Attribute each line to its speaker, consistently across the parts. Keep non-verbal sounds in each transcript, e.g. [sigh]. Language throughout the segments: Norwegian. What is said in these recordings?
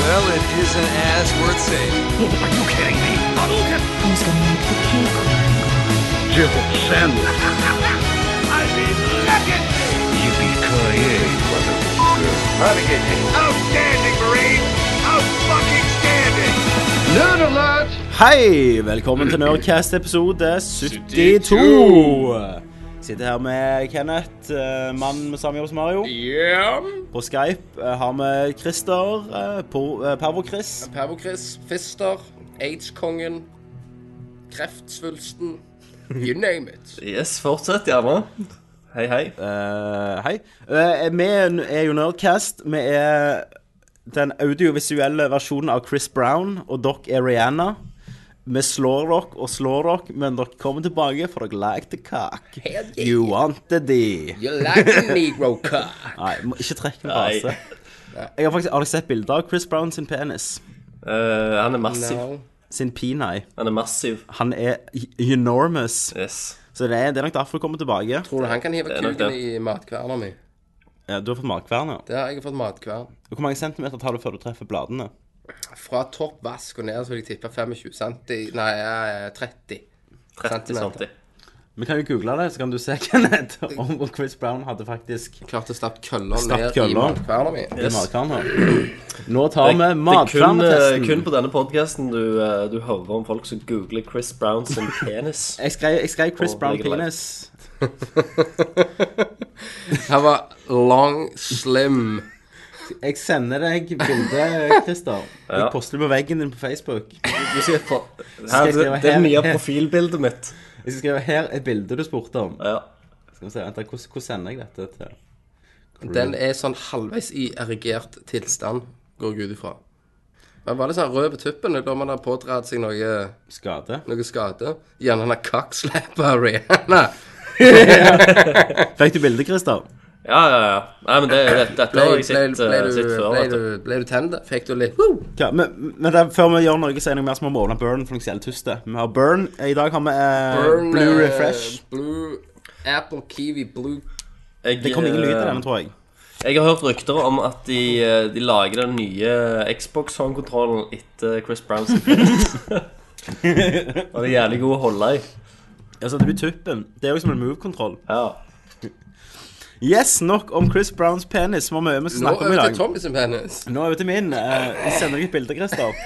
Speaker 1: Well, it isn't as worth saving.
Speaker 2: Are you kidding me? Hadouken!
Speaker 3: Who's gonna make the cake line?
Speaker 2: Jibble send. I mean, legendary! Yippee-ki-yay, motherfucker. Outstanding, Marine! Out-fucking-standing! Nerd alert!
Speaker 4: Hei! Velkommen til Nerdcast episode 72. Sitter her med Kenneth, eh, mannen med samme jobb som Mario.
Speaker 5: Ja.
Speaker 4: På Skype eh, har vi Christer, eh, Por- eh, Pervo-Chris.
Speaker 5: Pervokris, Fister, Age-kongen, Kreftsvulsten You name it.
Speaker 6: Yes, fortsett gjerne. Hei, hei.
Speaker 4: Eh, hei. Eh, vi er n- er jo Nerdcast. Vi er den audiovisuelle versjonen av Chris Brown, og dere er Rihanna. Vi slår dere og slår dere, men dere kommer tilbake, for dere liked the cock.
Speaker 5: Hell yeah.
Speaker 4: You wanted the
Speaker 5: You like a negro car.
Speaker 4: Nei, må ikke trekk en
Speaker 6: Nei.
Speaker 4: base. Jeg har faktisk aldri sett bilder av Chris Brown sin penis.
Speaker 6: Eh, han er massiv.
Speaker 5: No.
Speaker 4: Sin peni.
Speaker 6: Han er massiv.
Speaker 4: Han er e- enormous.
Speaker 6: Yes.
Speaker 4: Så det er, det er nok derfor du kommer tilbake.
Speaker 5: Tror du han kan hive
Speaker 6: er nok
Speaker 5: kuken
Speaker 6: det.
Speaker 5: i matkverna mi?
Speaker 4: Ja, Du har fått matkvern, ja.
Speaker 5: Det har jeg fått matkvern.
Speaker 4: Hvor mange centimeter tar du før du treffer bladene?
Speaker 5: Fra topp vask og ned så vil jeg tippe 25 centi... Nei, eh, 30.
Speaker 6: 30
Speaker 5: Centimeter.
Speaker 6: cm.
Speaker 4: Vi kan jo google det, så kan du se, [laughs] Kenneth, om om Chris Brown hadde faktisk
Speaker 5: Klarte å stappe køller
Speaker 4: Stapp
Speaker 5: ned i
Speaker 4: køller.
Speaker 5: matkverna mi.
Speaker 4: yes.
Speaker 6: Yes. [clears throat]
Speaker 4: matkvern her. Nå tar vi
Speaker 6: kun, eh, kun
Speaker 4: matkvernetesten.
Speaker 6: på denne podkasten du, eh, du hører om folk som googler Chris Brown sin penis.
Speaker 4: Jeg skrev, jeg skrev Chris
Speaker 6: Og
Speaker 4: Brown
Speaker 6: legger det live.
Speaker 4: penis.
Speaker 5: Han var long, slim.
Speaker 4: Jeg sender deg bildet,
Speaker 6: [laughs]
Speaker 4: Christer. Jeg
Speaker 6: Ja.
Speaker 4: poster det på veggen din på Facebook.
Speaker 6: Du sier for...
Speaker 4: Skal
Speaker 6: [laughs] Her,
Speaker 4: jeg
Speaker 6: det,
Speaker 4: skrive
Speaker 6: det er
Speaker 4: her-
Speaker 6: mye av
Speaker 4: her?
Speaker 6: profilbildet mitt.
Speaker 4: Jeg skal skrive her er bildet du spurte om.
Speaker 6: Ja.
Speaker 4: Skal vi se, vent, da, hvordan, hvordan sender jeg dette til
Speaker 5: Den er sånn halvveis i erigert tilstand, går jeg ut ifra. Men var litt sånn rød på tuppen da man har pådratt seg noe, eh,
Speaker 4: skade?
Speaker 5: noe skade. Gjerne han har kakkslappa Rihanna.
Speaker 4: Fikk du bildet, Christer?
Speaker 6: Ja, ja, ja. Nei, men det, det, dette
Speaker 5: Ble,
Speaker 6: har
Speaker 5: ble,
Speaker 6: jeg sett,
Speaker 5: ble,
Speaker 6: eh,
Speaker 5: du-
Speaker 6: sett før.
Speaker 5: ble,
Speaker 6: vet du.
Speaker 5: du- ble du tent? Fikk du litt Woo!
Speaker 4: Ja, men, men det, er- før vi gjør noe, så er det noe mer som om Åland Burn, for noe selvtuste. Vi har Burn. I dag har vi eh,
Speaker 5: Burn,
Speaker 4: Blue
Speaker 5: eh,
Speaker 4: Refresh.
Speaker 5: Blue Apple Kiwi Blue
Speaker 6: Jeg,
Speaker 4: Det kom ingen lyd til
Speaker 6: eh,
Speaker 4: denne, tror jeg.
Speaker 6: Jeg har hørt rykter om at de, eh, de lager den nye Xbox Home-kontrollen etter Chris Brown sin penis. [laughs] Og det er jævlig god å holde i.
Speaker 4: Altså, det blir tuppen. Det er jo som en move-kontroll.
Speaker 6: Ja.
Speaker 4: Yes, nok om Chris Browns penis, som vi skal
Speaker 5: Nå
Speaker 4: snakke om i
Speaker 5: øvde
Speaker 4: dag.
Speaker 5: Tommy sin penis.
Speaker 4: Nå er vi til min. Eh, jeg sender deg et bilde, Christer.
Speaker 5: [laughs]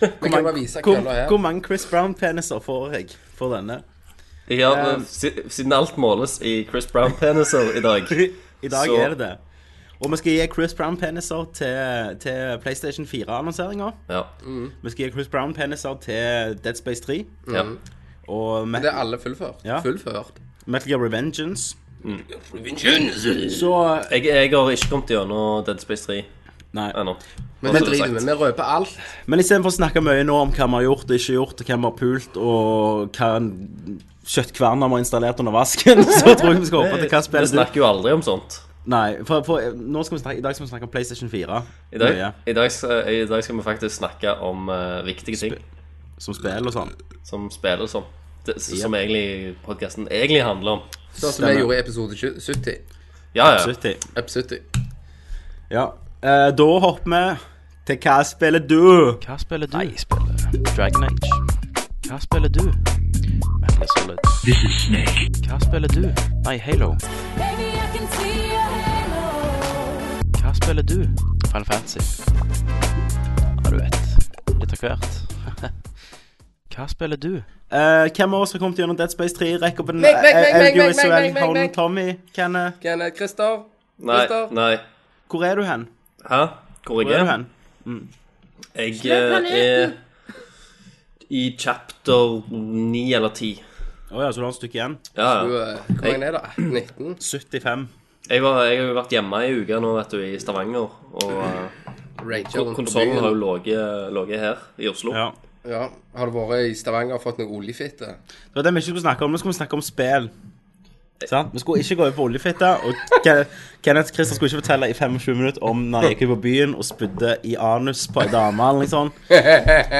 Speaker 5: Vi kan bare vise
Speaker 4: Hvor,
Speaker 5: kølla her.
Speaker 4: hvor mange Chris Brown-peniser får jeg for denne?
Speaker 6: Jeg har, eh, si- siden alt måles i Chris Brown-peniser i
Speaker 5: [laughs]
Speaker 6: dag
Speaker 4: I dag
Speaker 6: Så-
Speaker 4: er det det. Og vi skal gi Chris Brown-peniser til, til PlayStation 4-annonseringa.
Speaker 6: Ja.
Speaker 5: Mm.
Speaker 4: Vi skal gi Chris Brown-peniser til Dead Space 3.
Speaker 6: ja.
Speaker 4: Og
Speaker 5: Det
Speaker 4: Metal,
Speaker 5: er alle fullført.
Speaker 4: Ja.
Speaker 5: Fullført.
Speaker 4: Metal Gear Revengeance. Så
Speaker 6: Jeg, jeg har ikke kommet gjennom Dead Space 3
Speaker 4: Nei.
Speaker 6: ennå.
Speaker 5: Men
Speaker 6: Bare
Speaker 5: det
Speaker 6: så det er
Speaker 5: driter vi
Speaker 6: sagt.
Speaker 5: med. Vi røper alt.
Speaker 4: Men istedenfor å snakke mye nå om hva vi har gjort og ikke gjort, og hvem vi har pult, og hva en kjøttkverner vi har installert under vasken, [laughs] så tror jeg vi skal hoppe til hva
Speaker 6: Vi
Speaker 4: spiller du
Speaker 6: snakker jo aldri om sånt.
Speaker 4: Nei, for, for nå skal vi snakke, i dag skal vi snakke om PlayStation 4.
Speaker 6: I dag,
Speaker 4: Mye,
Speaker 6: i dag, skal- i dag skal vi faktisk snakke om eh, viktige ting
Speaker 4: som spill og sånn.
Speaker 6: som spiller som. Det, som egentlig podkasten egentlig handler om.
Speaker 5: Sånn som
Speaker 4: Stemmer.
Speaker 5: vi gjorde i episode 20 70.
Speaker 6: Ja, ja.
Speaker 4: 70.
Speaker 5: Episode 70.
Speaker 4: Ja. Eh, da hopper vi til hva spiller du?
Speaker 7: Hva spiller du? jeg spiller Dragon Age. Hva spiller du? Metal Gear Solid. This is Snake. Hva spiller du? Nei, Halo.
Speaker 8: Baby, I can see your halo.
Speaker 7: Hva spiller du? Final Fantasy. Ja, du vet. Litt av hvert. [laughs] Hva spiller du?
Speaker 4: Eh, hvem av oss har kommet gjennom Dead Space 3? Rekk opp en
Speaker 5: Meg, meg, meg,
Speaker 4: eh,
Speaker 5: meg, meg,
Speaker 4: audiovisuell
Speaker 5: meg, meg,
Speaker 4: hånd.
Speaker 5: meg.
Speaker 4: Tommy, Kenneth,
Speaker 5: Kenneth Christer.
Speaker 6: Nei,
Speaker 5: Christer.
Speaker 6: nei.
Speaker 4: hvor er du hen?
Speaker 6: Hæ? Hvor
Speaker 4: Hvor
Speaker 6: jeg
Speaker 4: er du
Speaker 6: er?
Speaker 4: hen?
Speaker 6: Jeg eh, er i chapter 9 eller 10.
Speaker 4: Å ja, så du har et stykke igjen?
Speaker 6: Ja,
Speaker 5: Du,
Speaker 6: ja.
Speaker 5: eh, Hvor mange er det? 19?
Speaker 4: 75.
Speaker 6: Jeg, var, jeg har jo vært hjemme i uka nå, vet du, i Stavanger. Og eh,
Speaker 5: Rager rundt på
Speaker 6: konsollen
Speaker 5: byen.
Speaker 6: har jo ligget- ligget her i Oslo.
Speaker 4: Mm. Ja.
Speaker 5: Ja, Har du vært i Stavanger og fått noe oljefitte?
Speaker 4: Det var det vi ikke skulle snakke om. Nå skulle vi snakke om spill. Sant? Vi skulle ikke gå over på oljefitte. Og Ken- Kenneth Christer skulle ikke fortelle i 25 minutter om når han gikk ut på byen og spydde i anus på ei dame. eller noe sånt.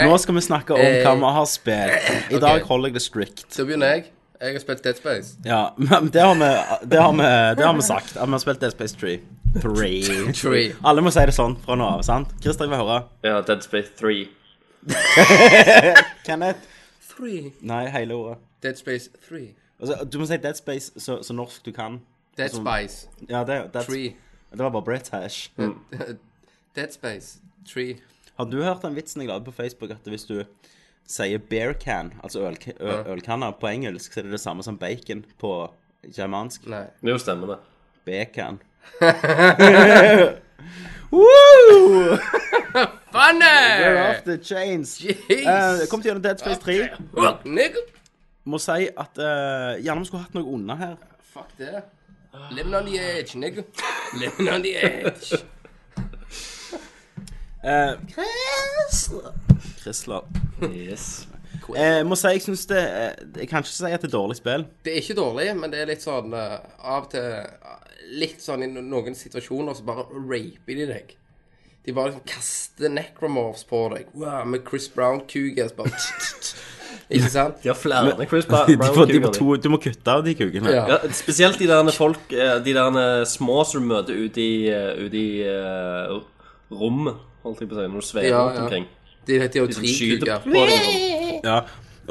Speaker 4: Nå skal vi snakke om hva vi har spilt. I dag holder jeg det strict.
Speaker 5: Så begynner jeg. Jeg har spilt Dead Space.
Speaker 4: Ja, men det har vi, det har vi, det har vi sagt. At vi har spilt Dead Space 3.
Speaker 5: [laughs]
Speaker 4: 3.
Speaker 5: Tree.
Speaker 4: Alle må si det sånn fra nå av, sant? Christer, jeg vil høre.
Speaker 6: Ja, Dead Space 3.
Speaker 4: Kenneth?
Speaker 5: Three.
Speaker 4: Nei, hele ordet.
Speaker 5: Dead Space 3.
Speaker 4: Altså, du må si Dead Space så, så norsk du kan.
Speaker 5: Dead
Speaker 4: Altså-
Speaker 5: Space
Speaker 4: Ja, det, that's,
Speaker 5: 3.
Speaker 4: det var bare British.
Speaker 5: Dead Space 3.
Speaker 4: Har du hørt den vitsen jeg la ut på Facebook, at hvis du sier bear can, altså øl, ø, ølkanner på engelsk, så er det det samme som bacon på germansk?
Speaker 5: Nei.
Speaker 6: Jo, stemmer det.
Speaker 4: [laughs] Bacon. Woo! We're
Speaker 5: Funny!
Speaker 4: off the chains.
Speaker 5: Jeez.
Speaker 4: Eh, kom til gjennom Dead Space 3.
Speaker 5: Fuck, nigga.
Speaker 4: Må si at eh, gjerne vi skulle hatt noe under her.
Speaker 5: Fuck det. Living on the edge, nigga. Living on the edge.
Speaker 4: Eh, Krisler. Krisler.
Speaker 6: Yes.
Speaker 4: Eh, må si jeg syns det eh, Jeg kan ikke si at det er dårlig [laughs] spill.
Speaker 5: Det er ikke dårlig, men det er litt sånn eh, av og til eh, Litt sånn i no- noen situasjoner så bare raper de deg. De bare liksom kaster necromorphs på deg. Wow, med Chris Brown-kuker. så bare [laughs] Ikke sant?
Speaker 6: De har flere enn Chris
Speaker 4: [laughs]
Speaker 6: Brown.
Speaker 4: De får, de får to, du må kutte av de kukene.
Speaker 5: Ja.
Speaker 6: Ja, spesielt de der folk eh, De der små som du møter ute i, eh, ute i eh, rom, holdt jeg på å si, når du svever
Speaker 5: Ja,
Speaker 6: rundt
Speaker 5: ja.
Speaker 6: omkring.
Speaker 5: De heter jo
Speaker 6: De som
Speaker 5: tre
Speaker 6: skyter
Speaker 5: kuker.
Speaker 6: på deg. sånn.
Speaker 4: Ja.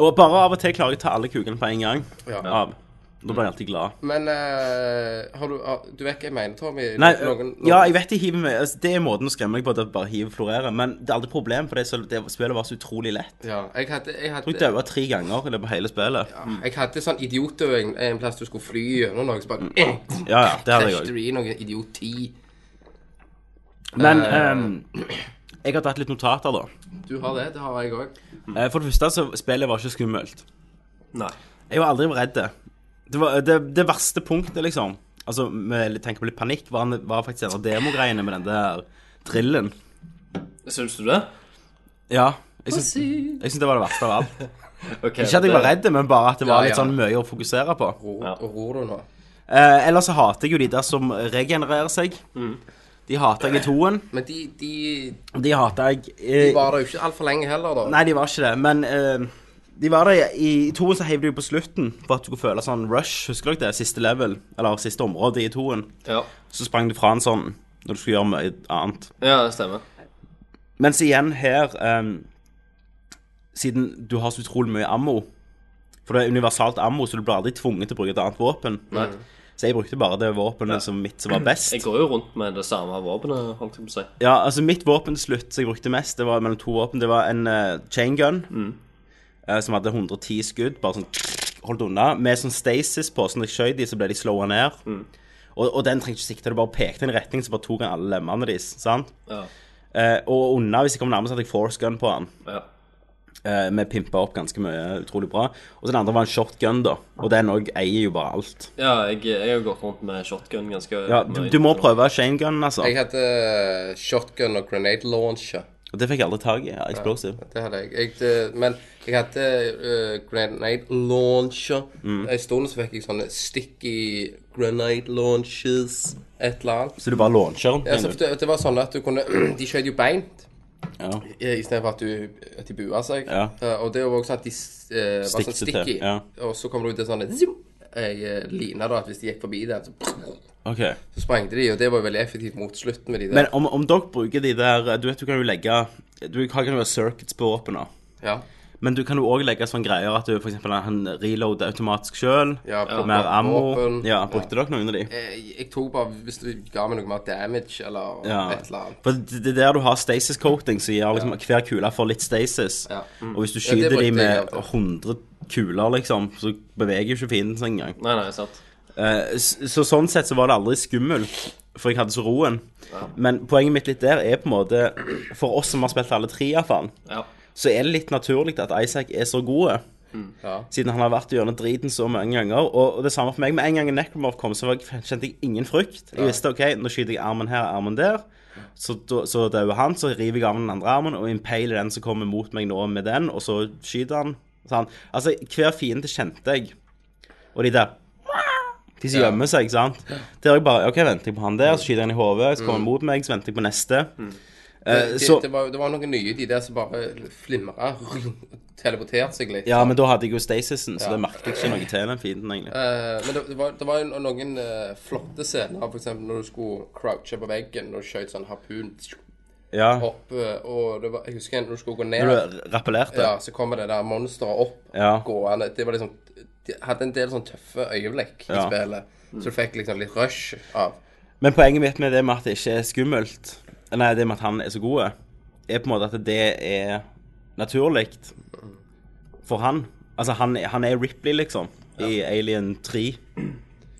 Speaker 4: Og bare av og til klarer jeg å ta alle kukene på en gang.
Speaker 5: Ja.
Speaker 4: Av. Da blir jeg alltid glad.
Speaker 5: Men eh, har du har, Du vet hva jeg mener, Tommy?
Speaker 4: Nei,
Speaker 5: noen, noen,
Speaker 4: ja, jeg vet de hiver meg altså, Det er måten å skremme meg på, at jeg bare hiver florerer. Men det er aldri problem, for det, er så, det spillet var så utrolig lett.
Speaker 5: ja, jeg hadde, jeg
Speaker 4: Jeg tror jeg
Speaker 5: hadde,
Speaker 4: daua tre ganger i løpet av hele spillet.
Speaker 5: jeg hadde sånn idiotøving en plass du skulle fly gjennom noe, så bare
Speaker 4: Ja, ja, det hadde jeg
Speaker 5: krasjer
Speaker 4: òg.
Speaker 5: du i noe idioti.
Speaker 4: Men
Speaker 5: Eh.
Speaker 4: ehm, jeg har tatt litt notater, da.
Speaker 5: Du har det, det har jeg òg.
Speaker 4: Eh, For det første, så spillet var ikke skummelt.
Speaker 6: Nei.
Speaker 4: Jeg var aldri redd. Det, var, det, det verste punktet, liksom Altså, med tenker på litt panikk, var, var faktisk en av demogreiene med den der drillen.
Speaker 6: Syns du det?
Speaker 4: Ja. Jeg syns, jeg syns det var det verste av
Speaker 5: [laughs]
Speaker 4: alt.
Speaker 6: Ok,
Speaker 4: Ikke at jeg var
Speaker 6: det-
Speaker 4: redd, men bare at det
Speaker 5: Ja,
Speaker 4: var litt
Speaker 5: ja.
Speaker 4: sånn mye å fokusere på.
Speaker 5: Ro,
Speaker 6: Ja.
Speaker 5: og Ror du nå?
Speaker 4: Eh, ellers så hater jeg jo de der som regenererer seg.
Speaker 5: Mm.
Speaker 4: De hater jeg i toen.
Speaker 5: Men de, de,
Speaker 4: De hater jeg
Speaker 5: de
Speaker 4: eh,
Speaker 5: var der jo ikke altfor lenge heller, da.
Speaker 4: Nei, de var ikke det, men eh, de var der i, i toen, så heiv de jo på slutten for at du skulle føle sånn rush. Husker dere det? Siste level, eller siste område i toen.
Speaker 6: Ja,
Speaker 4: Så sprang du fra en sånn når du skulle gjøre mye annet.
Speaker 6: ja det stemmer.
Speaker 4: Mens igjen her ehm, Siden du har så utrolig mye ammo For det er universalt ammo, så du blir aldri tvunget til å bruke et annet våpen. Så jeg brukte bare det våpenet som mitt som var best.
Speaker 6: Jeg går jo rundt med det samme våpenet, holdt jeg på å si.
Speaker 4: Ja, altså Mitt våpen til slutt som jeg brukte mest, det var mellom to våpen. Det var en eh, chain gun
Speaker 6: Mm.
Speaker 4: eh, som hadde 110 skudd, bare sånn holdt unna, med sånn stasis på. Så når jeg skjøt de, så ble de slåa ned.
Speaker 6: Mm.
Speaker 4: Og, og den trengte ikke sikte, du bare pekte i en retning, så bare tok han alle lemmene deres. sant?
Speaker 6: Ja.
Speaker 4: Eh, og unna, hvis jeg kom nærmest, hadde jeg force gun på han.
Speaker 6: Ja.
Speaker 4: Eh, Vi pimpa opp ganske mye, utrolig bra. Og så den andre var en shotgun, da. Og den òg eier jo bare alt.
Speaker 6: ja, jeg, jeg har gått rundt med shotgun ganske
Speaker 4: Ja, du, du må prøve shanegun, altså.
Speaker 5: Jeg hadde eh, shotgun og grenade launcher.
Speaker 4: Og det fikk jeg aldri tak i. Ja, explosive.
Speaker 5: Det hadde jeg. jeg det, men jeg hadde eh, grenade launcher.
Speaker 4: Mm.
Speaker 5: En stund så fikk jeg sånne sticky grenade launches, et eller annet.
Speaker 4: Så du bare launcher den?
Speaker 5: Ja, så
Speaker 4: mener du?
Speaker 5: det, det var sånn at du kunne [clears throat] De skjøt jo beint.
Speaker 4: Ja.
Speaker 5: I stedet for at, du, at de bua seg.
Speaker 4: Ja.
Speaker 5: Eh, og det var også sånn at de eh, var sånn
Speaker 4: Stikte til,
Speaker 5: sticky.
Speaker 4: ja.
Speaker 5: Og så kommer det ut en sånn zoom, ei, eh, line da, at hvis de gikk forbi den, så,
Speaker 4: Ok.
Speaker 5: så sprengte de. Og det var jo veldig effektivt mot slutten med de der.
Speaker 4: Men om, om dere bruker de der Du vet du kan jo legge Du kan jo ha circuits på våpena.
Speaker 5: ja.
Speaker 4: Men du kan jo òg legge sånne greier at du f.eks. han reloader automatisk sjøl.
Speaker 5: Ja, på-
Speaker 4: mer
Speaker 5: på
Speaker 4: ammo.
Speaker 5: våpen.
Speaker 4: Ja, brukte dere noen av de?
Speaker 5: Jeg, jeg tok bare Hvis du ga meg noe mer damage eller
Speaker 4: Ja.
Speaker 5: et eller annet.
Speaker 4: For det det er der du har stasis coating, som gjør liksom at hver kule får litt stasis.
Speaker 5: Ja.
Speaker 4: Og hvis du
Speaker 5: det
Speaker 4: skyter
Speaker 5: brukte
Speaker 4: de
Speaker 5: jeg
Speaker 4: med
Speaker 5: av og
Speaker 4: 100 kuler, liksom, så beveger jo ikke fienden seg engang.
Speaker 6: Nei, nei, sant.
Speaker 4: Eh, s- Så sånn sett så var det aldri skummelt, for jeg hadde så roen. Men poenget mitt litt der er på en måte For oss som har spilt alle tre, iallfall,
Speaker 6: Ja.
Speaker 4: så er det litt naturlig at Isaac er så god.
Speaker 5: Ja.
Speaker 4: Siden han har vært gjennom driten så mange ganger. Og og det samme for meg. Med en gang Necromorph kom, så var jeg, kjente jeg ingen frykt. Jeg visste OK, nå skyter jeg armen her og armen der. Så, da- så dauer han, så river jeg av den andre armen og impaler den som kommer mot meg nå, med den, og så skyter han. Sånn. Altså, hver fiende kjente jeg. Og de der De som
Speaker 5: Ja. Mm.
Speaker 4: gjemmer seg, ikke sant. Der jeg bare OK, venter jeg på han der, så skyter han i hodet, så kommer han mot meg, så venter jeg på neste. Eh,
Speaker 5: Det,
Speaker 4: så,
Speaker 5: det, var, det var noen nye, de der som bare flimra, teleporterte seg litt.
Speaker 4: ja, men da hadde jeg jo Stasisen, så det merket jeg ikke noe til den fienden, egentlig.
Speaker 5: Eh, men det, det, var, det var jo noen eh, flotte scener, f.eks. når du skulle crouche på veggen og skjøt sånn harpun
Speaker 4: Ja,
Speaker 5: opp. eh, Og det var, jeg husker en når du skulle gå
Speaker 4: når
Speaker 5: ned,
Speaker 4: du rappellerte.
Speaker 5: ja, så kommer det der monsteret opp
Speaker 4: Ja.
Speaker 5: gående. Det var liksom De hadde en del sånn tøffe øyeblikk i
Speaker 4: Ja.
Speaker 5: spillet, så du fikk liksom litt rush av.
Speaker 4: Men poenget mitt med det med at det ikke er skummelt, nei, det med at han er så god, er på en måte at det er naturlig for han. Altså, han, er- han er Ripley, liksom, i Alien 3.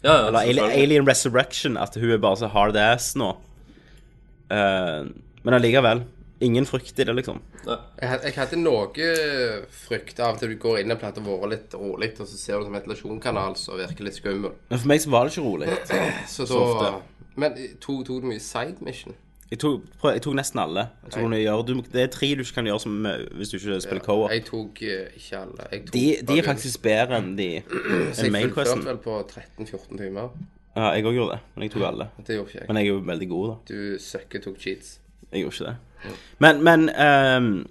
Speaker 6: Ja, ja,
Speaker 4: Eller Alien,
Speaker 6: selvfølgelig.
Speaker 4: Alien Resurrection, at hun er bare så hard ass nå. Eh, men allikevel. Ingen frykt i det, liksom.
Speaker 5: Jeg, had- jeg hadde noe frykt av til du går inn en plass og vært litt rolig, og så ser du som ventilasjonkanal som virker litt skummel.
Speaker 4: Men for meg så var det ikke rolig.
Speaker 5: Så,
Speaker 4: ofte.
Speaker 5: da- men tok tok du mye side mission?
Speaker 4: Jeg tok, prøv, jeg tok nesten alle. Jeg tror du gjør, du, det er tre du ikke kan gjøre som, eh, hvis du ikke spiller co-op.
Speaker 5: Jeg tok eh, ikke alle. Jeg tok
Speaker 4: De, de
Speaker 5: bare-
Speaker 4: er faktisk bedre enn de
Speaker 5: [clears throat] Så jeg
Speaker 4: enn main
Speaker 5: fullførte
Speaker 4: questen.
Speaker 5: vel på 13-14 timer.
Speaker 4: Ja, jeg òg gjorde det, men jeg tok alle.
Speaker 5: Det gjorde ikke jeg.
Speaker 4: Men jeg er jo veldig god, da.
Speaker 5: Du søkker tok cheats.
Speaker 4: Jeg gjorde ikke det. Men, men ehm,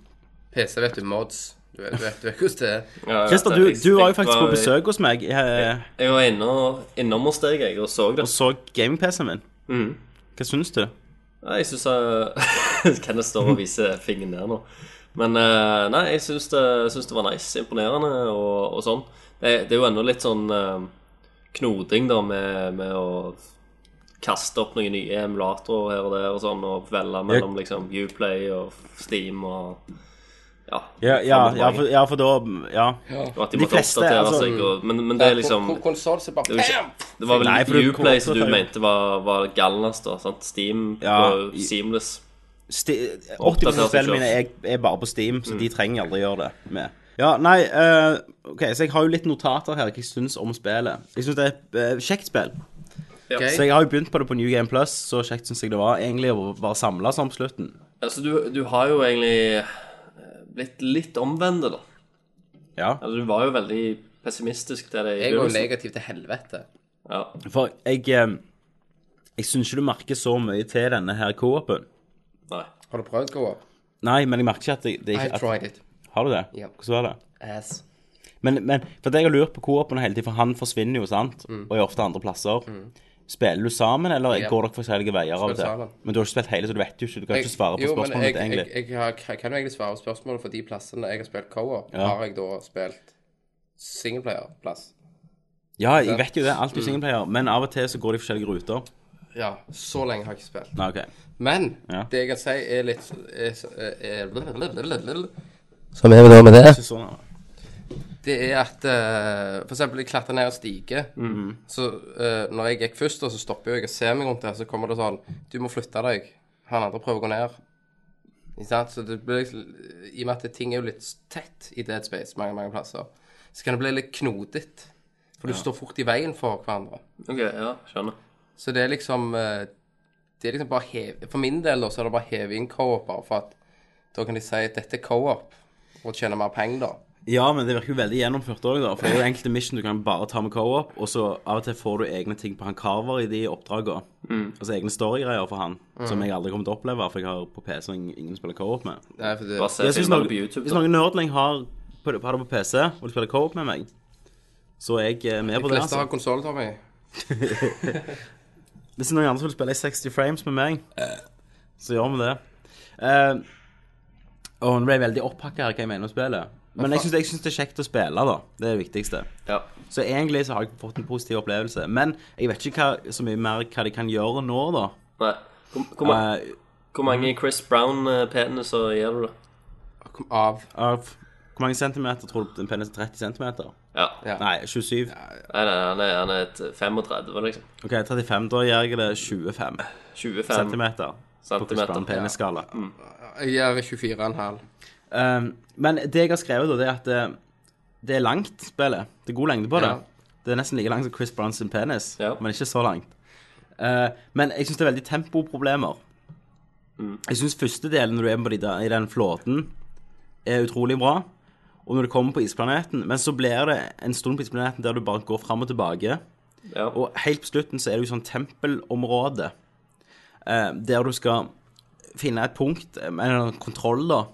Speaker 5: PC vet du mods. Du vet, du vet, du vet hvordan det er.
Speaker 6: Ja, ja,
Speaker 4: Christer,
Speaker 6: det-
Speaker 4: du,
Speaker 6: jeg-
Speaker 4: du var
Speaker 6: jeg
Speaker 4: jo faktisk på
Speaker 6: var-
Speaker 4: besøk hos meg eh,
Speaker 6: Jeg var innom, innom hos deg, jeg, og så det.
Speaker 4: og så gaming-PC-en min.
Speaker 5: Mm.
Speaker 4: Hva syns du?
Speaker 6: Nei, jeg syns jeg [laughs] Kenneth står og viser fingeren ned nå. Men eh, nei, jeg syns det, synes det var nice. Imponerende og, og sånn. Det, det er jo ennå litt sånn eh, knoting, da, med, med å kaste opp noen nye emulatorer her og der og sånn, og velge mellom liksom Uplay og Steam og Ja.
Speaker 4: Ja, ja,
Speaker 6: frem og
Speaker 4: ja,
Speaker 6: tilbake.
Speaker 4: for, ja for da Ja.
Speaker 6: Og at de,
Speaker 4: de
Speaker 6: måtte
Speaker 4: fleste,
Speaker 6: oppdatere
Speaker 4: altså-
Speaker 6: seg og Men, men det er liksom
Speaker 5: På- på konsol så bare
Speaker 6: det,
Speaker 5: bam!
Speaker 6: var ikke, det var vel
Speaker 4: Nei, for du-
Speaker 6: Uplay som du
Speaker 4: hvorfor-
Speaker 6: mente var, var galnest, da. sant? Steam
Speaker 4: Ja,
Speaker 6: og
Speaker 4: i-
Speaker 6: Seamless.
Speaker 4: Sti 80
Speaker 6: Oppdatert
Speaker 4: av spillene
Speaker 6: ikke.
Speaker 4: mine er, er bare på Steam, så de trenger aldri gjøre det med. Ja, nei, eh, ok, så jeg har jo litt notater her hva jeg syns om spillet. Jeg syns det er et eh, kjekt spill.
Speaker 5: Ok.
Speaker 4: Så jeg har jo begynt på det på New Game Plus, så kjekt syns jeg det var egentlig å være samla som slutten.
Speaker 6: Altså, du, du har jo egentlig eh, blitt litt omvendt, da.
Speaker 4: Ja.
Speaker 6: Altså, du var jo veldig pessimistisk til det i
Speaker 5: Jeg var jo
Speaker 6: begynnelsen.
Speaker 5: negativ til helvete.
Speaker 6: Ja.
Speaker 4: For jeg eh, Jeg syns ikke du merker så mye til denne her co-open.
Speaker 6: Nei.
Speaker 5: Har du prøvd Go-Up?
Speaker 4: Nei, men jeg merker ikke at det, det
Speaker 5: I
Speaker 4: ikke at,
Speaker 5: tried it.
Speaker 4: Har du det?
Speaker 5: Ja.
Speaker 4: Hvordan var det?
Speaker 5: Ass.
Speaker 4: Men, men for det jeg har lurt på co-open hele tiden, for han forsvinner jo, sant? Og er ofte andre plasser. Spiller du sammen, eller
Speaker 5: Mm. Ja.
Speaker 4: går dere forskjellige veier av og
Speaker 5: Spiller
Speaker 4: til?
Speaker 5: sammen.
Speaker 4: Men du har ikke spilt hele, så du vet jo ikke. Du kan
Speaker 5: Jeg-
Speaker 4: ikke svare på
Speaker 5: jo, men
Speaker 4: spørsmålet
Speaker 5: jeg-
Speaker 4: mitt, egentlig.
Speaker 5: Jeg, jeg, har, jeg kan jo egentlig svare på spørsmålet for de plassene jeg har spilt co-op,
Speaker 4: Ja.
Speaker 5: har jeg da spilt singleplayer-plass.
Speaker 4: ja, jeg vet jo det.
Speaker 5: Mm.
Speaker 4: Alt er singleplayer. Men av og til så går de forskjellige ruter.
Speaker 5: Ja, så lenge har jeg ikke spilt.
Speaker 4: Nei, OK.
Speaker 5: Men
Speaker 4: Ja.
Speaker 5: det jeg kan si er litt er, er, er,
Speaker 4: Ikke sånn, da.
Speaker 5: Det er at eh, For eksempel, jeg klatrer ned en stige. Så eh, når jeg gikk først, da, så stopper jeg og ser meg rundt der, så kommer det sånn Du må flytte deg. Han andre prøver å gå ned. Ikke sant? Så det blir liksom I og med at det- ting er jo litt tett i Dead Space mange, mange plasser, så kan det bli litt knotete. For du står fort i veien for hverandre.
Speaker 6: OK, ja, skjønner.
Speaker 5: Så det er liksom eh, Det er liksom bare hev... For min del da, så er det bare heve inn co-op, bare for at da kan de si at dette er co-op, og tjene mer penger, da.
Speaker 4: Ja, men det virker jo veldig gjennomført òg, da. For det er jo enkelte mission du kan bare ta med co-op, og så av og til får du egne ting på han Carver i de oppdraga. Altså egne storygreier for han,
Speaker 5: Mm.
Speaker 4: som jeg aldri kommer til å oppleve, for jeg har på PC og ingen- ingen spiller co-op med.
Speaker 5: Nei, for det,
Speaker 6: Bare se
Speaker 4: Jeg synes
Speaker 6: filmene
Speaker 4: noen-
Speaker 6: på YouTube.
Speaker 4: Hvis
Speaker 6: Da.
Speaker 4: noen nerdling har, på- har det på PC, og de spiller co-op med meg, så er jeg eh, med på
Speaker 5: de
Speaker 4: det.
Speaker 5: fleste har
Speaker 4: Altså.
Speaker 5: konsoll, Tommy.
Speaker 4: Hvis noen andre vil spille i 60 frames med meg,
Speaker 5: Eh.
Speaker 4: så gjør vi det. Eh, og nå ble jeg veldig opphakka her hva jeg mener om spillet. Men jeg syns jeg synes det er kjekt å spille, da. Det er det viktigste.
Speaker 6: Ja.
Speaker 4: Så egentlig så har jeg fått en positiv opplevelse. Men jeg vet ikke hva, så mye mer hva de kan gjøre nå, da.
Speaker 6: Nei. Hvor, hvor, ma-
Speaker 4: Eh,
Speaker 6: hvor mange Chris Brown-peniser gir du, da?
Speaker 5: Kom av.
Speaker 4: av, hvor mange centimeter tror du en penis er? 30 centimeter?
Speaker 6: Ja.
Speaker 5: Ja.
Speaker 4: Nei, 27.
Speaker 6: Nei, nei, han er, han er et 35, liksom.
Speaker 4: OK, 35. Da gjør jeg det 25
Speaker 6: 25
Speaker 4: centimeter. På Chris
Speaker 6: Centimeter, Mm.
Speaker 4: Brown penisskala.
Speaker 5: Jeg gjør 24,5.
Speaker 4: Um, men det jeg har skrevet, da, det er at det, det er langt, spillet. Det er god lengde på det.
Speaker 5: Ja.
Speaker 4: Det er nesten like langt som Chris Browns sin penis,
Speaker 6: Ja.
Speaker 4: men ikke så langt. Eh, men jeg syns det er veldig tempoproblemer.
Speaker 6: Mm.
Speaker 4: Jeg syns første delen, når du er på de der, i den flåten, er utrolig bra. Og når du kommer på isplaneten Men så blir det en stund på isplaneten der du bare går fram og tilbake.
Speaker 6: Ja.
Speaker 4: Og helt på slutten så er det jo sånn tempelområde eh, der du skal finne et punkt, eh, en eller annen kontroll, da.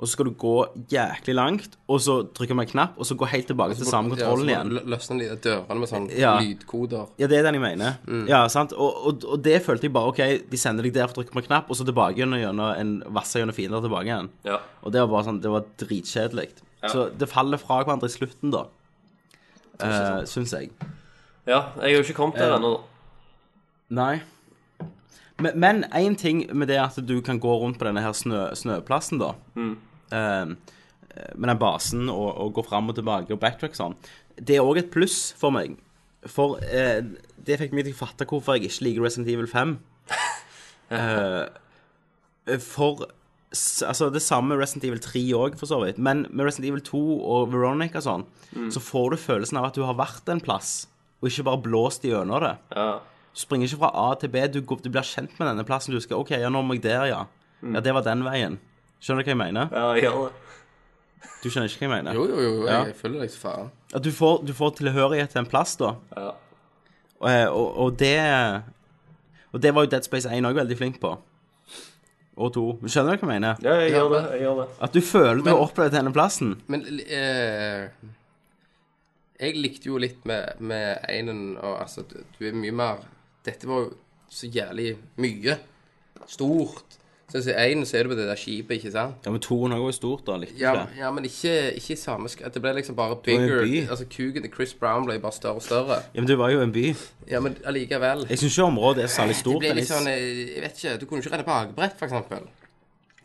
Speaker 4: Og så skal du gå jæklig langt, og så trykker man en knapp, og så gå helt tilbake til samme kontrollen
Speaker 5: ja, så må
Speaker 4: igjen.
Speaker 5: du lø- Løsne de der dørene med sånn
Speaker 4: Ja.
Speaker 5: lydkoder.
Speaker 4: Ja, det er den jeg mener. Ja, sant? Og, og, og det følte jeg bare OK, de sender deg der for å trykke på en knapp, og så tilbake gjennom- gjennom en vasse gjennom fiender tilbake igjen.
Speaker 6: Ja.
Speaker 4: Og det var bare sånn, det var dritkjedelig. Så det faller fra hverandre i slutten, da. Uh, Syns jeg.
Speaker 6: ja, jeg har jo ikke kommet
Speaker 4: Eh.
Speaker 6: der ennå.
Speaker 4: Nei. Men- Men én ting med det at du kan gå rundt på denne her snø, snøplassen, da. Eh, med den basen og, og gå fram og tilbake og backtrack sånn. Det er òg et pluss for meg. For eh, det fikk meg til å fatte hvorfor jeg ikke liker Resident Evil 5. Eh, for s- Altså, det samme med Resident Evil 3 òg, for så vidt. Men med Resident Evil 2 og Veronica og sånn, så får du følelsen av at du har vært en plass, og ikke bare blåst gjennom det.
Speaker 6: Ja.
Speaker 4: Du springer ikke fra A til B. Du, går, du blir kjent med denne plassen. Du skal OK, ja, nå må jeg der, ja.
Speaker 5: Mm.
Speaker 4: Ja, det var den veien. Skjønner du hva jeg mener?
Speaker 6: ja, jeg gjør det.
Speaker 4: Du skjønner ikke hva jeg mener?
Speaker 5: Jo, jo, jo,
Speaker 4: Ja.
Speaker 5: jeg følger deg så faen.
Speaker 4: At du får, du får tilhørighet til en plass, da.
Speaker 6: Ja.
Speaker 4: Og, eh, og, og det Og det var jo Dead Space 1 òg veldig flink på. Og 2. Skjønner du hva jeg mener?
Speaker 6: ja, jeg gjør det. Jeg gjør det.
Speaker 4: At du føler du har opplevd denne plassen.
Speaker 5: Men eh, jeg likte jo litt med, med einen og altså du, du er mye mer Dette var jo så jævlig mye. Stort. Så i einen så er du på det der skipet, ikke sant?
Speaker 4: Ja, men 2-en òg er jo stort, da. Likte du
Speaker 5: Ja,
Speaker 4: det?
Speaker 5: ja men ikke, ikke i samme sk Det ble liksom bare
Speaker 4: var en
Speaker 5: bigger.
Speaker 4: by.
Speaker 5: Altså Kuken til Chris Brown ble bare større og større.
Speaker 4: Ja, men det var jo en by.
Speaker 5: Ja, men allikevel.
Speaker 4: Jeg syns ikke området er særlig
Speaker 5: Det
Speaker 4: stort.
Speaker 5: ble
Speaker 4: men
Speaker 5: litt
Speaker 4: jeg-
Speaker 5: sånn eh, Jeg vet ikke. Du kunne ikke redde bakebrett, for eksempel.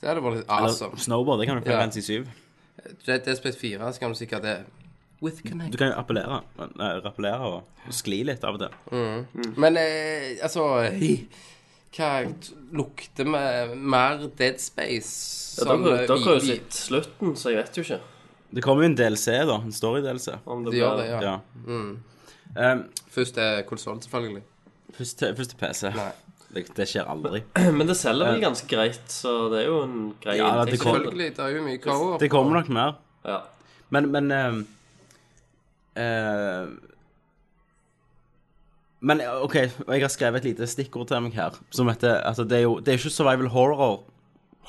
Speaker 5: Det hadde vært litt
Speaker 4: Eller,
Speaker 5: awesome.
Speaker 4: Snowboard, det kan du få
Speaker 5: altså. Ja.
Speaker 4: ja. i 7.
Speaker 5: Det, det er spilt fire, så kan du sikkert det. With connect.
Speaker 4: Du kan jo appellere, nei, rappellere og, og skli litt av og til.
Speaker 5: Men eh, altså Hva lukter med mer Dead Space
Speaker 6: Ja, dere
Speaker 5: eh,
Speaker 6: dere har jo
Speaker 5: vi-
Speaker 6: sett slutten, så jeg vet jo ikke
Speaker 4: Det kommer jo en DLC, da. En story-DLC.
Speaker 6: om
Speaker 5: vi-
Speaker 6: det
Speaker 5: De gjør det,
Speaker 6: blir
Speaker 5: ja. Mm.
Speaker 4: Ja. Um,
Speaker 5: Først er konsoll, selvfølgelig.
Speaker 4: først, til, først til PC.
Speaker 5: Nei.
Speaker 4: Det, det skjer aldri.
Speaker 6: [clears throat] Men det selger vel ganske greit, så det er jo en grei
Speaker 4: Ja, det
Speaker 6: inntekt.
Speaker 4: kom-
Speaker 5: Selvfølgelig. Det er jo mye cover.
Speaker 4: Det kommer nok mer.
Speaker 6: Ja.
Speaker 4: Men, men um, eh, Men OK, og jeg har skrevet et lite stikkord til meg her, som heter Altså, det er jo det er ikke survival horror.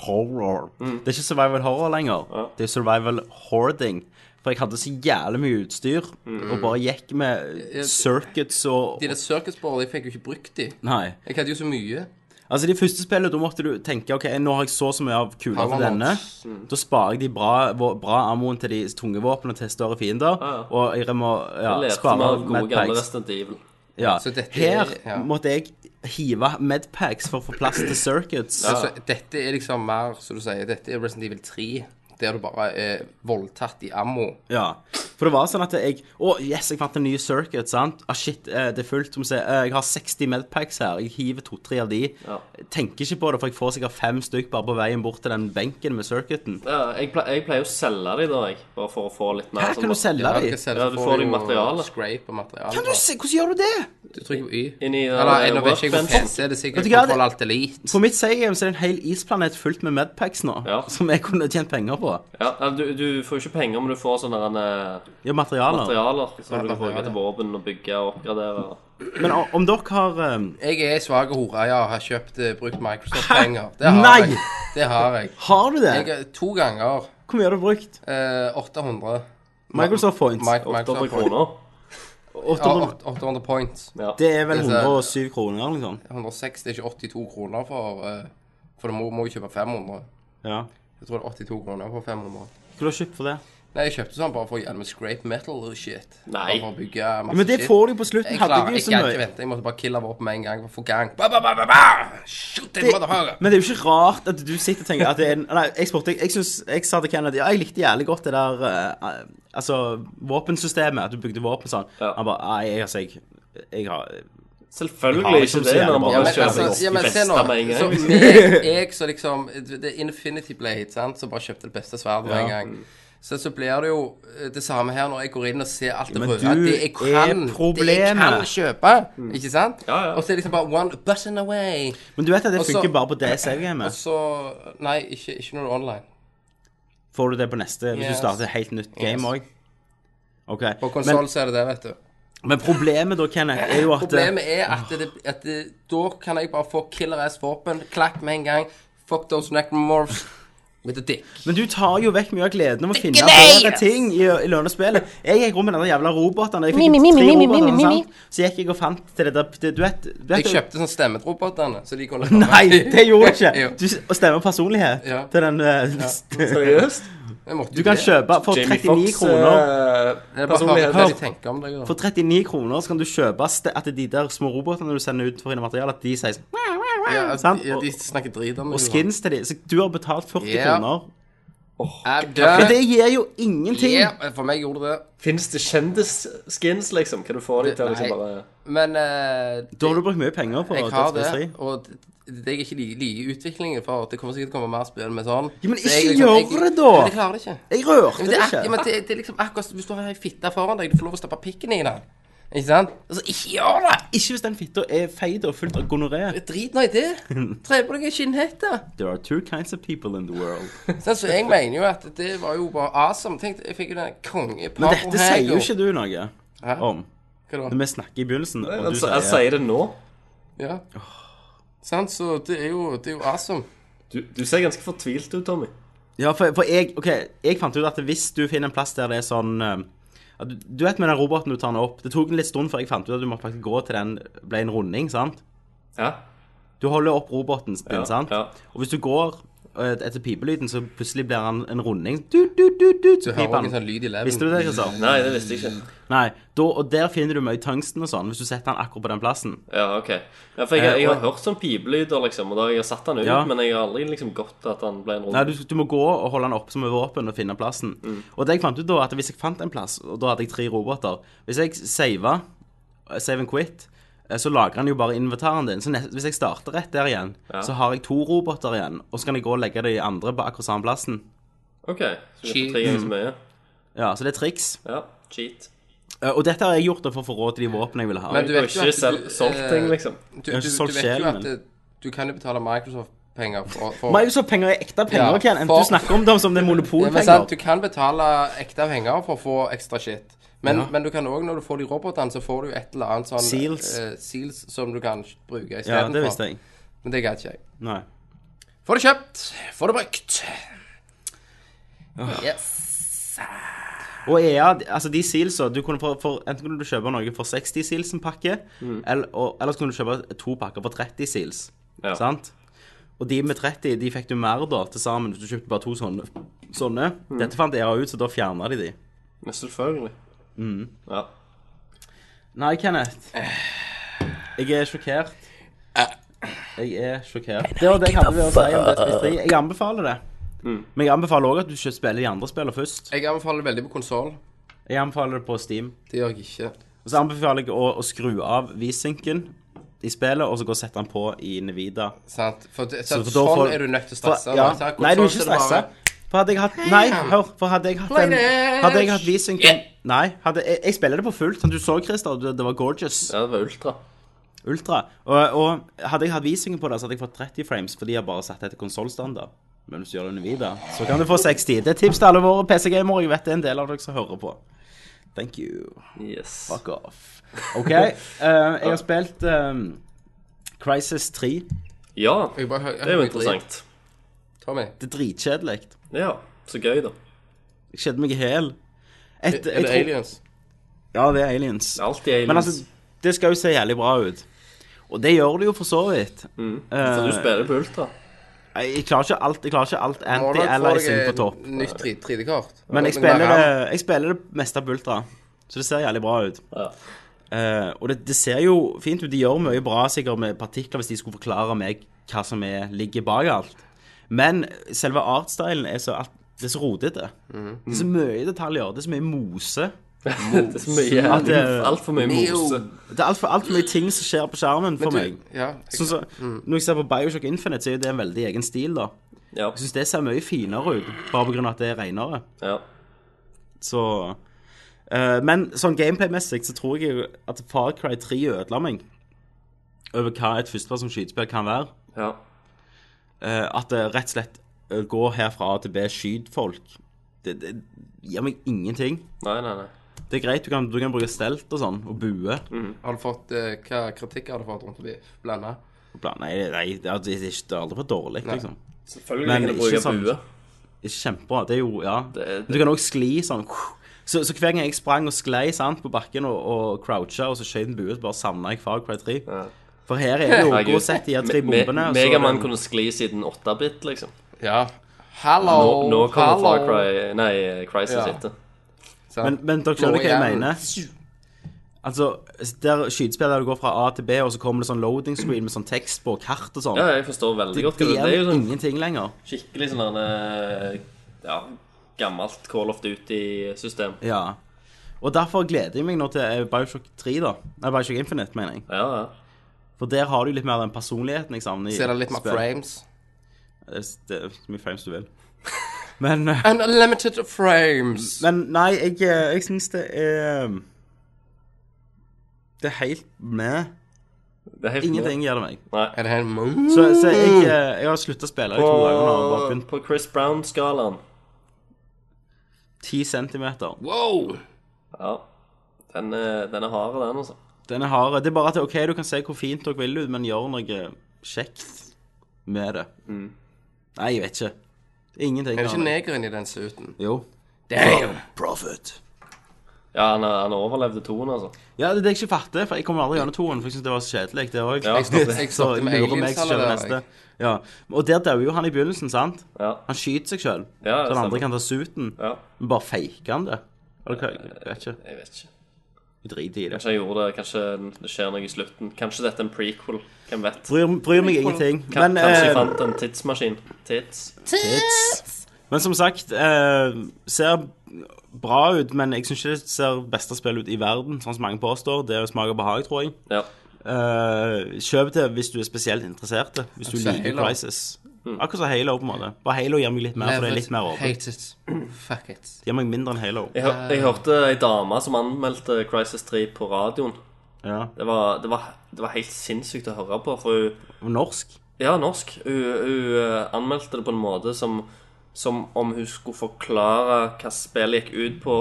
Speaker 4: Horror.
Speaker 5: Mm.
Speaker 4: Det er ikke survival horror lenger. Det er survival hoarding. For jeg hadde så jævlig mye utstyr, og bare gikk med circuits og
Speaker 5: Mm. De der circusboardene, jeg fikk jo ikke brukt de.
Speaker 4: Nei.
Speaker 5: Jeg hadde jo så mye.
Speaker 4: Altså de første spillene, da måtte du tenke Ok, nå har jeg så og så mye av kula til
Speaker 5: Power
Speaker 4: denne
Speaker 5: mods.
Speaker 6: Mm.
Speaker 4: Da sparer jeg de bra, vå- bra ammoen til de tunge våpnene til større fiender
Speaker 6: ja.
Speaker 4: Og jeg må ja,
Speaker 6: Jeg lærte meg
Speaker 4: spare
Speaker 6: av gode gamle
Speaker 4: medpacks
Speaker 6: Resident Evil.
Speaker 4: ja.
Speaker 5: Så dette er-
Speaker 4: Her
Speaker 5: ja.
Speaker 4: måtte jeg hive medpacks for å få plass til circuits ja.
Speaker 5: Altså, dette er liksom mer, som du sier, dette er Resident Evil 3. Der du bare er voldtatt i ammo.
Speaker 4: For det var sånn at jeg Å, yes, jeg fant en ny circuit, sant? Ah, shit, eh, det er fullt som sier eh, Jeg har 60 medpacks her Jeg hiver to-tre av de
Speaker 6: Ja.
Speaker 4: Tenker ikke på det, for jeg får sikkert fem stykk Bare på veien bort til den benken med circuiten
Speaker 6: Ja, jeg, ple jeg pleier jo å selge de da, jeg. Bare for å få litt mer.
Speaker 4: Her
Speaker 6: sånn
Speaker 4: kan du
Speaker 6: bare-
Speaker 4: selge de
Speaker 6: Ja, du får deg materiale.
Speaker 5: Scrape og materiale.
Speaker 4: Kan du se, hvordan gjør du det?
Speaker 5: Du trykker på Y.
Speaker 6: Inn i,
Speaker 5: Eller,
Speaker 6: eh,
Speaker 5: jeg, nå vet ikke jeg hvor
Speaker 6: workbenchen.
Speaker 5: PC det er
Speaker 4: Vet
Speaker 5: sikkert
Speaker 4: du hva, det-
Speaker 5: Control Alt Elite.
Speaker 4: På mitt seigame så er det en hel isplanet fullt med medpacks nå,
Speaker 6: Ja.
Speaker 4: som jeg kunne tjent penger på.
Speaker 6: Ja, eller du, du får jo ikke penger, men du får sånne derne
Speaker 4: Ja, materialer.
Speaker 6: materialer som du kan
Speaker 5: materialer.
Speaker 6: bruke til våpen og bygge og oppgradere.
Speaker 4: Men o- om dere har eh,
Speaker 5: Jeg er ei svak hore. Ja, har kjøpt eh, brukt Microsoft-penger. Det har
Speaker 4: Nei!
Speaker 5: jeg. Det har jeg.
Speaker 4: Har du det?
Speaker 5: jeg er to ganger
Speaker 4: Hvor mye har du brukt?
Speaker 5: eh, 800.
Speaker 4: Microsoft Points.
Speaker 5: Mi-
Speaker 6: 800
Speaker 5: Microsoft Point.
Speaker 6: kroner.
Speaker 4: 800.
Speaker 5: Ja, 800 points.
Speaker 6: Ja.
Speaker 4: Det er vel
Speaker 5: Det er-
Speaker 4: 107 kroner, eller noe sånt.
Speaker 5: 160 er ikke 82 kroner for eh, For du må, må jo kjøpe 500.
Speaker 4: Ja.
Speaker 5: Jeg tror det er 82 kroner for 500.
Speaker 4: Hva har du kjøpt for det?
Speaker 5: Nei, jeg kjøpte sånn bare for å gjøre med scrape metal og shit. Bare
Speaker 6: Nei.
Speaker 5: for å bygge masse
Speaker 4: Men det
Speaker 5: shit.
Speaker 4: får du på slutten.
Speaker 5: Jeg
Speaker 4: Hadde
Speaker 5: klarer
Speaker 4: du jo
Speaker 5: ikke
Speaker 4: så
Speaker 5: jeg kan ikke
Speaker 4: mye.
Speaker 5: vente. Jeg måtte bare kille meg opp med en gang for å få gang. Ba, ba, ba, ba, ba! Shoot, det,
Speaker 4: Det,
Speaker 5: motherfucker!
Speaker 4: men det er jo ikke rart at du sitter og tenker at det er en Nei, jeg spurte Jeg, synes- jeg sa til Kennedy Ja, jeg likte jævlig godt det der eh, Altså, våpensystemet. At du bygde våpen sånn.
Speaker 6: Ja.
Speaker 4: Han bare Nei, jeg, altså, jeg, jeg har Jeg har
Speaker 6: Selvfølgelig
Speaker 4: ikke
Speaker 6: ikke
Speaker 4: så
Speaker 6: det når
Speaker 4: jævlig bra.
Speaker 6: man
Speaker 5: Ja,
Speaker 6: bare
Speaker 5: men,
Speaker 4: kjøper
Speaker 5: altså,
Speaker 6: kjøper
Speaker 5: ja, men
Speaker 6: de
Speaker 5: se nå.
Speaker 6: beste med en
Speaker 5: Så
Speaker 6: gang.
Speaker 5: jeg, jeg så liksom Det er Infinity Blade, sant, som bare kjøpte det beste sverdet med en gang. Så, så blir det jo eh, det samme her når jeg går inn og ser alt det
Speaker 4: men
Speaker 5: røde.
Speaker 4: du
Speaker 5: Det jeg
Speaker 4: er
Speaker 5: kan, det jeg kan
Speaker 4: problemet.
Speaker 5: kjøpe. Ikke sant?
Speaker 6: Mm. Ja, ja.
Speaker 5: Og så er det liksom bare one button away.
Speaker 4: Men du vet at det
Speaker 5: Og så-
Speaker 4: funker bare på det gamet
Speaker 5: Og så Nei, ikke, ikke når du er online.
Speaker 4: Får du det på neste hvis
Speaker 5: Yes.
Speaker 4: du starter et helt nytt game
Speaker 5: Yes.
Speaker 4: òg? OK.
Speaker 5: På
Speaker 4: Men,
Speaker 5: konsoll så er det det, vet du.
Speaker 4: men problemet da, Kenneth, er jo at
Speaker 5: Problemet er at, det, at det, da kan jeg bare få killer ass våpen, klakk med en gang, Fuck those necromorphs with a dick.
Speaker 4: Men du tar jo vekk mye av gleden om å finne flere ting i, i lønnespillet. Jeg gikk rundt med den der jævla roboten. Jeg fikk
Speaker 9: Mi, mi, mi,
Speaker 4: tre
Speaker 9: mi, mi,
Speaker 4: roboter,
Speaker 9: mi, mi, mi.
Speaker 4: sant? Så gikk jeg og fant til det der det- Du vet, du vet
Speaker 5: Jeg kjøpte sånn stemmerobotene, så de
Speaker 4: [laughs]
Speaker 5: kunne
Speaker 4: Nei, det gjorde
Speaker 5: [laughs] Jo.
Speaker 4: du ikke. Du s- og stemmer personlighet
Speaker 5: Ja.
Speaker 4: til den [laughs] eh,
Speaker 6: Seriøst?
Speaker 5: Jeg måtte
Speaker 4: Du
Speaker 5: jo
Speaker 4: kan
Speaker 5: det.
Speaker 4: kjøpe for
Speaker 6: Jamie
Speaker 4: 39
Speaker 6: Foxx
Speaker 4: kroner
Speaker 5: Det er
Speaker 6: eh,
Speaker 5: bare hør
Speaker 6: personlighet.
Speaker 5: hva de tenker om deg. da.
Speaker 4: For 39 kroner så kan du kjøpe ste- at de der små robotene du sender ut for å finne materiale, at de sier sånn
Speaker 5: Ja, at-
Speaker 4: [laughs] sant?
Speaker 5: ja,
Speaker 4: Og-
Speaker 5: de snakker drit om deg.
Speaker 4: Og skins til de. Så du har betalt 40
Speaker 5: Ja.
Speaker 4: kroner.
Speaker 5: I'm
Speaker 4: Men
Speaker 5: done.
Speaker 4: det gir jo ingenting.
Speaker 5: Ja, for meg gjorde det det.
Speaker 6: Fins det kjendisskins, liksom? Kan du få dem til å liksom
Speaker 5: Nei.
Speaker 6: bare
Speaker 5: Men eh,
Speaker 4: Da har du brukt mye penger på
Speaker 5: jeg har
Speaker 4: Dead Space
Speaker 5: det,
Speaker 4: 3.
Speaker 5: og det, det jeg ikke liker like utviklingen for at det kommer sikkert komme mer spill med sånn.
Speaker 4: Ja, men
Speaker 5: Så
Speaker 4: ikke
Speaker 5: jeg
Speaker 4: gjør det da!
Speaker 5: Men jeg klarer det ikke.
Speaker 4: Jeg rørte
Speaker 5: Men
Speaker 4: det
Speaker 5: det, er, ak- ja,
Speaker 4: ikke.
Speaker 5: men det, det er liksom akkurat Hvis du har ei fitte foran deg, du får lov å stappe pikken i den. Ikke sant? Altså, ikke gjør det!
Speaker 4: Ikke hvis den fitta er feit og fullt av gonoré.
Speaker 5: Drit nå i
Speaker 4: [laughs]
Speaker 5: det. Tre på deg en skinnhette.
Speaker 4: There are two kinds of people in the world.
Speaker 5: Sånn, så jeg mener jo at det var jo bare awesome. Tenk, jeg fikk jo den konge
Speaker 4: Men dette sier jo ikke du noe
Speaker 5: Hæ?
Speaker 4: om.
Speaker 5: Hva da?
Speaker 4: Når vi snakker i begynnelsen, og
Speaker 6: jeg,
Speaker 4: du
Speaker 6: jeg
Speaker 4: sier
Speaker 6: sier det nå.
Speaker 5: Ja. Sant, så det er jo, det er jo awesome.
Speaker 6: Du, du ser ganske fortvilt ut, Tommy.
Speaker 4: Ja, for, for jeg, ok, jeg fant ut at hvis du finner en plass der det er sånn eh, at du, du vet med den roboten du tar den opp Det tok en litt stund før jeg fant ut at du måtte faktisk gå til den ble en runding, sant?
Speaker 6: Ja.
Speaker 4: Du holder opp roboten din,
Speaker 6: Ja,
Speaker 4: sant?
Speaker 6: ja.
Speaker 4: Og hvis du går eh, etter pipelyden, så plutselig blir han en runding. Du, du, du, du,
Speaker 5: Du
Speaker 4: så
Speaker 5: hører
Speaker 4: piper
Speaker 5: også en sånn
Speaker 4: han.
Speaker 5: lyd i leven.
Speaker 4: Visste du det, Kristian?
Speaker 6: Nei, det visste jeg ikke.
Speaker 4: Nei. Da, og der finner du mye tungsten og sånn, hvis du setter han akkurat på den plassen.
Speaker 6: Ja, ok. Ja, for jeg, jeg har hørt sånn pipelyder, liksom, og da har jeg satt han ut,
Speaker 4: Eh, Ja.
Speaker 6: men jeg har aldri liksom gått til at han ble en
Speaker 4: Nei,
Speaker 6: runde.
Speaker 4: du, du må gå og holde den oppe som et våpen og finne plassen. Og det jeg fant ut da, at hvis jeg fant en plass, og da hadde jeg tre roboter Hvis jeg sava, save and quit, eh, så lagrer han jo bare inventaren din. Så nest, hvis jeg starter rett der igjen, så har jeg to roboter igjen. Og så kan jeg gå og legge de andre på akkurat samme plassen.
Speaker 6: Ok, så du
Speaker 5: Cheat.
Speaker 6: får
Speaker 4: Mm.
Speaker 6: tre ganger så mye.
Speaker 4: Ja, så det er triks.
Speaker 6: Ja, cheat.
Speaker 4: Eh, Og dette har jeg gjort da for å få råd til de våpnene jeg ville ha.
Speaker 5: Men
Speaker 6: Du
Speaker 5: du
Speaker 6: har
Speaker 5: vet jo
Speaker 6: ikke
Speaker 5: at
Speaker 6: selv
Speaker 5: du,
Speaker 6: solgt
Speaker 5: eh,
Speaker 6: ting, liksom.
Speaker 5: Du,
Speaker 4: har
Speaker 5: du,
Speaker 4: ikke solgt
Speaker 5: du vet jo
Speaker 4: sjelen
Speaker 5: at
Speaker 4: min.
Speaker 5: eh, du kan jo betale Microsoft-penger for, for
Speaker 4: Microsoft-penger er ekte penger,
Speaker 5: Ja,
Speaker 4: Ken. Enten
Speaker 5: for-
Speaker 4: du snakker om dem som det er
Speaker 5: Ja, men
Speaker 4: monopolpenger.
Speaker 5: sant, Du kan betale ekte penger for å få ekstra shit. Men, men du kan òg, når du får de robotene, så får du jo et eller annet sånn
Speaker 4: Seals.
Speaker 5: eh, seals som du kan bruke
Speaker 4: ja,
Speaker 5: istedenfor.
Speaker 4: det visste jeg.
Speaker 5: Men det gadd ikke jeg.
Speaker 4: Nei.
Speaker 5: Få det kjøpt, få det brukt. Yes.
Speaker 4: Og EA, altså de sealsa du kunne for, for, Enten kunne du kjøpe noe for 60 seals en pakke,
Speaker 5: Mm.
Speaker 4: eller, og, eller så kunne du kjøpe to pakker for 30 seals.
Speaker 6: Ja.
Speaker 4: Sant? Og de med 30 de fikk du mer da til sammen hvis du kjøpte bare to sånne. sånne.
Speaker 5: Mm.
Speaker 4: Dette fant EA ut, så da fjerna de de.
Speaker 6: Men selvfølgelig.
Speaker 4: Mm.
Speaker 6: Ja.
Speaker 4: Nei, Kenneth. Jeg er sjokkert. Jeg er sjokkert. Det var det jeg hadde ved å si om Death Space 3. Jeg anbefaler det.
Speaker 5: Mm.
Speaker 4: Men jeg anbefaler òg at du ikke spiller de andre spillene først.
Speaker 5: Jeg anbefaler veldig på konsoll.
Speaker 4: Jeg anbefaler det på Steam.
Speaker 5: Det gjør jeg ikke.
Speaker 4: Og så anbefaler jeg å, å skru av V-synken i spillet, og så gå og sette den på i Nvidia.
Speaker 5: Sant? For, det,
Speaker 4: Så
Speaker 5: så,
Speaker 4: for da
Speaker 5: sånn
Speaker 4: får-
Speaker 5: er du nødt til å
Speaker 4: For-
Speaker 5: stresse.
Speaker 4: ja.
Speaker 5: da. Sant?
Speaker 4: Nei, du er
Speaker 5: Konsol,
Speaker 4: ikke
Speaker 5: så det bare-
Speaker 4: stressa. For hadde jeg hatt Nei, hør. For hadde jeg hatt en Hadde jeg hatt V-synken Nei. Hadde, jeg, jeg spiller det på fullt. Som du så, Christer, det, det var gorgeous.
Speaker 6: ja, det var ultra.
Speaker 4: Ultra. Og, og hadde jeg hatt V-synken på det, så hadde jeg fått 30 frames, for de har bare satt det til konsollstandard. Men hvis du gjør det under Nvidia, så kan du få 60. Det er tips til alle våre PC-gamere. Jeg vet det er en del av dere som hører på. Thank you.
Speaker 6: Yes.
Speaker 4: Fuck off.
Speaker 5: [laughs]
Speaker 4: OK. eh, jeg har spilt eh, Crisis 3.
Speaker 6: Ja,
Speaker 5: Jeg bare hø- jeg
Speaker 6: det er jo
Speaker 5: hører
Speaker 6: interessant.
Speaker 5: drit. Tommy,
Speaker 4: Det er dritkjedelig.
Speaker 6: Ja, så gøy, da.
Speaker 4: Jeg kjeder meg i hæl.
Speaker 5: er
Speaker 4: Et-
Speaker 5: det
Speaker 4: jeg tror-
Speaker 5: aliens?
Speaker 4: Ja, det er aliens.
Speaker 6: Det er alltid aliens.
Speaker 4: Men altså, det skal jo se jævlig bra ut. Og det gjør det jo for så vidt.
Speaker 5: Mm.
Speaker 4: Eh,
Speaker 6: så du spiller på ultra.
Speaker 4: Jeg jeg klarer ikke alt, jeg klarer ikke alt
Speaker 5: Må dere få
Speaker 4: anti-allicing
Speaker 5: deg
Speaker 4: på topp.
Speaker 5: Nytt 3D-kart.
Speaker 4: Men jeg spiller, det, jeg spiller det meste på ultra, så det ser jævlig bra ut.
Speaker 6: Ja.
Speaker 4: Eh, og det, det ser jo fint ut. De gjør mye bra sikkert med partikler, hvis de skulle forklare meg hva som er, ligger bak alt. Men selve artstylen er så alt, det er så rotete. Det er så mye detaljer. Det er så mye mose.
Speaker 6: det er så mye
Speaker 4: At det-
Speaker 6: Altfor mye mose.
Speaker 4: Det er altfor alt for mye ting som skjer på skjermen for meg.
Speaker 5: Ja,
Speaker 4: Sånn som- når jeg ser på Bioshock Infinite, så er jo det en veldig egen stil, da.
Speaker 6: Ja.
Speaker 4: Jeg syns det ser mye finere ut, bare pga. at det er renere.
Speaker 6: ja.
Speaker 4: Så eh, Men sånn gameplay-messig så tror jeg jo at Far Cry 3 ødela meg over hva et førstepersons skytespill kan være.
Speaker 6: ja.
Speaker 4: Eh, at det rett og slett eh, går her fra A til B, skyt folk. Det, det gir meg ingenting.
Speaker 6: Nei, nei, nei.
Speaker 4: Det er greit, du kan, du kan bruke stelt og sånn, og bue.
Speaker 5: Har du fått, eh, hva kritikk har du fått rundt forbi? Blanda?
Speaker 4: Bla- Nei, nei det, er, det, er ikke, det er aldri for dårlig, liksom.
Speaker 6: Selvfølgelig
Speaker 4: Men
Speaker 6: kan du
Speaker 4: ikke
Speaker 6: bruke
Speaker 4: sant.
Speaker 6: bue.
Speaker 4: Ikke kjempebra. Det er jo Ja.
Speaker 6: Det-
Speaker 4: Du kan òg skli sånn. Så, så hver gang jeg sprang og sklei sant, på bakken og, og croucha og så skjøt en bue, så bare savna jeg Far Cry 3. For her er det jo
Speaker 6: [laughs] Herregud.
Speaker 4: gå og sett de her tre
Speaker 6: Me- me-
Speaker 4: bombene. og så er
Speaker 6: Megaman
Speaker 4: det-
Speaker 6: kunne skli siden 8-bit, liksom.
Speaker 5: Ja. Hallo,
Speaker 6: Nå, nå kommer
Speaker 5: hallo.
Speaker 6: Far Cry Nei, Crisis
Speaker 5: Ja.
Speaker 6: etter.
Speaker 5: Sant?
Speaker 4: Men, men dere
Speaker 5: Nå
Speaker 4: skjønner hva jeg
Speaker 5: igjen.
Speaker 4: mener? Altså, der skytespill der du går fra A til B, og så kommer det sånn loading screen med sånn tekst på og kart og sånn.
Speaker 6: Ja, jeg forstår veldig godt.
Speaker 4: det
Speaker 6: hva Det, det er
Speaker 4: er
Speaker 6: jo sånn
Speaker 4: ingenting lenger.
Speaker 6: skikkelig sånn der, eh, Ja, gammelt Call of Duty-system.
Speaker 4: Ja. Og derfor gleder jeg meg nå til eh, Bioshock 3, da. Nei, Bioshock Infinite, mener jeg.
Speaker 6: Ja, ja.
Speaker 4: For der har du litt mer den personligheten jeg savner. i
Speaker 5: Så er det litt mer
Speaker 4: spill.
Speaker 5: frames.
Speaker 4: Det er- det er så mye frames du vil. [laughs] Men, eh,
Speaker 5: Unlimited frames.
Speaker 4: men nei, jeg, eh, jeg syns det er um, Det er helt med.
Speaker 6: Det er helt
Speaker 4: Ingenting gjør det meg.
Speaker 5: Er det helt mum?
Speaker 4: Så, så jeg, eh, jeg har slutta å spille i to dager nå. og Bare
Speaker 6: På,
Speaker 4: begynt
Speaker 6: på Chris Brown-skalaen.
Speaker 4: 10 centimeter.
Speaker 5: Wow!
Speaker 6: Ja. Den er, den er hard, den, altså.
Speaker 4: Den er hard. Det er bare at OK, du kan se hvor fint dere vil ut, men gjør noe kjekt med det. Nei, jeg vet ikke. Ingenting.
Speaker 5: Mm. Er det ikke
Speaker 4: annet.
Speaker 5: negeren i den suiten?
Speaker 4: Jo.
Speaker 5: Damn!
Speaker 4: Profit.
Speaker 6: Ja, han, han overlevde toen, altså.
Speaker 4: Ja, det er det jeg ikke fatter, for jeg kommer aldri gjennom toen, for jeg syns det var så kjedelig. Det òg.
Speaker 6: Ja. Jeg stoppet-
Speaker 5: jeg
Speaker 4: [laughs] så
Speaker 5: stoppet med
Speaker 4: lurer
Speaker 5: aliens
Speaker 4: meg som kjører
Speaker 5: allerede,
Speaker 4: neste. Ja. Og der dauer jo han i begynnelsen, sant?
Speaker 6: Ja.
Speaker 4: Han skyter seg sjøl,
Speaker 6: Ja,
Speaker 4: så
Speaker 6: det
Speaker 4: den
Speaker 6: stemmer.
Speaker 4: andre kan ta suiten.
Speaker 6: ja.
Speaker 4: Men bare faker han det? Eller hva? Jeg vet ikke.
Speaker 6: Jeg vet ikke.
Speaker 4: Jeg driter i det.
Speaker 6: Kanskje jeg gjorde det, kanskje det skjer noe i slutten. Kanskje dette er en prequel. Hvem vet.
Speaker 4: Bryr, bryr meg ingenting.
Speaker 6: Kan,
Speaker 4: Men,
Speaker 6: kanskje
Speaker 4: eh,
Speaker 6: jeg fant en tidsmaskin. Tids.
Speaker 4: Tits. Men som sagt, eh, ser bra ut, men jeg syns ikke det ser beste spill ut i verden, sånn som mange påstår. Det er jo smak og behag, tror jeg.
Speaker 6: Ja.
Speaker 4: Eh, kjøp det hvis du er spesielt interessert, hvis du
Speaker 5: Akkurat som
Speaker 4: liker
Speaker 5: Halo.
Speaker 4: Crisis. Akkurat som Halo, på en måte. Bare Halo gir meg litt mer, for det er litt mer åpent.
Speaker 5: Hate it. Fuck it.
Speaker 4: Det gir meg mindre enn Halo.
Speaker 6: Jeg, hør- jeg hørte ei dame som anmeldte Crisis 3 på radioen.
Speaker 4: Ja.
Speaker 6: Det var, det var, det var helt sinnssykt å høre på. For hun
Speaker 4: Norsk.
Speaker 6: Ja, norsk. Hun, hun eh, anmeldte det på en måte som, som om hun skulle forklare hva spillet gikk ut på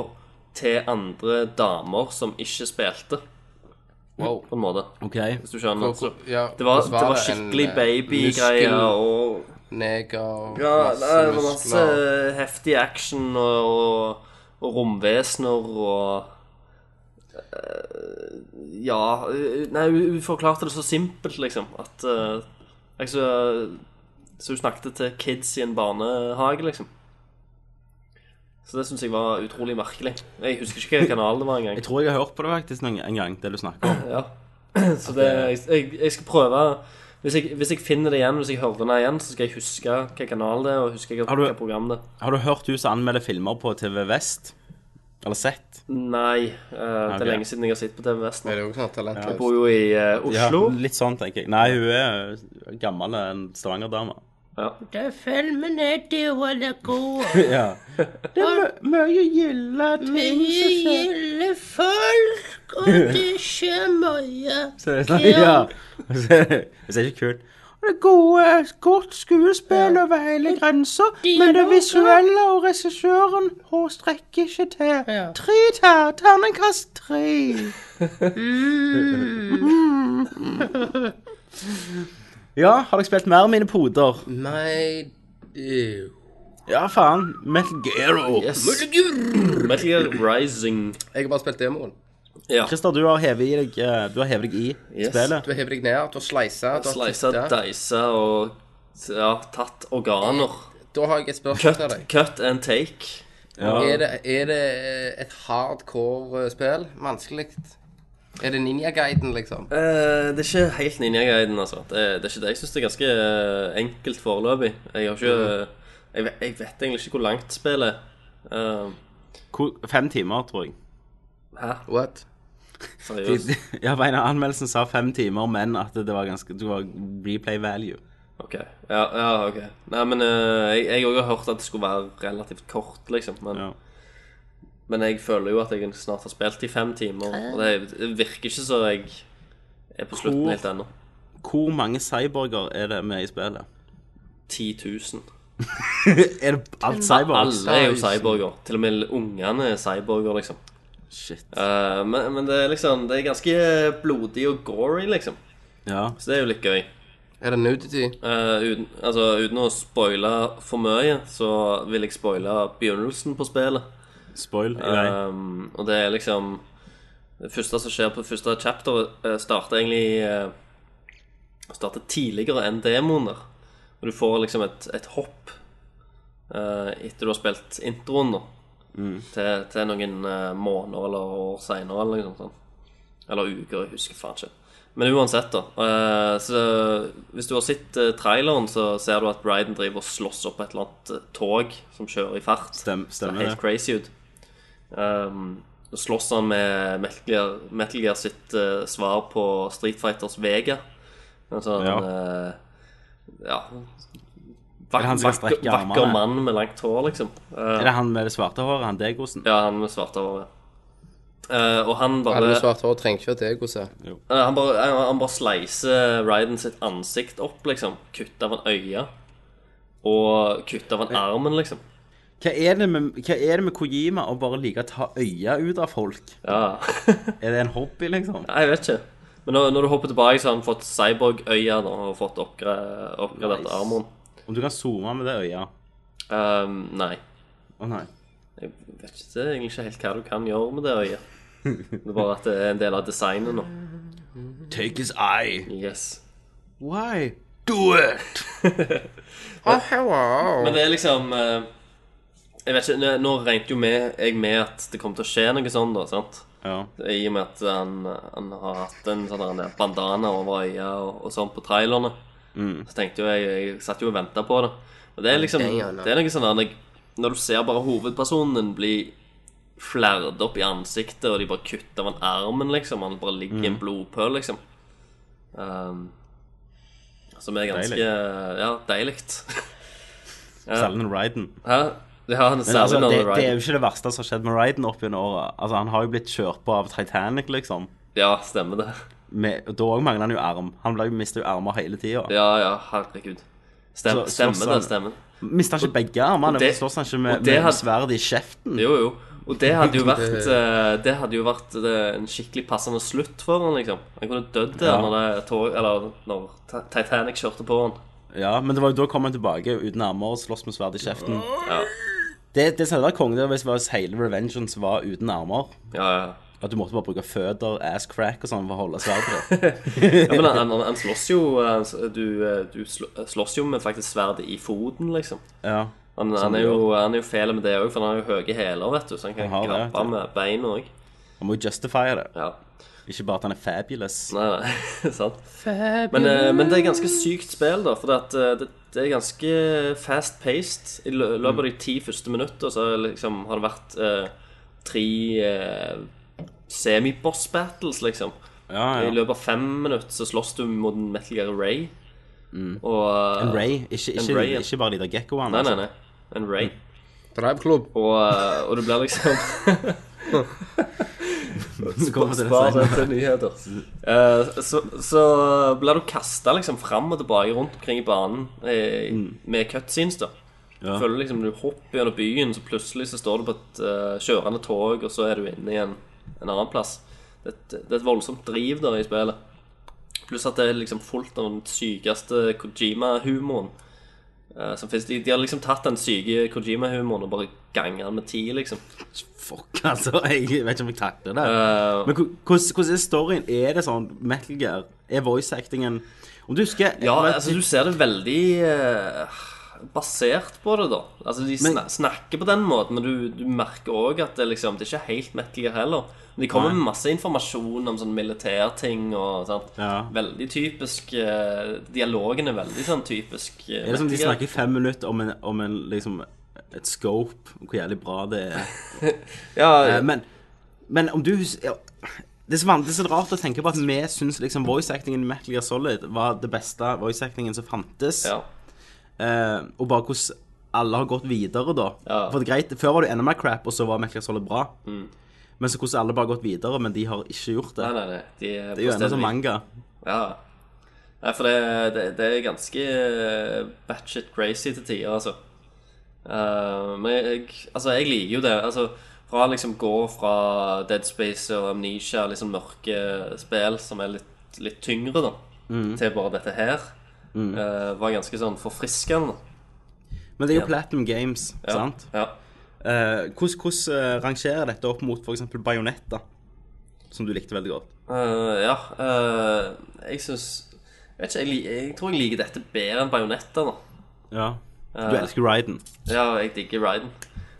Speaker 6: til andre damer som ikke spilte,
Speaker 5: Wow.
Speaker 6: på en måte.
Speaker 4: OK.
Speaker 6: Hvis du skjønner. Så,
Speaker 5: Ja,
Speaker 6: det, var,
Speaker 5: hvordan
Speaker 6: det var
Speaker 5: en,
Speaker 6: skikkelig
Speaker 5: eh,
Speaker 6: babygreier og
Speaker 5: Neger,
Speaker 6: ja, det var masse
Speaker 5: muskler.
Speaker 6: heftig action og, og, og romvesener og eh, Ja eh, Nei, hun hun forklarte det så simpelt, liksom, at eh, jeg så, så hun snakket til kids i en barnehage, liksom. Så det syns jeg var utrolig merkelig. Jeg husker ikke hvilken kanal det var engang.
Speaker 4: Jeg tror jeg har hørt på det faktisk noen, en gang, det du snakker om.
Speaker 6: Ja. Så det, jeg, jeg, jeg skal prøve hvis jeg, hvis jeg finner det igjen, hvis jeg hører det igjen, så skal jeg huske hvilken kanal det er, og huske
Speaker 4: Har du-
Speaker 6: hvilket program det er.
Speaker 4: Har du hørt hun som anmelder filmer på TV Vest? Eller sett?
Speaker 6: Nei, eh, det
Speaker 4: Ok.
Speaker 6: er lenge siden jeg har sittet på TV Vest. nå.
Speaker 5: Er det jo sånn
Speaker 6: Jeg
Speaker 5: talentløst?
Speaker 6: bor jo i eh, Oslo.
Speaker 4: Ja, litt sånn, tenker jeg. Nei, hun er eh, gammel en Stavanger-dame.
Speaker 6: Ja.
Speaker 4: ja. [laughs] Det er mye gilde ting som skjer. Så det er sånn, ja. Så- Det er ikke kult. Og Det er gode, godt skuespill over hele grensa, men det visuelle og regissøren hun strekker ikke til. Tre ter, terningkast tre. Ja, har dere spilt mer av mine poder?
Speaker 5: Nei ew.
Speaker 4: Ja, faen. Metal Gear.
Speaker 6: Yes. Metal Gear Rising.
Speaker 5: Jeg har bare spilt demoen.
Speaker 6: Ja.
Speaker 4: Christer, du har hevet i deg, eh, du har hevet deg i
Speaker 6: Yes.
Speaker 4: spillet.
Speaker 5: Du har hevet deg ned, du har sleisa, du har
Speaker 6: Sleisa,
Speaker 5: titta.
Speaker 6: deisa og ja, tatt organer.
Speaker 5: Da har jeg et spørsmål
Speaker 6: Cut,
Speaker 5: til deg.
Speaker 6: cut and take.
Speaker 5: Er det, er det et hardcore eh, spill? Vanskelig? Er det Ninja-guiden, liksom?
Speaker 6: Eh, det er ikke helt Ninja-guiden, altså. Det, det er ikke det. Jeg syns det er ganske eh, enkelt foreløpig. Jeg har ikke eh, jeg, vet- jeg vet egentlig ikke hvor langt spillet er. Eh,
Speaker 4: Hvor- Fem timer, tror jeg.
Speaker 6: Hæ?
Speaker 5: What?
Speaker 6: Seriøst?
Speaker 4: Ja, på en av anmeldelsen sa fem timer, men at det var ganske Det var replay value.
Speaker 6: Ok. Ja, ja, ok. Nei, men eh, jeg jeg òg har hørt at det skulle være relativt kort, liksom. Men,
Speaker 4: Ja.
Speaker 6: men jeg føler jo at jeg snart har spilt i fem timer, og det det virker ikke så jeg er på slutten
Speaker 4: Hvor-
Speaker 6: helt ennå.
Speaker 4: Hvor mange cyborger er det med i spillet?
Speaker 6: 10 000.
Speaker 4: [laughs] er det alt cyborgs?
Speaker 6: Alle er jo cyborger. Til og med ungene er cyborger, liksom.
Speaker 4: Shit.
Speaker 6: Eh, men, men det er liksom Det er ganske blodig og eh, gory, liksom.
Speaker 4: Ja.
Speaker 6: Så det er jo litt gøy.
Speaker 5: Er det nudity?
Speaker 6: Eh, uten, altså, uten å spoile for mye, så vil jeg spoile begynnelsen på spillet.
Speaker 4: Spoil. grei.
Speaker 6: Um, og det er liksom Det første som skjer på første chapter, eh, starter egentlig eh, Starter tidligere enn demoen der. Og du får liksom et, et hopp eh, etter du har spilt introen, da.
Speaker 4: Mm.
Speaker 6: Til, til noen eh, måneder eller år seinere, eller noe sånt. Eller uker, jeg husker faen ikke. Men uansett, da. eh, så hvis du har sett eh, traileren, så ser du at Bryden driver og slåss opp et eller annet eh, tog som kjører i fart.
Speaker 4: Stem,
Speaker 6: Det
Speaker 4: stemmer
Speaker 6: er
Speaker 4: det.
Speaker 6: helt crazy ut. Um, og slåss han med Metal Gear, Metal Gear sitt eh, svar på Street Fighters Vega. En sånn
Speaker 4: Ja.
Speaker 6: eh, ja. Vak,
Speaker 4: det han som
Speaker 6: vakker,
Speaker 4: strekker
Speaker 6: vakker
Speaker 4: armene?
Speaker 6: mann med langt hår, liksom. Eh,
Speaker 4: Er det han med det svarte håret? Han Degosen?
Speaker 6: ja, han med svarte hår. ja. Eh, og han bare
Speaker 5: Alle med svart hår trenger ikke at jeg går se.
Speaker 6: Eh, Han bare, han, han bare sleiser Ryden sitt ansikt opp, liksom. Kutt av en øye. Og kutt av en armen, liksom.
Speaker 4: Hva er, det med, hva er det med Kojima å bare like å ta øya ut av folk?
Speaker 6: Ja. [laughs]
Speaker 4: Er det en hobby, liksom?
Speaker 6: Nei, jeg vet ikke. Men når, når du hopper tilbake, så har han fått cyborg-øya nå, og fått oppgra oppgradert
Speaker 4: Nice.
Speaker 6: armoren.
Speaker 4: Om du kan zoome med det øya?
Speaker 6: Ehm, nei.
Speaker 4: Å nei.
Speaker 6: Jeg vet ikke, det er egentlig ikke helt hva du kan gjøre med det øyet. Det er bare at det er en del av designet nå.
Speaker 4: Take his eye.
Speaker 6: Yes.
Speaker 4: Why?
Speaker 6: Men det er liksom eh, Jeg vet ikke, nå- Nå regnet jo med, jeg med at det kom til å skje noe sånn, da. sant?
Speaker 4: Ja.
Speaker 6: I og med at han, han har hatt en sånn der bandana over øya og, og sånn på trailerne.
Speaker 4: Mm.
Speaker 6: Så tenkte jo jeg Jeg satt jo og venta på det. Og det er liksom
Speaker 5: Bandana.
Speaker 6: Det er noe sånn der når- Når du ser bare hovedpersonen din bli flerd opp i ansiktet, og de bare kutter av han armen, liksom. Han bare ligger i
Speaker 4: Mm.
Speaker 6: en blodpøl, liksom. Um, som er ganske Ja, deilig.
Speaker 4: Særlig når Ryden.
Speaker 6: [laughs] Hæ? Ja,
Speaker 4: Men
Speaker 6: særlig
Speaker 4: altså,
Speaker 6: når
Speaker 4: det,
Speaker 6: du rider.
Speaker 4: det er jo ikke det verste som har skjedd med Ryden opp gjennom året. Altså, han har jo blitt kjørt på av Titanic, liksom.
Speaker 6: Ja, stemmer det.
Speaker 4: Med, og da òg mangler han jo arm. Han ble- mister jo armer hele tida.
Speaker 6: Ja, ja, herregud.
Speaker 4: Så-
Speaker 6: Stem,
Speaker 4: så
Speaker 6: stemmer
Speaker 4: sånn-
Speaker 6: det, stemmer.
Speaker 4: Mister han ikke begge armene?
Speaker 6: og det-
Speaker 4: Hvorfor slåss han ikke
Speaker 6: og
Speaker 4: med,
Speaker 6: det
Speaker 4: med
Speaker 6: had-
Speaker 4: sverdet i kjeften?
Speaker 6: Jo, jo. Og det
Speaker 4: [laughs]
Speaker 6: hadde jo vært eh, Det hadde jo vært eh, en skikkelig passende slutt for han, liksom. Han kunne dødd der
Speaker 4: Ja.
Speaker 6: når, det tog, eller, når Ti- Titanic kjørte på han.
Speaker 4: Ja, men det var jo da kom han tilbake uten armer og slåss med sverd i kjeften.
Speaker 6: Ja,
Speaker 4: Det, det som hadde vært konge, det var hvis- hvis hele Revengeance var uten armer.
Speaker 6: ja, ja.
Speaker 4: At du måtte bare bruke føtter, ass crack og sånn for å holde
Speaker 6: [laughs]
Speaker 4: sverdet.
Speaker 6: ja men han, han, han slåss jo eh, s- Du, eh, du sl- slåss jo med faktisk sverdet i foten, liksom.
Speaker 4: ja.
Speaker 6: Han, han, er jo, han er jo fæl med det òg, for han har jo høye hæler, vet du, så han kan
Speaker 4: Han har det,
Speaker 6: grabbe
Speaker 4: vet du.
Speaker 6: med beina òg.
Speaker 4: Han må jo justify det.
Speaker 6: Ja.
Speaker 4: Ikke bare at han er fabulous.
Speaker 6: Nei, nei, [laughs] sant. Men, eh, men det er ganske sykt spill, da. For det, det, det er ganske fast-paced. I lø- løpet av de ti første minutter så liksom, har det vært eh, tre eh, semi-boss battles, liksom.
Speaker 4: Ja,
Speaker 6: I
Speaker 4: ja.
Speaker 6: løpet av fem minutter så slåss du mot en Metal Gear Ray. Og
Speaker 4: Mm. En Ray, ikke, ikke,
Speaker 6: Ray, ja.
Speaker 4: ikke bare de der gekkoene.
Speaker 6: Nei, nei, nei. En
Speaker 4: Mm.
Speaker 6: Ray.
Speaker 5: Drivklubb.
Speaker 6: Og, eh, og det blir liksom [laughs]
Speaker 4: Så altså, kommer vi til det
Speaker 6: Spar
Speaker 4: senere.
Speaker 6: det til nyheter. Eh, så, så blir du kasta liksom fram og tilbake rundt omkring i banen eh, med cutscenes, da. Føler liksom du hopper gjennom byen, så plutselig så står du på et eh, kjørende tog, og så er du inne i en, en annen plass. Det, er et- det er et voldsomt driv der i spillet. Pluss at det er liksom fullt av den sykeste Kojima-humoren. eh, som finnes. de, de har liksom tatt den syke Kojima-humoren og bare ganga den med ti, liksom.
Speaker 4: Fuck, altså. Jeg vet ikke om jeg takler det.
Speaker 6: Eh,
Speaker 4: Men hvor- hvordan hvordan er storyen? Er det sånn Metal Gear? Er voice actingen Om du husker
Speaker 6: Ja,
Speaker 4: men-
Speaker 6: altså du ser det veldig eh, basert på det, da. Altså De sna snakker på den måten, men du, du merker òg at det, liksom, det er ikke helt Metal Gear heller. Men de kommer med masse informasjon om sånn militærting og sånt.
Speaker 4: Ja.
Speaker 6: Veldig typisk eh, Dialogen er veldig sånn typisk eh,
Speaker 4: Er det som de
Speaker 6: Metal Gear.
Speaker 4: snakker i fem minutter om en, om en liksom et scope, og hvor jævlig bra det
Speaker 6: [laughs]
Speaker 4: er?
Speaker 6: Ja,
Speaker 4: Eh, Men, men om du hus- ja, det er, så van- det er så rart å tenke på at vi syns liksom voice actingen i Metal Gear Solid var det beste voice actingen som fantes.
Speaker 6: ja.
Speaker 4: Eh, og bare hvordan alle har gått videre, da.
Speaker 6: Ja. Mm.
Speaker 4: For det er greit, Før var det enda mer crap, og så var Metal Gear Solid bra. Men så hvordan alle bare har gått videre, men de har ikke gjort det.
Speaker 6: Nei, nei, nei. De er
Speaker 4: Det er jo ennå som manga.
Speaker 6: Ja. Nei, for det, det, det er ganske eh, batshit crazy til tider, altså. Eh, men jeg, altså, jeg liker jo det. Altså, fra liksom gå fra Dead Space og Amnesia, liksom mørke spill som er litt, litt tyngre, da, til bare dette her. eh, var ganske sånn forfriskende.
Speaker 4: Men det er jo
Speaker 6: Ja.
Speaker 4: Platinum Games,
Speaker 6: Ja.
Speaker 4: sant?
Speaker 6: Ja.
Speaker 4: Eh, hvordan hvordan, eh, rangerer dette opp mot f.eks. Bajonetta, som du likte veldig godt?
Speaker 6: Eh, ja eh, jeg syns jeg, vet ikke, jeg, li- jeg tror jeg liker dette bedre enn Bajonetta, da.
Speaker 4: Ja. Du elsker Ryden.
Speaker 6: Ja, jeg digger Ryden.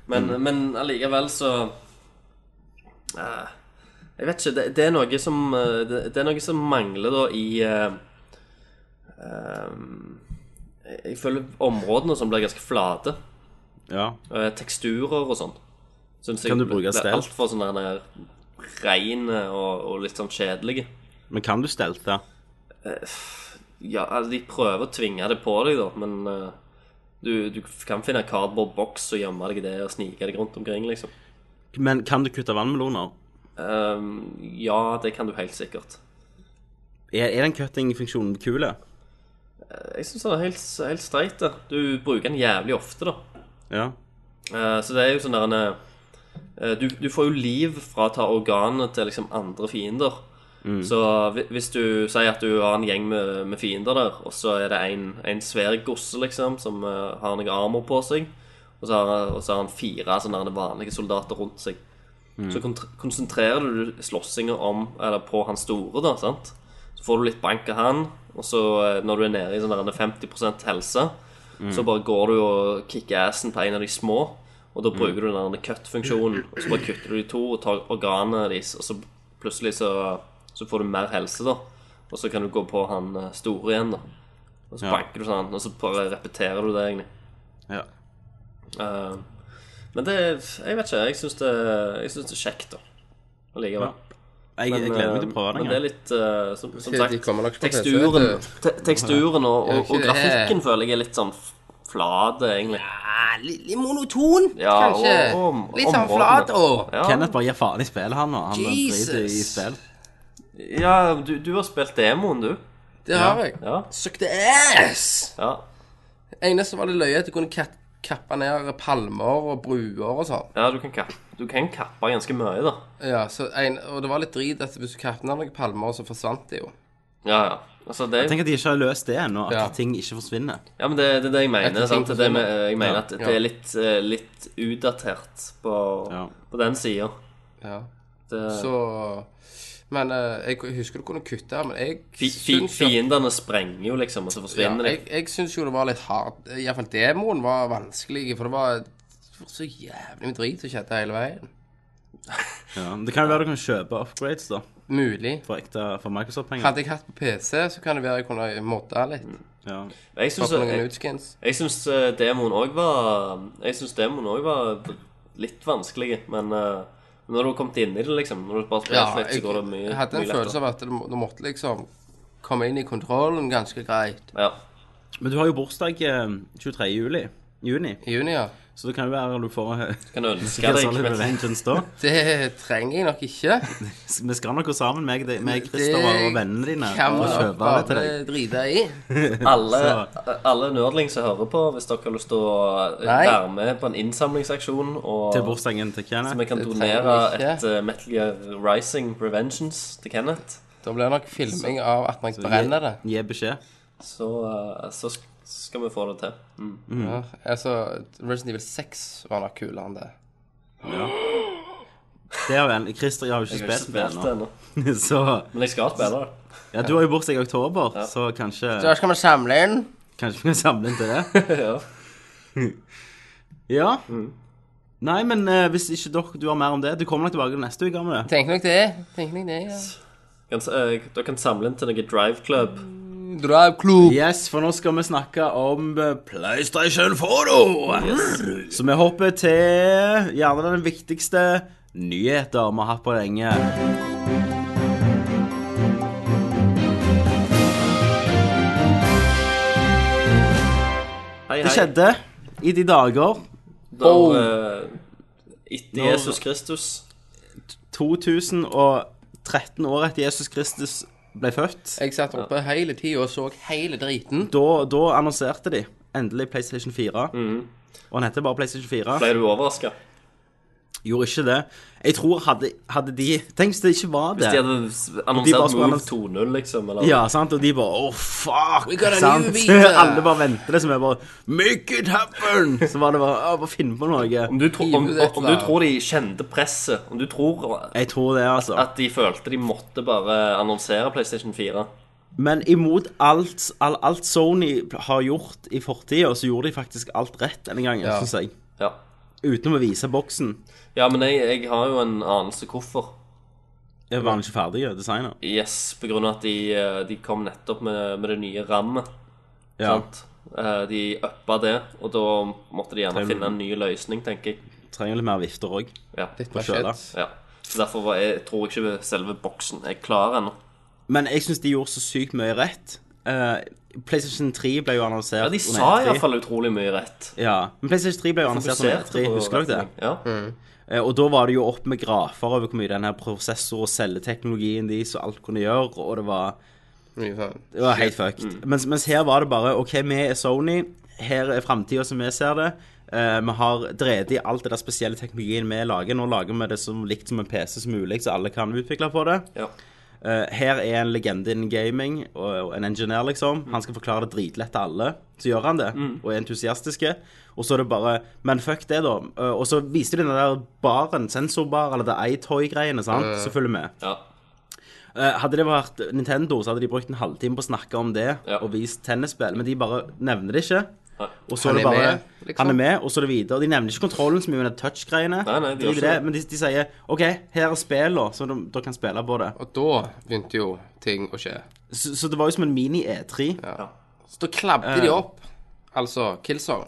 Speaker 6: Men,
Speaker 4: Mm.
Speaker 6: men allikevel så eh, Jeg vet ikke. Det, det er noe som eh, det, det er noe som mangler da i eh, eh, jeg, jeg føler områdene som blir ganske flate.
Speaker 4: Ja.
Speaker 6: eh, teksturer og sånn. Synes jeg
Speaker 4: Kan du bruke
Speaker 6: blir
Speaker 4: stealth?
Speaker 6: Altfor sånn der reine og, og litt sånn kjedelige.
Speaker 4: Men kan du stelte?
Speaker 6: Ja, altså, de prøver å tvinge det på deg, da, men eh, du, du kan finne en cardboard box og gjemme deg i det og snike deg rundt omkring, liksom.
Speaker 4: Men kan du kutte vannmeloner?
Speaker 6: Ehm, ja, det kan du helt sikkert.
Speaker 4: Er, er den cutting-funksjonen kul?
Speaker 6: Jeg syns den er helt, helt streit. det. Du bruker den jævlig ofte, da.
Speaker 4: Ja.
Speaker 6: Eh, så det er jo sånn der en eh, du, du får jo liv fra å ta organet til liksom andre fiender. Så hvi- hvis du sier at du har en gjeng med, med fiender der, og så er det en, en svær gosse liksom som eh, har noe armor på seg, og så har, og så har han fire sånne der vanlige soldater rundt seg, så kont- konsentrerer du slåssinga om Eller på han store, da, sant? Så får du litt bank av han, og så eh, når du er nede i sånn der 50 helse, så bare går du og kicker assen på en av de små, og da bruker du den der cut-funksjonen, og så bare kutter du de to og tar organet deres, og så plutselig så, så får du mer helse, da. Og så kan du gå på han eh, store igjen, da. Og så
Speaker 4: Ja.
Speaker 6: banker du sånn, og så bare repeterer du det, egentlig.
Speaker 4: ja.
Speaker 6: Eh, men det Jeg vet ikke. Jeg syns det, jeg synes det er kjekt, da. Allikevel.
Speaker 4: Ja. Jeg, jeg gleder meg til å prøve den.
Speaker 6: Men det er
Speaker 4: jeg.
Speaker 6: litt eh, Som, som
Speaker 5: De
Speaker 6: sagt,
Speaker 5: kommer nok på PC,
Speaker 6: teksturen,
Speaker 5: vet
Speaker 6: te teksturen og, og, og
Speaker 5: Ja, ikke det.
Speaker 6: grafikken føler jeg er litt sånn f- flate, egentlig.
Speaker 5: Ah, litt, litt monoton,
Speaker 6: Ja,
Speaker 5: kanskje.
Speaker 6: og- og-
Speaker 5: litt sånn
Speaker 6: områdene.
Speaker 5: flat og
Speaker 6: Ja,
Speaker 4: Kenneth bare gir faen i spillet, han. og Han
Speaker 5: Jesus.
Speaker 4: driter i spill.
Speaker 6: ja du, du har spilt demoen, du.
Speaker 5: Det har jeg.
Speaker 6: Ja.
Speaker 5: Søkte ass!
Speaker 6: ja.
Speaker 5: Eneste var det løye at jeg kunne kat- kappe ned palmer og bruer og sånn.
Speaker 6: Ja, du kan, kappe, du kan kappe ganske mye, da.
Speaker 5: Ja, så en, og det var litt drit at hvis du kappet ned noen palmer, så forsvant de jo.
Speaker 6: Ja, ja. Altså, det,
Speaker 4: Tenk at de ikke har løst det ennå, at
Speaker 5: Ja.
Speaker 4: ting ikke forsvinner.
Speaker 6: ja, men det det er det jeg
Speaker 5: Etter
Speaker 6: mener.
Speaker 5: ting
Speaker 6: Sant? Det, er det,
Speaker 5: forsvinner.
Speaker 6: jeg mener at det
Speaker 5: sånn- Ja.
Speaker 6: er litt, eh, litt utdatert på,
Speaker 4: Ja.
Speaker 6: på den sida.
Speaker 5: Ja.
Speaker 6: Det...
Speaker 5: Så Men eh, jeg husker du kunne kutte, men jeg
Speaker 6: Fi- fi-
Speaker 5: syns jo-
Speaker 6: Fiendene sprenger jo, liksom, og så
Speaker 5: ja,
Speaker 6: forsvinner de.
Speaker 5: Jeg, jeg syns jo det var litt hardt. Iallfall demoen var vanskelig, for det var, det var så jævlig mye drit som skjedde hele veien.
Speaker 4: Ja. men Det kan jo være du kan kjøpe upgrades da,
Speaker 5: Mulig.
Speaker 4: for ekte for Microsoft-penger.
Speaker 5: Hadde jeg hatt på PC, så kan det være jeg kunne modda litt.
Speaker 4: Ja.
Speaker 6: Jeg
Speaker 5: Tatt
Speaker 6: syns,
Speaker 5: noen
Speaker 6: Mm. jeg,
Speaker 5: utskins.
Speaker 6: jeg syns eh, demoen òg var Jeg syns demoen også var litt vanskelig, men eh, når du har kommet inn i det, liksom Når du bare spiller
Speaker 5: Ja,
Speaker 6: litt,
Speaker 5: jeg
Speaker 6: så går det mye,
Speaker 5: jeg hadde en
Speaker 6: mye
Speaker 5: følelse
Speaker 6: lettere.
Speaker 5: av at du må- du måtte liksom komme inn i kontrollen ganske greit.
Speaker 6: Ja.
Speaker 4: Men du har jo bursdag eh, 23. Juli. Juni,
Speaker 5: I juni, ja.
Speaker 4: så det kan jo være du får eh,
Speaker 6: Kan du ønske
Speaker 4: Skal
Speaker 6: deg
Speaker 4: Solid
Speaker 6: men-
Speaker 4: Vengeance da?
Speaker 5: Det trenger jeg nok ikke.
Speaker 4: Vi skal nok gå sammen, meg, deg- meg
Speaker 5: Det
Speaker 4: Christer og vennene dine,
Speaker 5: kan
Speaker 4: og
Speaker 5: man
Speaker 4: kjøpe det til
Speaker 5: bare
Speaker 4: deg.
Speaker 5: drite i.
Speaker 4: [laughs]
Speaker 6: alle, eh, alle nerdling som hører på, hvis dere har lyst til å eh,
Speaker 5: Nei.
Speaker 6: være med på en innsamlingsaksjon og
Speaker 4: Til bursdagen til
Speaker 6: så
Speaker 4: Kenneth.
Speaker 6: vi kan
Speaker 5: Det trenger
Speaker 6: donere
Speaker 5: vi ikke.
Speaker 6: et eh, Metal Gear Rising Revengeance til Kenneth,
Speaker 5: Da blir det nok filming av at man brenner det.
Speaker 4: Gi beskjed.
Speaker 6: så, eh, så sk- skal vi få det til. Mm.
Speaker 5: Ja, altså, Resident Evil 6 var nok kulere enn det.
Speaker 4: Det har jo en Christer jeg har jo ikke
Speaker 6: Jeg har ikke
Speaker 4: spilt det
Speaker 6: spilt det
Speaker 4: ennå. [laughs]
Speaker 6: ennå.
Speaker 4: Så
Speaker 6: Men jeg skal spille det.
Speaker 4: Ja, du har jo bursdag i oktober, så kanskje,
Speaker 5: Så her skal vi samle inn.
Speaker 4: kanskje vi kan samle inn til det.
Speaker 6: ja.
Speaker 4: Ja. Nei, men eh, hvis ikke dere, du har mer om det Du kommer nok tilbake neste uke med det.
Speaker 5: Tenk nok det. Tenk nok det, ja.
Speaker 6: kan, eh, Dere kan samle inn til noen drive club.
Speaker 5: Drive club.
Speaker 4: Yes, for nå skal vi snakke om eh, PlayStation 4. Så vi hopper til gjerne den viktigste nyheter vi har hatt på lenge.
Speaker 6: Hei, hei.
Speaker 4: Det skjedde i de dager
Speaker 6: Da,
Speaker 5: Oh.
Speaker 6: eh, etter
Speaker 4: Nå-
Speaker 6: Jesus Kristus
Speaker 4: 2013 år etter Jesus Kristus ble født.
Speaker 5: Jeg satt oppe hele tida og så hele driten.
Speaker 4: Da, da annonserte de endelig PlayStation 4. Og den heter bare PlayStation 4.
Speaker 6: ble du overraska.
Speaker 4: Gjorde ikke det. Jeg tror hadde, hadde de Tenk hvis det ikke var det.
Speaker 6: Hvis de hadde
Speaker 4: bare
Speaker 6: annonsert
Speaker 4: skulle
Speaker 6: Move
Speaker 4: annons-
Speaker 6: 2.0 liksom, eller
Speaker 4: Ja, sant? Og de bare Åh, fuck!
Speaker 5: We got a new
Speaker 4: sant? [laughs]
Speaker 5: beater.
Speaker 4: Alle bare venter det, som er bare Make it happen! Så var det bare Å, bare finn på noe.
Speaker 6: Om du, tro, om,
Speaker 5: Hive ut
Speaker 6: om du
Speaker 5: der.
Speaker 6: tror de kjente presset, om du tror
Speaker 4: Jeg tror det, altså.
Speaker 6: at de følte de måtte bare annonsere PlayStation 4
Speaker 4: Men imot alt, all, alt Sony har gjort i fortida, så gjorde de faktisk alt rett denne gangen,
Speaker 5: Ja.
Speaker 4: synes jeg.
Speaker 6: Ja,
Speaker 4: Uten å vise boksen.
Speaker 6: ja men jeg, jeg har jo en anelse hvorfor.
Speaker 4: Det var han ikke ferdig, designer.
Speaker 6: Yes, på grunn av at de, eh, de kom nettopp med, med det nye rammet.
Speaker 4: Ja.
Speaker 6: Sant? Eh, De uppa det, og da måtte de gjerne finne en ny løsning, tenker jeg.
Speaker 4: Trenger litt mer vifter òg.
Speaker 6: Ja.
Speaker 5: Litt
Speaker 4: På
Speaker 5: machete.
Speaker 6: ja. Så derfor var jeg, tror jeg ikke selve boksen er klar ennå.
Speaker 4: Men jeg syns de gjorde så sykt mye rett. Eh, PlayStation 3 ble jo annonsert
Speaker 6: Ja,
Speaker 4: under
Speaker 6: de
Speaker 4: E
Speaker 6: sa
Speaker 4: E3.
Speaker 6: iallfall utrolig mye rett.
Speaker 4: Ja, Men PlayStation 3 ble jo annonsert under
Speaker 6: Fokuserte
Speaker 4: E3,
Speaker 6: på
Speaker 4: husker dere det?
Speaker 6: retning. Ja.
Speaker 4: Eh, Og da var det jo opp med grafer over hvor mye den her prosessor- og celleteknologien deres og alt kunne gjøre, og det var,
Speaker 5: Mye faen.
Speaker 4: det var helt fucked. Mens, mens her var det bare OK, vi er Sony, her er framtida som vi ser det. Eh, vi har drevet i alt det der spesielle teknologien vi lager. Nå lager vi det som likt som en PC som mulig, så alle kan utvikle på det.
Speaker 6: Ja.
Speaker 4: Eh, her er en legende innen gaming og, og en engineer, liksom. Han skal forklare det dritlett til alle. Så gjør han det,
Speaker 6: Mm.
Speaker 4: og er entusiastiske. Og så er det bare Men fuck det, da. Eh, og så viste de den der baren, sensorbar, eller det iToy-greiene, sant, som følger med.
Speaker 6: Ja.
Speaker 4: Eh, hadde det vært Nintendo, så hadde de brukt en halvtime på å snakke om det
Speaker 6: Ja.
Speaker 4: og vist tennisspill, men de bare nevner det ikke.
Speaker 6: Nei.
Speaker 4: Og så
Speaker 5: Han
Speaker 4: er det
Speaker 5: er
Speaker 4: bare
Speaker 5: med, liksom.
Speaker 4: Han er med, og så er det videre. Og De nevner ikke kontrollen så mye, men det er touch-greiene.
Speaker 6: Nei, nei, de
Speaker 4: Drit
Speaker 6: gjør
Speaker 4: i
Speaker 6: ikke
Speaker 4: det,
Speaker 6: det.
Speaker 4: Men de, de sier OK, her er spillene, så dere dere kan spille på det.
Speaker 5: Og da begynte jo ting å skje.
Speaker 4: Så, så det var jo som en E mini-E3.
Speaker 5: Så da klabde de opp, altså Killzone.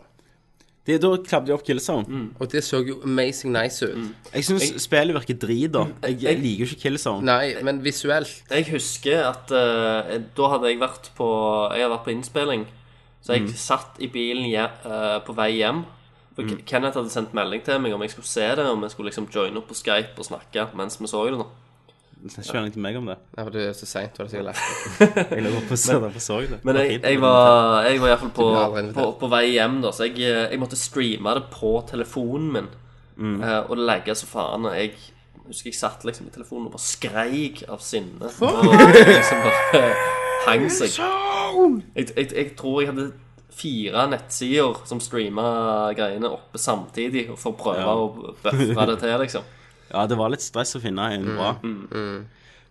Speaker 4: Det, da klabbet de opp Killzone.
Speaker 5: Og det så jo amazing nice ut.
Speaker 4: Jeg syns spillet virker drit, da. Jeg, liker jo ikke Killzone.
Speaker 5: Nei, men visuelt
Speaker 6: Jeg husker at eh, da hadde jeg vært på Jeg hadde vært på innspilling. Så jeg satt i bilen hje, eh, på vei hjem. For Ke- Kenneth hadde sendt melding til meg om jeg skulle se det, om jeg skulle liksom joine opp på Skype og snakke mens vi så det. nå
Speaker 4: Det er ikke meningen til meg om det.
Speaker 5: Nei, for det er så seint, var det sikkert lagt.
Speaker 4: Mm. Jeg lurer på hvordan jeg så det.
Speaker 6: Men jeg,
Speaker 4: fint.
Speaker 6: jeg var, jeg var iallfall på,
Speaker 5: Du ble aldri invitert.
Speaker 6: på, på vei hjem, da, så jeg, eh, jeg måtte streame det på telefonen min.
Speaker 4: Mm.
Speaker 6: eh, og det legger så faen. Og jeg husker jeg satt liksom i telefonen og bare skreik av sinne. Og liksom bare hang seg. Jeg, jeg, jeg tror jeg hadde fire nettsider som streama greiene oppe samtidig for å prøve
Speaker 4: Ja.
Speaker 6: å bøffe det til, liksom.
Speaker 4: Ja, det var litt stress å finne en bra.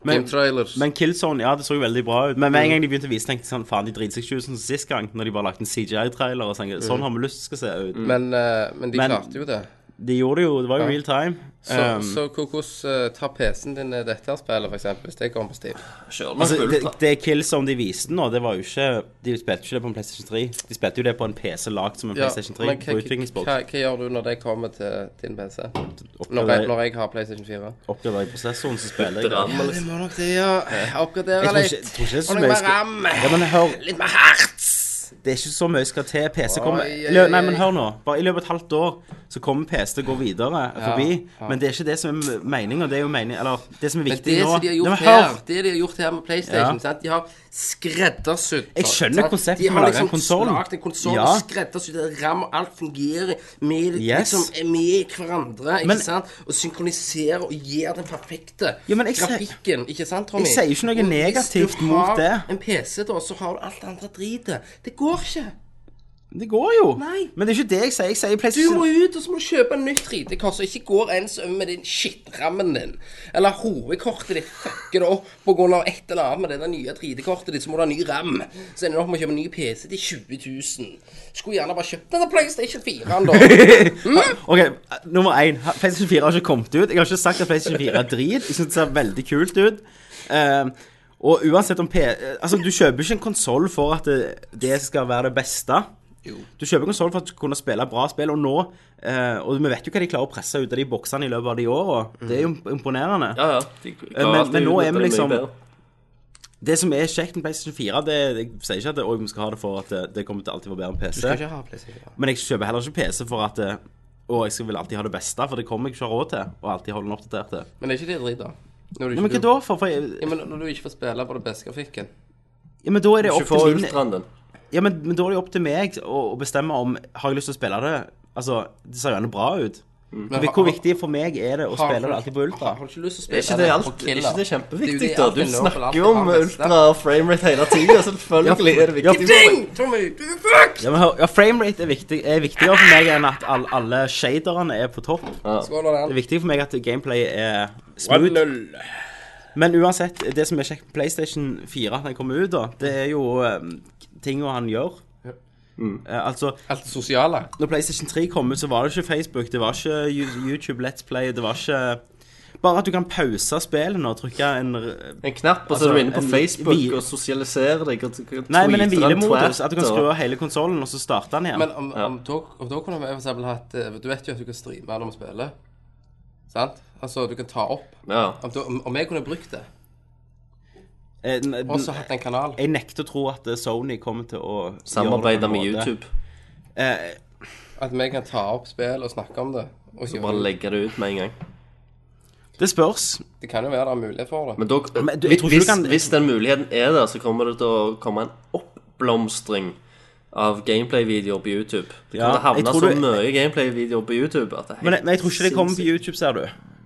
Speaker 5: Game trailers.
Speaker 4: Men Killzone, ja, det så jo veldig bra ut. Men med en gang de begynte å vise, tenkte jeg sånn Faen, de driter seg ikke ut som sist gang, når de bare lagde en CGI-trailer og sånn. Sånn har vi lyst til å se ut.
Speaker 5: Men, eh, men de
Speaker 4: Men-
Speaker 5: klarte jo det.
Speaker 4: De gjorde det jo. Det var jo real time.
Speaker 5: Så,
Speaker 4: Um,
Speaker 5: så hvor- hvordan eh, tar PC-en din eh, dette her spillet, for eksempel, hvis det kommer på Steam?
Speaker 6: Kjør den
Speaker 4: Altså, det,
Speaker 6: fullt. da.
Speaker 4: det Killzone de viste nå, det var jo ikke De spilte ikke det på en PlayStation 3. De spilte jo det på en PC lagd som en PlayStation 3
Speaker 5: men hva,
Speaker 4: på
Speaker 5: hva,
Speaker 4: utviklingsboks.
Speaker 5: hva, hva gjør du når det kommer til din PC? Når jeg,
Speaker 4: Oppgraderer
Speaker 5: når jeg har PlayStation 4?
Speaker 4: oppgraderer jeg prosessoren, så spiller jeg. det.
Speaker 6: Dram,
Speaker 5: Det
Speaker 6: liksom.
Speaker 5: må nok det, ja.
Speaker 4: Jeg
Speaker 5: Oppgradere
Speaker 4: tror
Speaker 5: litt.
Speaker 4: ikke, jeg tror ikke det er så
Speaker 5: Og
Speaker 4: mye
Speaker 5: noe
Speaker 4: jeg
Speaker 5: mer
Speaker 4: skal-
Speaker 5: ram.
Speaker 4: Ja, men hør,
Speaker 5: Litt mer hertz.
Speaker 4: det er ikke så mye skal til. PC kommer
Speaker 5: Oi, oi,
Speaker 4: i lø- Nei,
Speaker 5: oi.
Speaker 4: men hør nå. Bare i løpet av et halvt år så kommer PC til å gå videre forbi. Men det er ikke det som er meninga. Det er jo mening Eller det som er
Speaker 5: Men
Speaker 4: viktig
Speaker 5: det
Speaker 4: nå
Speaker 5: som de har gjort
Speaker 4: Nei, men
Speaker 5: her,
Speaker 4: hør!
Speaker 5: det de har gjort her med PlayStation,
Speaker 4: Ja.
Speaker 5: sant? de har skreddersydd
Speaker 4: Jeg skjønner
Speaker 5: sant?
Speaker 4: konseptet
Speaker 5: De
Speaker 4: med å
Speaker 5: har liksom
Speaker 4: lage en konsoll.
Speaker 5: lagd en konsoll
Speaker 4: Ja.
Speaker 5: og skreddersydd en ram, og alt fungerer med,
Speaker 4: Yes.
Speaker 5: liksom, er med hverandre, ikke
Speaker 4: Men-
Speaker 5: sant? Og synkroniserer og gir den perfekte
Speaker 4: Ja, men jeg sier-
Speaker 5: grafikken, ikke sant, Tommy?
Speaker 4: Jeg sier jo ikke noe
Speaker 5: Og hvis
Speaker 4: negativt
Speaker 5: du
Speaker 4: mot
Speaker 5: har
Speaker 4: det.
Speaker 5: en PC, da, så har du alt det andre dritet. Det går ikke.
Speaker 4: Det går jo.
Speaker 5: Nei.
Speaker 4: Men det er ikke det jeg sier. Jeg sier
Speaker 5: Du må
Speaker 4: PlayStation
Speaker 5: ut, og så må du kjøpe en nytt 3D-kort som ikke går ens over med den shitrammen din. Eller hovedkortet ditt fucker det opp på grunn av et eller annet med det der nye 3D-kortet ditt, så må du ha ny ram. Så ender du opp med å kjøpe en ny PC til 20 000. Skulle gjerne bare kjøpt den der PlayStation 4
Speaker 4: [laughs]
Speaker 5: da.
Speaker 4: OK, nummer én. PlayStation 4 har ikke kommet ut. Jeg har ikke sagt at PlayStation 4 er drit. Jeg syns det ser veldig kult ut. Eh, og uansett om P... eh, Altså, du kjøper ikke en konsoll for at det, det skal være det beste. Du kjøper en konsoll for at du skal kunne spille bra spill, og nå eh, Og vi vet jo hva de klarer å presse ut av de boksene i løpet av de åra. Det er jo imponerende.
Speaker 6: Ja, ja. De klarer
Speaker 4: men-
Speaker 6: alltid
Speaker 4: men nå
Speaker 6: å
Speaker 4: er vi
Speaker 6: utnytte det mye
Speaker 4: liksom-
Speaker 6: liksom. bedre.
Speaker 4: Det som er kjekt med PlayStation 4, det, jeg sier ikke at det, «Oi, vi skal ha det for at det, det kommer til alltid å være bedre enn PC.
Speaker 5: Skal ikke ha PlayStation 4.
Speaker 4: Men jeg kjøper heller ikke PC for at eh, Å, jeg skal vil alltid ha det beste, for det kommer jeg ikke ha råd til. Og alltid holde den oppdatert til.
Speaker 5: Men det er ikke det dritt, da. Når du
Speaker 4: Ja, men hva
Speaker 5: ikke,
Speaker 4: da? For, for jeg,
Speaker 5: Ja, men når du ikke får spille på det beste grafikken.
Speaker 4: ja, men da er det opp
Speaker 6: Kjøpte
Speaker 4: til min
Speaker 6: ultraen din.
Speaker 4: Ja, men, men da er det jo opp til meg å, å bestemme om Har jeg lyst til å spille det? Altså, det ser jo gjerne bra ut.
Speaker 5: Men
Speaker 4: Hvor viktig for meg er det å
Speaker 5: har-
Speaker 4: spille det alltid på ultra?
Speaker 5: Har du ikke lyst til å
Speaker 6: Er
Speaker 5: spille
Speaker 6: ikke det, alt,
Speaker 5: på
Speaker 6: er
Speaker 5: killer?
Speaker 6: ikke det kjempeviktig,
Speaker 5: Det er
Speaker 6: da?
Speaker 5: jo det
Speaker 6: Du
Speaker 5: Apple Novel alltid
Speaker 6: snakker jo om
Speaker 5: har best, da.
Speaker 6: ultra framerate hele tida. Selvfølgelig er det viktig.
Speaker 5: Ding! Tommy, du er fucked!
Speaker 4: Ja, men hør, ja, framerate er, viktig, er viktigere for meg enn at all, alle shaderne er på topp.
Speaker 5: Skål, Arne.
Speaker 4: Det er viktig for meg at gameplayet er smooth. Men uansett, det som er kjekt med PlayStation 4, den kommer ut, da, det er jo um, tinga han gjør. Eh, altså,
Speaker 5: Alt det sosiale.
Speaker 4: når PlayStation 3 kom ut, så var det ikke Facebook, det var ikke Yu- YouTube Let's Play, det var ikke Bare at du kan pause spillene og trykke en r-
Speaker 6: En knapp, og så
Speaker 4: Altså,
Speaker 6: er du inne på
Speaker 4: en
Speaker 6: Facebook
Speaker 4: hvil-
Speaker 6: og sosialiserer deg. Og tweeter
Speaker 4: Nei, men en
Speaker 6: og
Speaker 4: hvilemodus.
Speaker 6: twatter,
Speaker 4: At du kan skru av hele konsollen, og så starte den igjen.
Speaker 5: Men om, om, da, om da kunne vi for eksempel hatt eh, Du vet jo at du kan streame når vi spiller. Sant? Altså, du kan ta opp.
Speaker 6: Ja.
Speaker 5: Om, da, om, om jeg kunne brukt det,
Speaker 4: Eh, n- n-
Speaker 5: og så hatt en kanal
Speaker 4: jeg nekter å tro at eh, Sony kommer til å gjøre det på en
Speaker 6: Samarbeide med
Speaker 4: måte.
Speaker 6: YouTube.
Speaker 4: Eh,
Speaker 5: At vi kan ta opp spill og snakke om det. Og gjøre-
Speaker 6: Bare legge det ut med en gang.
Speaker 4: det spørs.
Speaker 5: det kan jo være det er mulighet for det.
Speaker 6: Men da,
Speaker 4: Men du- jeg
Speaker 6: hvis,
Speaker 4: tror ikke du kan-
Speaker 6: hvis den muligheten er der, så kommer det til å komme en oppblomstring av gameplay-videoer på YouTube. Det
Speaker 4: Ja,
Speaker 6: kommer til
Speaker 4: jeg
Speaker 6: å havne
Speaker 4: tror
Speaker 6: så
Speaker 4: du-
Speaker 6: mye gameplay-videoer på YouTube at det er helt
Speaker 4: Men, jeg- men jeg tror ikke det kommer på
Speaker 6: sinnssykt.
Speaker 4: YouTube, ser du.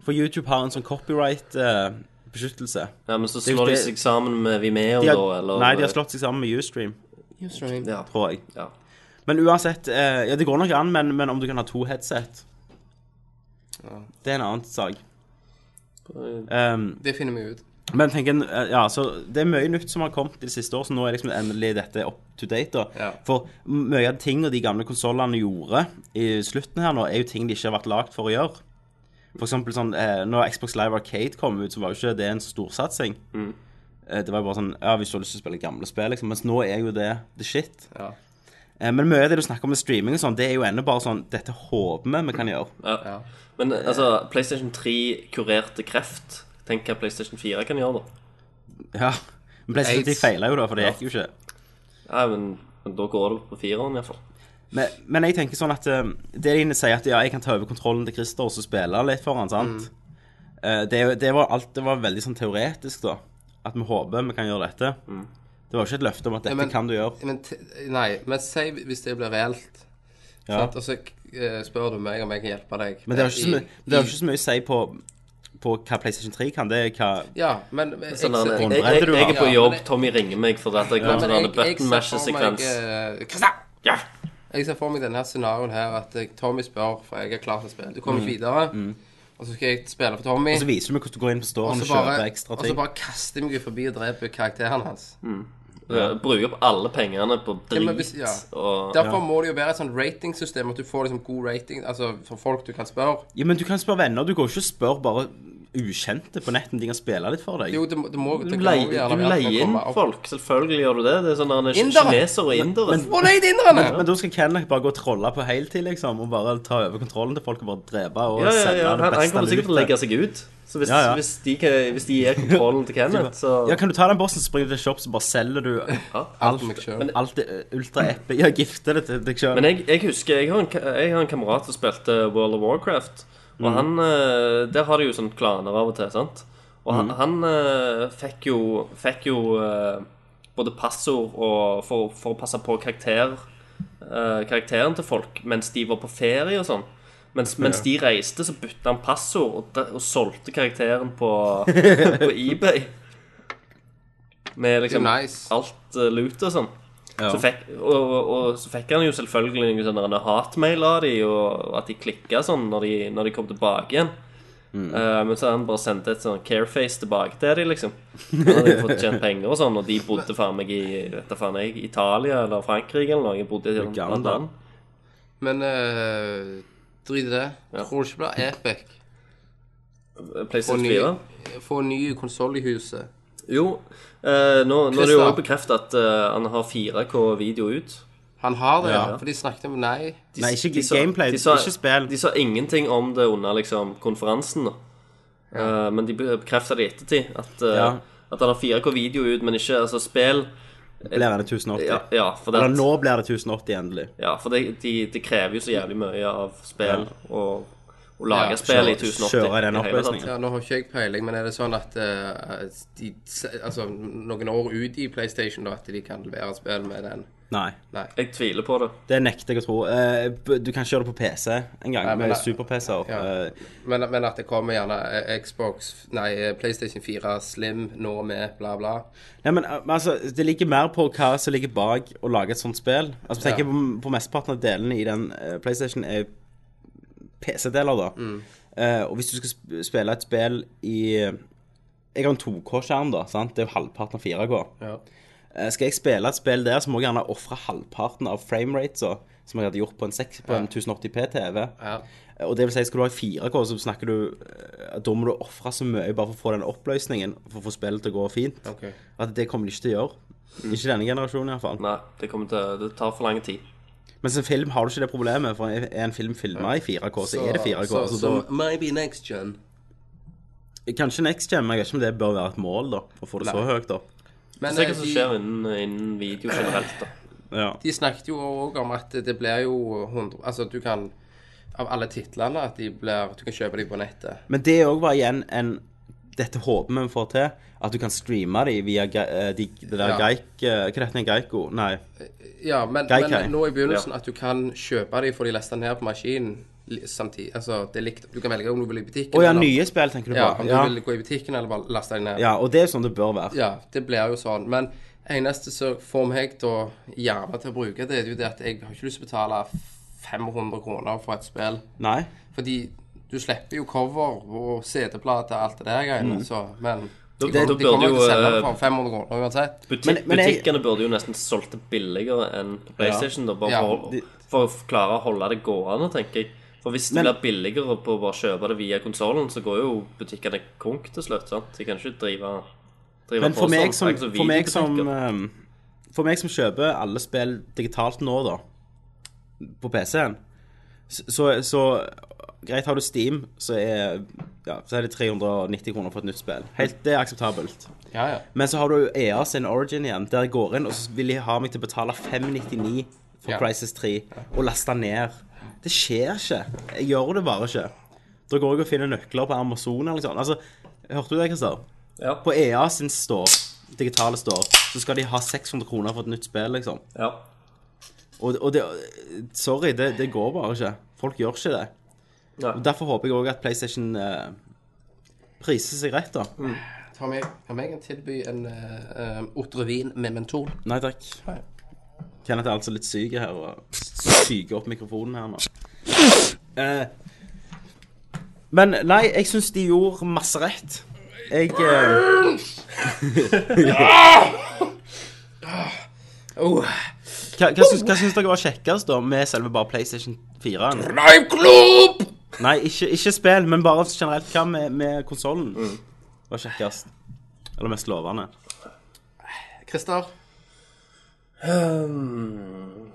Speaker 4: For YouTube har en sånn copyright-beskyttelse.
Speaker 6: Ja, men så
Speaker 4: er jo
Speaker 6: slår de
Speaker 4: det-
Speaker 6: seg sammen med Vimeo,
Speaker 4: de
Speaker 6: da,
Speaker 4: har,
Speaker 6: eller
Speaker 4: nei, de har slått seg sammen med Ustream,
Speaker 5: Ustream.
Speaker 6: Ja.
Speaker 4: tror jeg.
Speaker 6: ja.
Speaker 4: Men uansett eh, Ja, det går nok an, men, men om du kan ha to headset Det er en annen sak. Um,
Speaker 5: Det finner vi ut.
Speaker 4: men tenk en, eh, ja, så det er mye nytt som har kommet i det siste år, så nå er liksom endelig dette up to date. da.
Speaker 5: Ja.
Speaker 4: For mye av de tingene de gamle konsollene gjorde i slutten her nå, er jo ting de ikke har vært lagd for å gjøre. For eksempel sånn, eh, når Xbox Live Arcade kom ut, så var jo ikke det en så storsatsing.
Speaker 5: Mm.
Speaker 4: Eh, det var jo bare sånn Ja, hvis du har lyst til å spille gamle spill, liksom. Mens nå er jo det the shit.
Speaker 5: Ja.
Speaker 4: Eh, Men mye av det du snakker om med streaming og sånn, det er jo ennå bare sånn Dette håper vi vi kan gjøre.
Speaker 6: Ja. Men altså, PlayStation 3 kurerte kreft. Tenk hva PlayStation 4 kan gjøre, da.
Speaker 4: Ja. Men PlayStation 3
Speaker 5: Aids.
Speaker 4: feila jo, da, for det gikk jo ikke.
Speaker 6: Nei, men, men da går det på fireren, iallfall.
Speaker 4: Men, men jeg tenker sånn at eh, det de inne sier at ja, jeg kan ta over kontrollen til Christer og så spille litt for han, sant?
Speaker 5: Mm.
Speaker 4: Eh, Det, er jo- det var alt Det var veldig sånn teoretisk, da. At vi håper vi kan gjøre dette. Det var jo ikke et løfte om at dette
Speaker 5: Mm. men-
Speaker 4: kan du gjøre.
Speaker 5: Men t nei, men si hvis det blir reelt.
Speaker 4: Ja.
Speaker 5: Sant? Og så eh, spør du meg om jeg kan hjelpe deg.
Speaker 4: Men det har jo ikke, så
Speaker 5: I-
Speaker 4: mye- det har jo
Speaker 5: i-
Speaker 4: ikke så mye å si på, på hva PlayStation 3 kan. Det er hva
Speaker 5: Ja, men jeg,
Speaker 6: Sånn,
Speaker 5: ser-
Speaker 6: jeg, jeg,
Speaker 4: håndbredde
Speaker 6: jeg,
Speaker 4: du
Speaker 6: jeg er på
Speaker 5: har.
Speaker 6: jobb,
Speaker 5: Ja, men-
Speaker 6: Tommy ringer meg for at jeg
Speaker 5: Ja,
Speaker 6: glemte
Speaker 5: men
Speaker 6: den
Speaker 5: jeg- jeg ser for
Speaker 6: button
Speaker 5: meg,
Speaker 6: mash-sekvens.
Speaker 5: eh, Kristian! Jeg ser for meg denne scenarioen her at eh, Tommy spør, for jeg er klar til å spille. Du kommer ikke videre, og så skal jeg spille for Tommy.
Speaker 4: Mm. Og så viser du meg hvordan du går inn på
Speaker 5: og
Speaker 4: storen og
Speaker 5: så
Speaker 4: kjøper ekstra
Speaker 5: og så
Speaker 4: ting.
Speaker 5: bare kaster jeg meg forbi og dreper karakteren hans.
Speaker 6: Eh, Bruker opp alle pengene på
Speaker 5: Ja,
Speaker 6: drit
Speaker 5: men hvis- ja.
Speaker 6: og
Speaker 5: Derfor må det jo være et sånt ratingsystem, at du får liksom god rating altså for folk du kan spørre.
Speaker 4: Ja, men du kan spørre venner. Du går ikke og spør bare ukjente på nettet om de kan spille litt for deg.
Speaker 5: Jo, det, må- det må
Speaker 6: Du
Speaker 5: det kan jo
Speaker 6: leier,
Speaker 5: gjerne
Speaker 6: du
Speaker 5: være at man
Speaker 6: leier inn
Speaker 5: kommer opp-
Speaker 6: folk. Selvfølgelig gjør du det. Det er sånn der,
Speaker 5: Indere.
Speaker 6: kineser og indere.
Speaker 5: Å nei, det er inderne!
Speaker 4: Men da skal Kenneth bare gå og trolle på heltid, liksom, og bare ta over kontrollen til folk og bare drepe og
Speaker 6: Ja, ja,
Speaker 4: sende
Speaker 6: ja.
Speaker 4: det
Speaker 6: Han, han
Speaker 4: beste
Speaker 6: kommer sikkert til å legge
Speaker 4: lutet.
Speaker 6: seg ut. Så hvis,
Speaker 4: Ja, ja.
Speaker 6: hvis, de, kan- hvis de gir kontrollen til Kenneth, så
Speaker 4: Ja, kan du ta den bossen, så springer du til shop, så bare selger du
Speaker 5: Alt for meg selv.
Speaker 4: alt, alt det eh, ultra-epic Ja, gifter det til deg sjøl.
Speaker 6: Men jeg, jeg husker Jeg har, en, ka- jeg har en kamerat som spilte World of Warcraft. Og han eh, Der har de jo sånne klaner av og til, sant? Og han, han eh, fikk jo, fikk jo eh, både passord og for, for å passe på karakter, eh, karakteren til folk mens de var på ferie og sånn. Mens, mens de reiste, så bytta han passord og, de- og solgte karakteren på,
Speaker 5: [laughs]
Speaker 6: på eBay. Med liksom
Speaker 5: Det er nice.
Speaker 6: alt uh, loot og sånn. Så fikk, og, og, og så fikk han jo selvfølgelig noen sånne der hatmail av de Og at de klikket sånn når de, når de kom tilbake igjen
Speaker 5: Mm.
Speaker 6: Eh, Men så han bare sendte et sånn careface tilbake til de liksom Han hadde jo fått tjent penger og sånn Og de bodde faen meg i, vet da faen jeg, Italia eller Frankrike eller noe Jeg bodde i et
Speaker 4: Uganda.
Speaker 6: annet land
Speaker 5: Men eh, drit i det. Tror du ikke det blir epic? Få
Speaker 6: eh, Playstation
Speaker 5: ny,
Speaker 6: 4
Speaker 5: få ny konsoll i huset.
Speaker 6: Jo, eh, nå, nå er det jo
Speaker 5: Christa.
Speaker 6: også bekreftet at eh, han har 4K video ut
Speaker 5: Han har det,
Speaker 4: Ja.
Speaker 5: ja. For de snakket om nei.
Speaker 6: de,
Speaker 4: Nei, ikke gameplay, ikke spill.
Speaker 6: De sa ingenting om det under liksom, konferansen, da. Eh, men de bekrefta det i ettertid. At, eh,
Speaker 4: Ja.
Speaker 6: at han har 4K-video ut, men ikke altså, spill.
Speaker 4: Blir det 1080?
Speaker 6: Ja, ja, for, det,
Speaker 4: Eller
Speaker 6: at-
Speaker 4: nå blir det 1080, endelig.
Speaker 6: ja, for det, de, det krever jo så jævlig mye av spill og, og å lage
Speaker 5: Ja,
Speaker 6: spill i
Speaker 4: kjøre-
Speaker 6: 1080.
Speaker 4: kjøre den
Speaker 6: i hele tatt.
Speaker 4: oppløsningen.
Speaker 5: Ja, nå har ikke jeg peiling, men er det sånn at eh, de, altså, noen år ut i PlayStation, da, at de kan levere spill med den?
Speaker 4: Nei,
Speaker 5: Nei.
Speaker 6: Jeg tviler på det.
Speaker 4: det nekter jeg å tro. Eh, b- Du kan ikke gjøre det på PC en gang,
Speaker 5: Nei, men
Speaker 4: med
Speaker 5: det-
Speaker 4: super-PC-er.
Speaker 5: Ja.
Speaker 4: Eh,
Speaker 5: Men, men at det kommer gjerne eh, Xbox Nei, eh, PlayStation 4 Slim nå med bla, bla.
Speaker 4: Nei, men eh, men altså, Det ligger mer på hva som ligger bak å lage et sånt spill. Altså, tenk
Speaker 5: Ja.
Speaker 4: på, på mesteparten av delene i den eh, PlayStation er PC-deler, da.
Speaker 5: Mm.
Speaker 4: Eh, og hvis du skal sp- spille et spill i eh, Jeg har en 2K-skjerm, da. sant? Det er jo halvparten av 4K.
Speaker 5: Ja.
Speaker 4: Eh, skal jeg spille et spill der, så må jeg gjerne ofre halvparten av frameratesa som jeg hadde gjort på en, seks- på en 1080p-TV.
Speaker 5: Ja.
Speaker 4: Og det vil si, skal du ha 4K, så snakker du eh, Da må du ofre så mye bare for å få den oppløsningen, for å få spillet til å gå fint.
Speaker 5: Ok.
Speaker 4: At det kommer de ikke til å gjøre. Ikke denne generasjonen, iallfall.
Speaker 6: Nei, det, kommer til, det tar for lang tid.
Speaker 4: Mens en film har du ikke det problemet, for er en film filma i 4K, så, er det altså, 4K. Så,
Speaker 5: Så, så maybe next gen.
Speaker 4: da Kanskje Next Gen, men jeg vet ikke om det bør være et mål, da. For å få det så høyt opp.
Speaker 5: Men
Speaker 6: Se
Speaker 5: eh,
Speaker 6: hva som
Speaker 5: de,
Speaker 6: skjer innen, innen video generelt, da.
Speaker 4: Ja.
Speaker 5: de snakket jo òg om at det blir jo 100 Altså, du kan Av alle titlene at de blir Du kan kjøpe dem på nettet.
Speaker 4: Men det òg var igjen en Dette håper vi vi får til. At du kan streame de via ge- eh, de, det der
Speaker 5: Ja.
Speaker 4: Geik... eh, Hva heter det? Geico? Nei.
Speaker 5: Ja, men,
Speaker 4: Geikai.
Speaker 5: men nå i begynnelsen at du kan kjøpe dem for de lasta ned på maskinen li- samtidig. Altså, det er likt. Du kan velge om du vil i butikken.
Speaker 4: Å ja,
Speaker 5: eller-
Speaker 4: nye spill, tenker du på.
Speaker 5: Ja, om du
Speaker 4: Ja,
Speaker 5: vil gå i butikken eller bare laste dem ned.
Speaker 4: ja og det er sånn det bør være.
Speaker 5: Ja, det blir jo sånn. Men eneste som får meg da gjerne til å bruke det, er jo det at jeg har ikke lyst til å betale 500 kroner for et spill.
Speaker 4: Nei?
Speaker 5: Fordi du slipper jo cover og CD-plate og alt det der greiene, så Men de,
Speaker 6: Mm. da
Speaker 5: de
Speaker 6: burde
Speaker 5: kommer jo
Speaker 6: jo,
Speaker 5: til å selge det
Speaker 6: eh,
Speaker 5: for 500 kroner uansett.
Speaker 6: Buti
Speaker 4: Men- men jeg-
Speaker 6: butikkene burde jo nesten solgt det billigere enn PlayStation, da, bare
Speaker 5: Ja,
Speaker 6: for, å-
Speaker 4: de-
Speaker 6: for å klare å holde det gående, tenker jeg. For hvis det
Speaker 4: Men-
Speaker 6: blir billigere på å bare kjøpe det via konsollen, så går jo butikkene konk til slutt. sant? De kan ikke drive, drive
Speaker 4: Men for
Speaker 6: sånn.
Speaker 4: meg som,
Speaker 6: Akkurat
Speaker 4: for meg som,
Speaker 6: videobutikker.
Speaker 4: ehm, for meg som kjøper alle spill digitalt nå, da, på PC-en, så, så- så Greit, har du Steam, så er, ja, så er det 390 kroner for et nytt spill. Helt, det er akseptabelt.
Speaker 5: Ja, ja.
Speaker 4: Men så har du EA sin Origin igjen, der jeg går inn, og så vil de ha meg til å betale 599 for
Speaker 5: Ja.
Speaker 4: Crisis 3 og laste ned. Det skjer ikke. Jeg gjør det bare ikke. Da går jeg og finner nøkler på Amazon eller noe sånt. Altså, hørte du det, Christer?
Speaker 6: Ja.
Speaker 4: På EA sin store, digitale store, så skal de ha 600 kroner for et nytt spill, liksom.
Speaker 6: Ja.
Speaker 4: Og, og det Sorry, det, det går bare ikke. Folk gjør ikke det.
Speaker 6: Nei.
Speaker 4: Og Derfor håper jeg òg at PlayStation eh, priser seg rett, da.
Speaker 5: Ta meg, kan jeg tilby en uh, Otrevin med mentol?
Speaker 4: Nei takk.
Speaker 5: Nei.
Speaker 4: Kenneth er altså litt syk her og syker opp mikrofonen her nå. Eh, men nei, jeg syns de gjorde masse rett. Jeg eh,
Speaker 5: Oh.
Speaker 4: Hva, hva, syns, hva syns dere var kjekkest, da, med selve bare PlayStation 4? -en?
Speaker 5: Knife Club!
Speaker 4: Nei, ikke, ikke spill, men bare generelt hva med, med konsollen
Speaker 6: Mm.
Speaker 4: var kjekkest? Eller mest lovende?
Speaker 5: Christer?
Speaker 6: Um.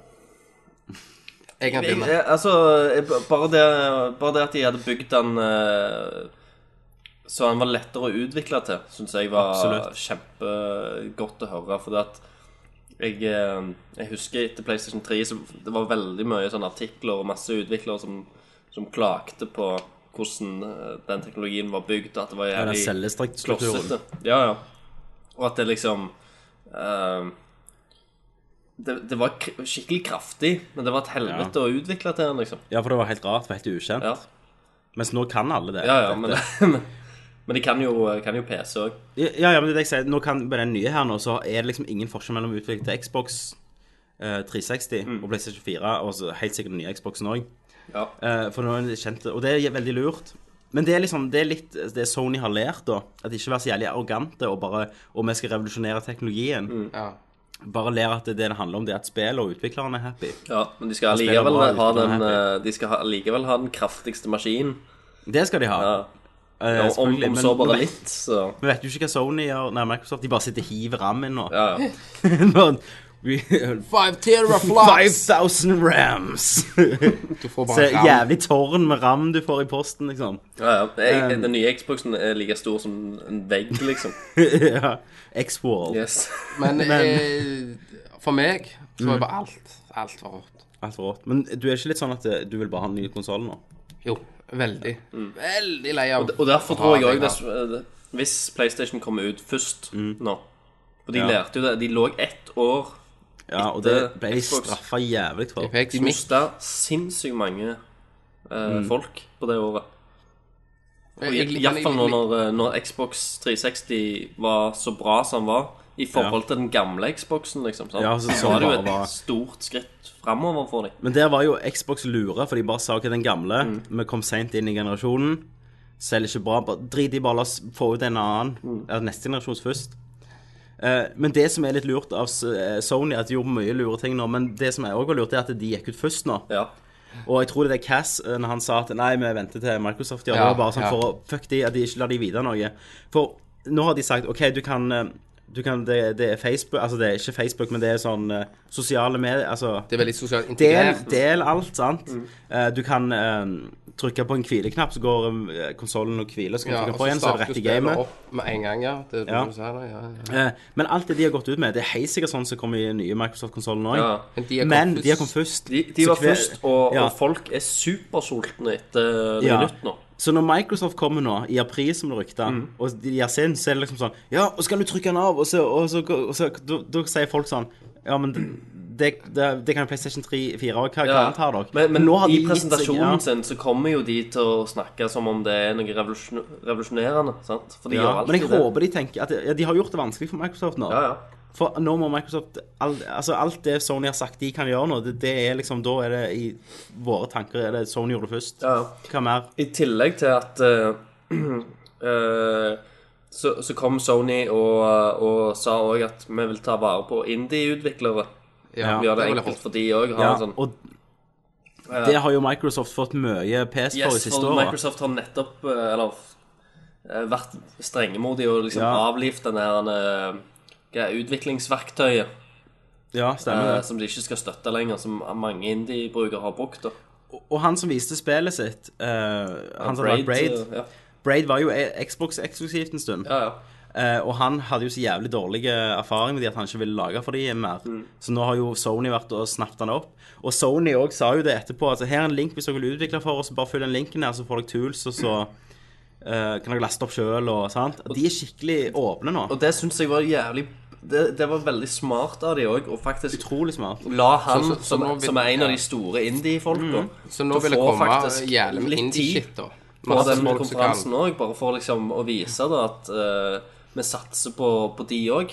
Speaker 5: Jeg kan
Speaker 6: Jeg,
Speaker 5: begynne.
Speaker 6: jeg- altså, jeg, bare, det, bare det at de hadde bygd den eh, så han var lettere å utvikle til, syns jeg var
Speaker 4: Absolutt.
Speaker 6: kjempegodt å høre. For det at jeg, eh, jeg husker etter PlayStation 3 så det var veldig mye sånne artikler og masse utviklere som, som klagde på hvordan eh, den teknologien var bygd, og at det var
Speaker 4: Den
Speaker 6: jævlig
Speaker 4: cellestrukturen.
Speaker 6: klossete. Ja, ja. Og at det liksom eh, det, det var k skikkelig kraftig, men det var et helvete å utvikle til den, liksom.
Speaker 4: Ja, for det var helt rart, for helt ukjent.
Speaker 6: Ja,
Speaker 4: Mens nå kan alle det.
Speaker 6: ja, ja men, [laughs] men, men de kan jo, kan jo PC òg.
Speaker 4: Ja, ja, men det er det jeg sier. Nå kan, med den nye her nå, så er det liksom ingen forskjell mellom utvikling til Xbox eh, 360
Speaker 6: Mm.
Speaker 4: og PlayStation 4, og så helt sikkert den nye Xboxen òg.
Speaker 6: Ja.
Speaker 4: for nå er det kjent, og det er veldig lurt. Men det er liksom, det er litt det Sony har lært, da. At ikke være så jævlig arrogante og bare Og vi skal revolusjonere teknologien.
Speaker 6: Mm.
Speaker 5: Ja.
Speaker 4: Bare lære at det, det handler om, det er at spillet og utvikleren er happy.
Speaker 6: ja, men de skal
Speaker 4: spiller
Speaker 6: allikevel
Speaker 4: bra,
Speaker 6: ha
Speaker 4: de
Speaker 6: den
Speaker 4: spiller
Speaker 6: eh, De skal ha- allikevel ha den kraftigste maskinen.
Speaker 4: Det skal de ha.
Speaker 6: Ja.
Speaker 4: eh,
Speaker 6: Ja, om,
Speaker 4: selvfølgelig,
Speaker 6: om
Speaker 4: men
Speaker 6: så
Speaker 4: vi
Speaker 6: bare
Speaker 4: vet-
Speaker 6: litt, så
Speaker 4: Vi vet jo ikke hva Sony gjør, nei, Microsoft. De bare sitter og hiver rammen nå.
Speaker 6: Ja, ja.
Speaker 4: [laughs] Bare, we-
Speaker 5: Five teraflops!
Speaker 4: 5000 rams!
Speaker 5: Du får
Speaker 4: Så
Speaker 5: bare ram.
Speaker 4: jævlig tårn med ram du får i posten, liksom. [laughs]
Speaker 6: ja, [laughs] ja. Jeg, den nye Xboxen er like stor som en vegg, liksom.
Speaker 4: ja. X-Wall.
Speaker 6: [laughs] Yes.
Speaker 5: Men, eh, for meg så var bare alt Alt var rått.
Speaker 4: Alt for rått. Men du er ikke litt sånn at eh, du vil bare ha en ny konsoll nå?
Speaker 5: Jo, Veldig. Veldig lei av
Speaker 6: Mm. Og derfor tror jeg
Speaker 5: Ja,
Speaker 6: òg
Speaker 5: det
Speaker 6: eh, Hvis PlayStation kommer ut først
Speaker 4: Mm.
Speaker 6: nå For de lærte jo det. De lå ett år
Speaker 4: Ja, og det
Speaker 6: Etter
Speaker 4: ble jeg
Speaker 6: Xbox.
Speaker 4: straffa jævlig for.
Speaker 5: Pek
Speaker 6: De
Speaker 5: midt.
Speaker 6: mista sinnssykt mange eh,
Speaker 4: Mm.
Speaker 6: folk på det året.
Speaker 4: Eh,
Speaker 6: Iallfall nå når, eh, når Xbox 360 var så bra som den var, i forhold til den gamle Xboxen, liksom. Sant?
Speaker 4: Ja, så-
Speaker 6: så
Speaker 4: som
Speaker 6: var det jo
Speaker 4: bare
Speaker 6: et
Speaker 4: var-
Speaker 6: stort skritt framover for dem.
Speaker 4: Men der var jo Xbox lure, for de bare sa ikke den gamle. Vi kom seint inn i generasjonen. Selger ikke bra. Bare, drit i, bare la oss få ut en annen. Eller neste generasjons først. Eh, men det som er litt lurt av S- eh, Sony, at de gjorde mye lure ting nå, men det som er også lurt, er at de gikk ut først nå.
Speaker 6: Ja.
Speaker 4: Og jeg tror det er Cass, eh, når han sa at nei, vi venter til Microsoft gjør det,
Speaker 5: Ja,
Speaker 4: var bare sånn
Speaker 5: ja.
Speaker 4: for å fuck de, at de ikke lar de vite noe. For nå har de sagt OK, du kan, eh, du kan det, det er Facebook Altså, det er ikke Facebook, men det er sånn eh, sosiale medier Altså
Speaker 5: Det er veldig sosialt
Speaker 4: Del,
Speaker 5: integrert.
Speaker 4: del alt, sant?
Speaker 6: Mm.
Speaker 4: Eh, du kan eh, trykke på en hvileknapp, så går uh, konsollen og hviler. Så kan du
Speaker 5: Ja,
Speaker 4: trykke
Speaker 5: og
Speaker 4: på igjen, så er det
Speaker 5: starter
Speaker 4: rett i
Speaker 5: spillet
Speaker 4: gamet.
Speaker 5: opp med en gang, ja. Det, er
Speaker 4: Ja.
Speaker 5: det du sier, da, ja, ja.
Speaker 4: Eh, men alt det de har gått ut med, det er helt sikkert sånn som kommer i den nye Microsoft-konsollen òg.
Speaker 6: Ja.
Speaker 5: Men de har
Speaker 4: Men
Speaker 5: kommet
Speaker 4: de har kommet først.
Speaker 6: De, de
Speaker 4: Så
Speaker 6: var
Speaker 4: hver-
Speaker 6: først, og,
Speaker 4: ja.
Speaker 6: og folk er supersultne etter
Speaker 4: Ja.
Speaker 6: ja. nytt nå.
Speaker 4: Så når Microsoft kommer nå, i april som det rykter,
Speaker 6: Mm.
Speaker 4: og de gir sin, så er det liksom sånn Ja, og skal du trykke den av? Og så, og så, og så da, da sier folk sånn Ja, men det, det, det kan jo PlayStation 3, 4 og hva hva
Speaker 6: Ja.
Speaker 4: annet har dere?
Speaker 6: Men, men
Speaker 4: nå har
Speaker 6: i
Speaker 4: de gitt seg, ja.
Speaker 6: presentasjonen sin så kommer jo de til å snakke som om det er noe revolusjon, revolusjonerende. sant? For de
Speaker 4: Ja,
Speaker 6: gjør alltid
Speaker 4: men jeg
Speaker 6: det.
Speaker 4: håper de tenker at ja, De har gjort det vanskelig for Microsoft nå.
Speaker 6: Ja, ja.
Speaker 4: For nå må Microsoft all, Altså alt det Sony har sagt de kan gjøre nå, det, det er liksom Da er det i våre tanker er det Sony gjorde det først.
Speaker 6: Ja, ja.
Speaker 4: Hva mer?
Speaker 6: I tillegg til at eh, [clears throat] eh, så, så kom Sony og, og sa òg at vi vil ta vare på indie-utviklere.
Speaker 5: Ja,
Speaker 6: Vi gjør det
Speaker 5: det vil jeg
Speaker 6: enkelt for de òg.
Speaker 4: Ja,
Speaker 6: sånn,
Speaker 4: og det har jo Microsoft fått mye pes for de
Speaker 6: yes,
Speaker 4: siste
Speaker 6: for
Speaker 4: åra.
Speaker 6: Microsoft har nettopp eh, eller, eh, vært strengemodig og liksom
Speaker 4: Ja.
Speaker 6: avlivt den her eh, hva er utviklingsverktøyet
Speaker 4: Ja, stemmer
Speaker 6: eh,
Speaker 4: det.
Speaker 6: som de ikke skal støtte lenger, som mange indie-brukere har brukt. da.
Speaker 4: Og, og han som viste spillet sitt, eh, han som hadde lagd Braid
Speaker 6: eh, Ja,
Speaker 4: Braid var jo e- Xbox eksklusivt en stund.
Speaker 6: ja. ja.
Speaker 4: Eh, og han hadde jo så jævlig dårlig eh, erfaring med de at han ikke ville lage for de mer.
Speaker 6: Mm.
Speaker 4: Så nå har jo Sony vært og snappet han opp. Og Sony òg sa jo det etterpå. Altså, her er en link hvis dere vil utvikle for oss. Bare følg den linken her, så får dere tools, og så eh, kan dere laste opp sjøl og sant. De er skikkelig åpne nå.
Speaker 6: Og det syns jeg var jævlig det, det var veldig smart av de òg, og faktisk
Speaker 4: Utrolig smart.
Speaker 6: la han,
Speaker 5: Så- så- så
Speaker 6: som,
Speaker 5: nå vil-
Speaker 6: som er en av
Speaker 5: ja. Mm.
Speaker 6: de store indie-folka,
Speaker 5: Så nå
Speaker 6: til å
Speaker 5: vil det
Speaker 6: få
Speaker 5: komme
Speaker 6: faktisk
Speaker 5: jævlig med
Speaker 6: litt
Speaker 5: indie-shit,
Speaker 6: tid
Speaker 5: da.
Speaker 6: på
Speaker 5: Masse
Speaker 6: den
Speaker 5: folk som kan-
Speaker 6: konferansen òg, bare for liksom å vise da at eh, vi satser på, på de òg.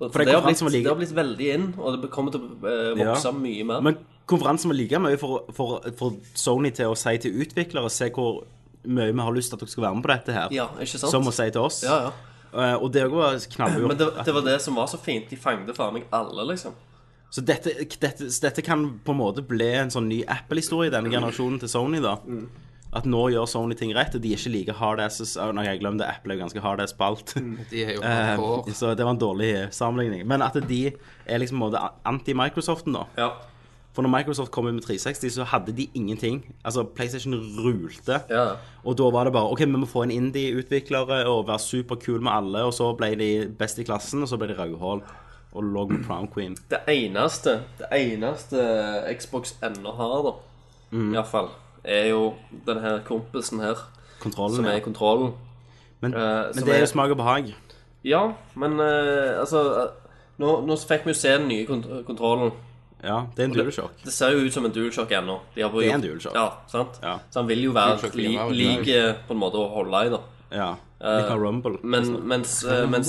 Speaker 6: Og
Speaker 4: For det
Speaker 6: det, har blitt,
Speaker 4: konferansen var like-
Speaker 6: det har blitt veldig inn, og det kommer til å eh, vokse
Speaker 4: Ja.
Speaker 6: mye mer.
Speaker 4: Men konferansen var like mye for, for, for Sony til å si til utviklere se hvor mye vi har lyst til at dere skal være med på dette her,
Speaker 6: ja, ikke sant?
Speaker 4: som å si til oss.
Speaker 6: ja, ja.
Speaker 4: Eh, og det òg var knallgjort.
Speaker 6: Men det, det var det som var så fint. De fanget faen meg alle, liksom.
Speaker 4: Så dette, dette, dette kan på en måte bli en sånn ny Apple-historie, denne generasjonen til Sony, da. At nå gjør Sony ting rett, og de er ikke like hard asses Å, Nei, jeg glemte Apple er jo ganske hard ass på alt.
Speaker 6: Mm,
Speaker 4: [laughs]
Speaker 5: De er jo
Speaker 4: Eh,
Speaker 5: hardcore.
Speaker 4: så det var en dårlig eh, sammenligning. Men at de er liksom på en måte anti-Microsoften, da.
Speaker 6: Ja,
Speaker 4: For når Microsoft kom ut med 360, så hadde de ingenting. Altså, PlayStation rulte.
Speaker 6: ja.
Speaker 4: Og da var det bare OK, vi må få en indie-utviklere og være superkul med alle. Og så ble de best i klassen, og så ble de rødhål. Og lå med Crown Queen.
Speaker 6: Det eneste, det eneste Xbox ennå har, da,
Speaker 4: Mm.
Speaker 6: i hvert fall, er jo den her kompisen her,
Speaker 4: Kontrollen.
Speaker 6: som
Speaker 4: ja.
Speaker 6: er kontrollen.
Speaker 4: Men,
Speaker 6: Eh,
Speaker 4: men
Speaker 6: som
Speaker 4: det er
Speaker 6: er-
Speaker 4: jo smak og behag.
Speaker 6: Ja, men eh, altså eh, nå, nå fikk vi jo se den nye kont kontrollen.
Speaker 4: Ja, det er en dualshock.
Speaker 6: Det ser jo ut som en DualShock ennå. De har bare
Speaker 4: Det er en
Speaker 6: gjort-
Speaker 4: DualShock.
Speaker 6: Ja, sant?
Speaker 4: Ja.
Speaker 6: Så han vil jo være
Speaker 5: DualShock
Speaker 6: li
Speaker 5: fire er jo
Speaker 6: lik eh, på en måte å holde i, da.
Speaker 4: Ja.
Speaker 6: Eh,
Speaker 4: Litt av Rumble.
Speaker 6: Men mens, eh, mens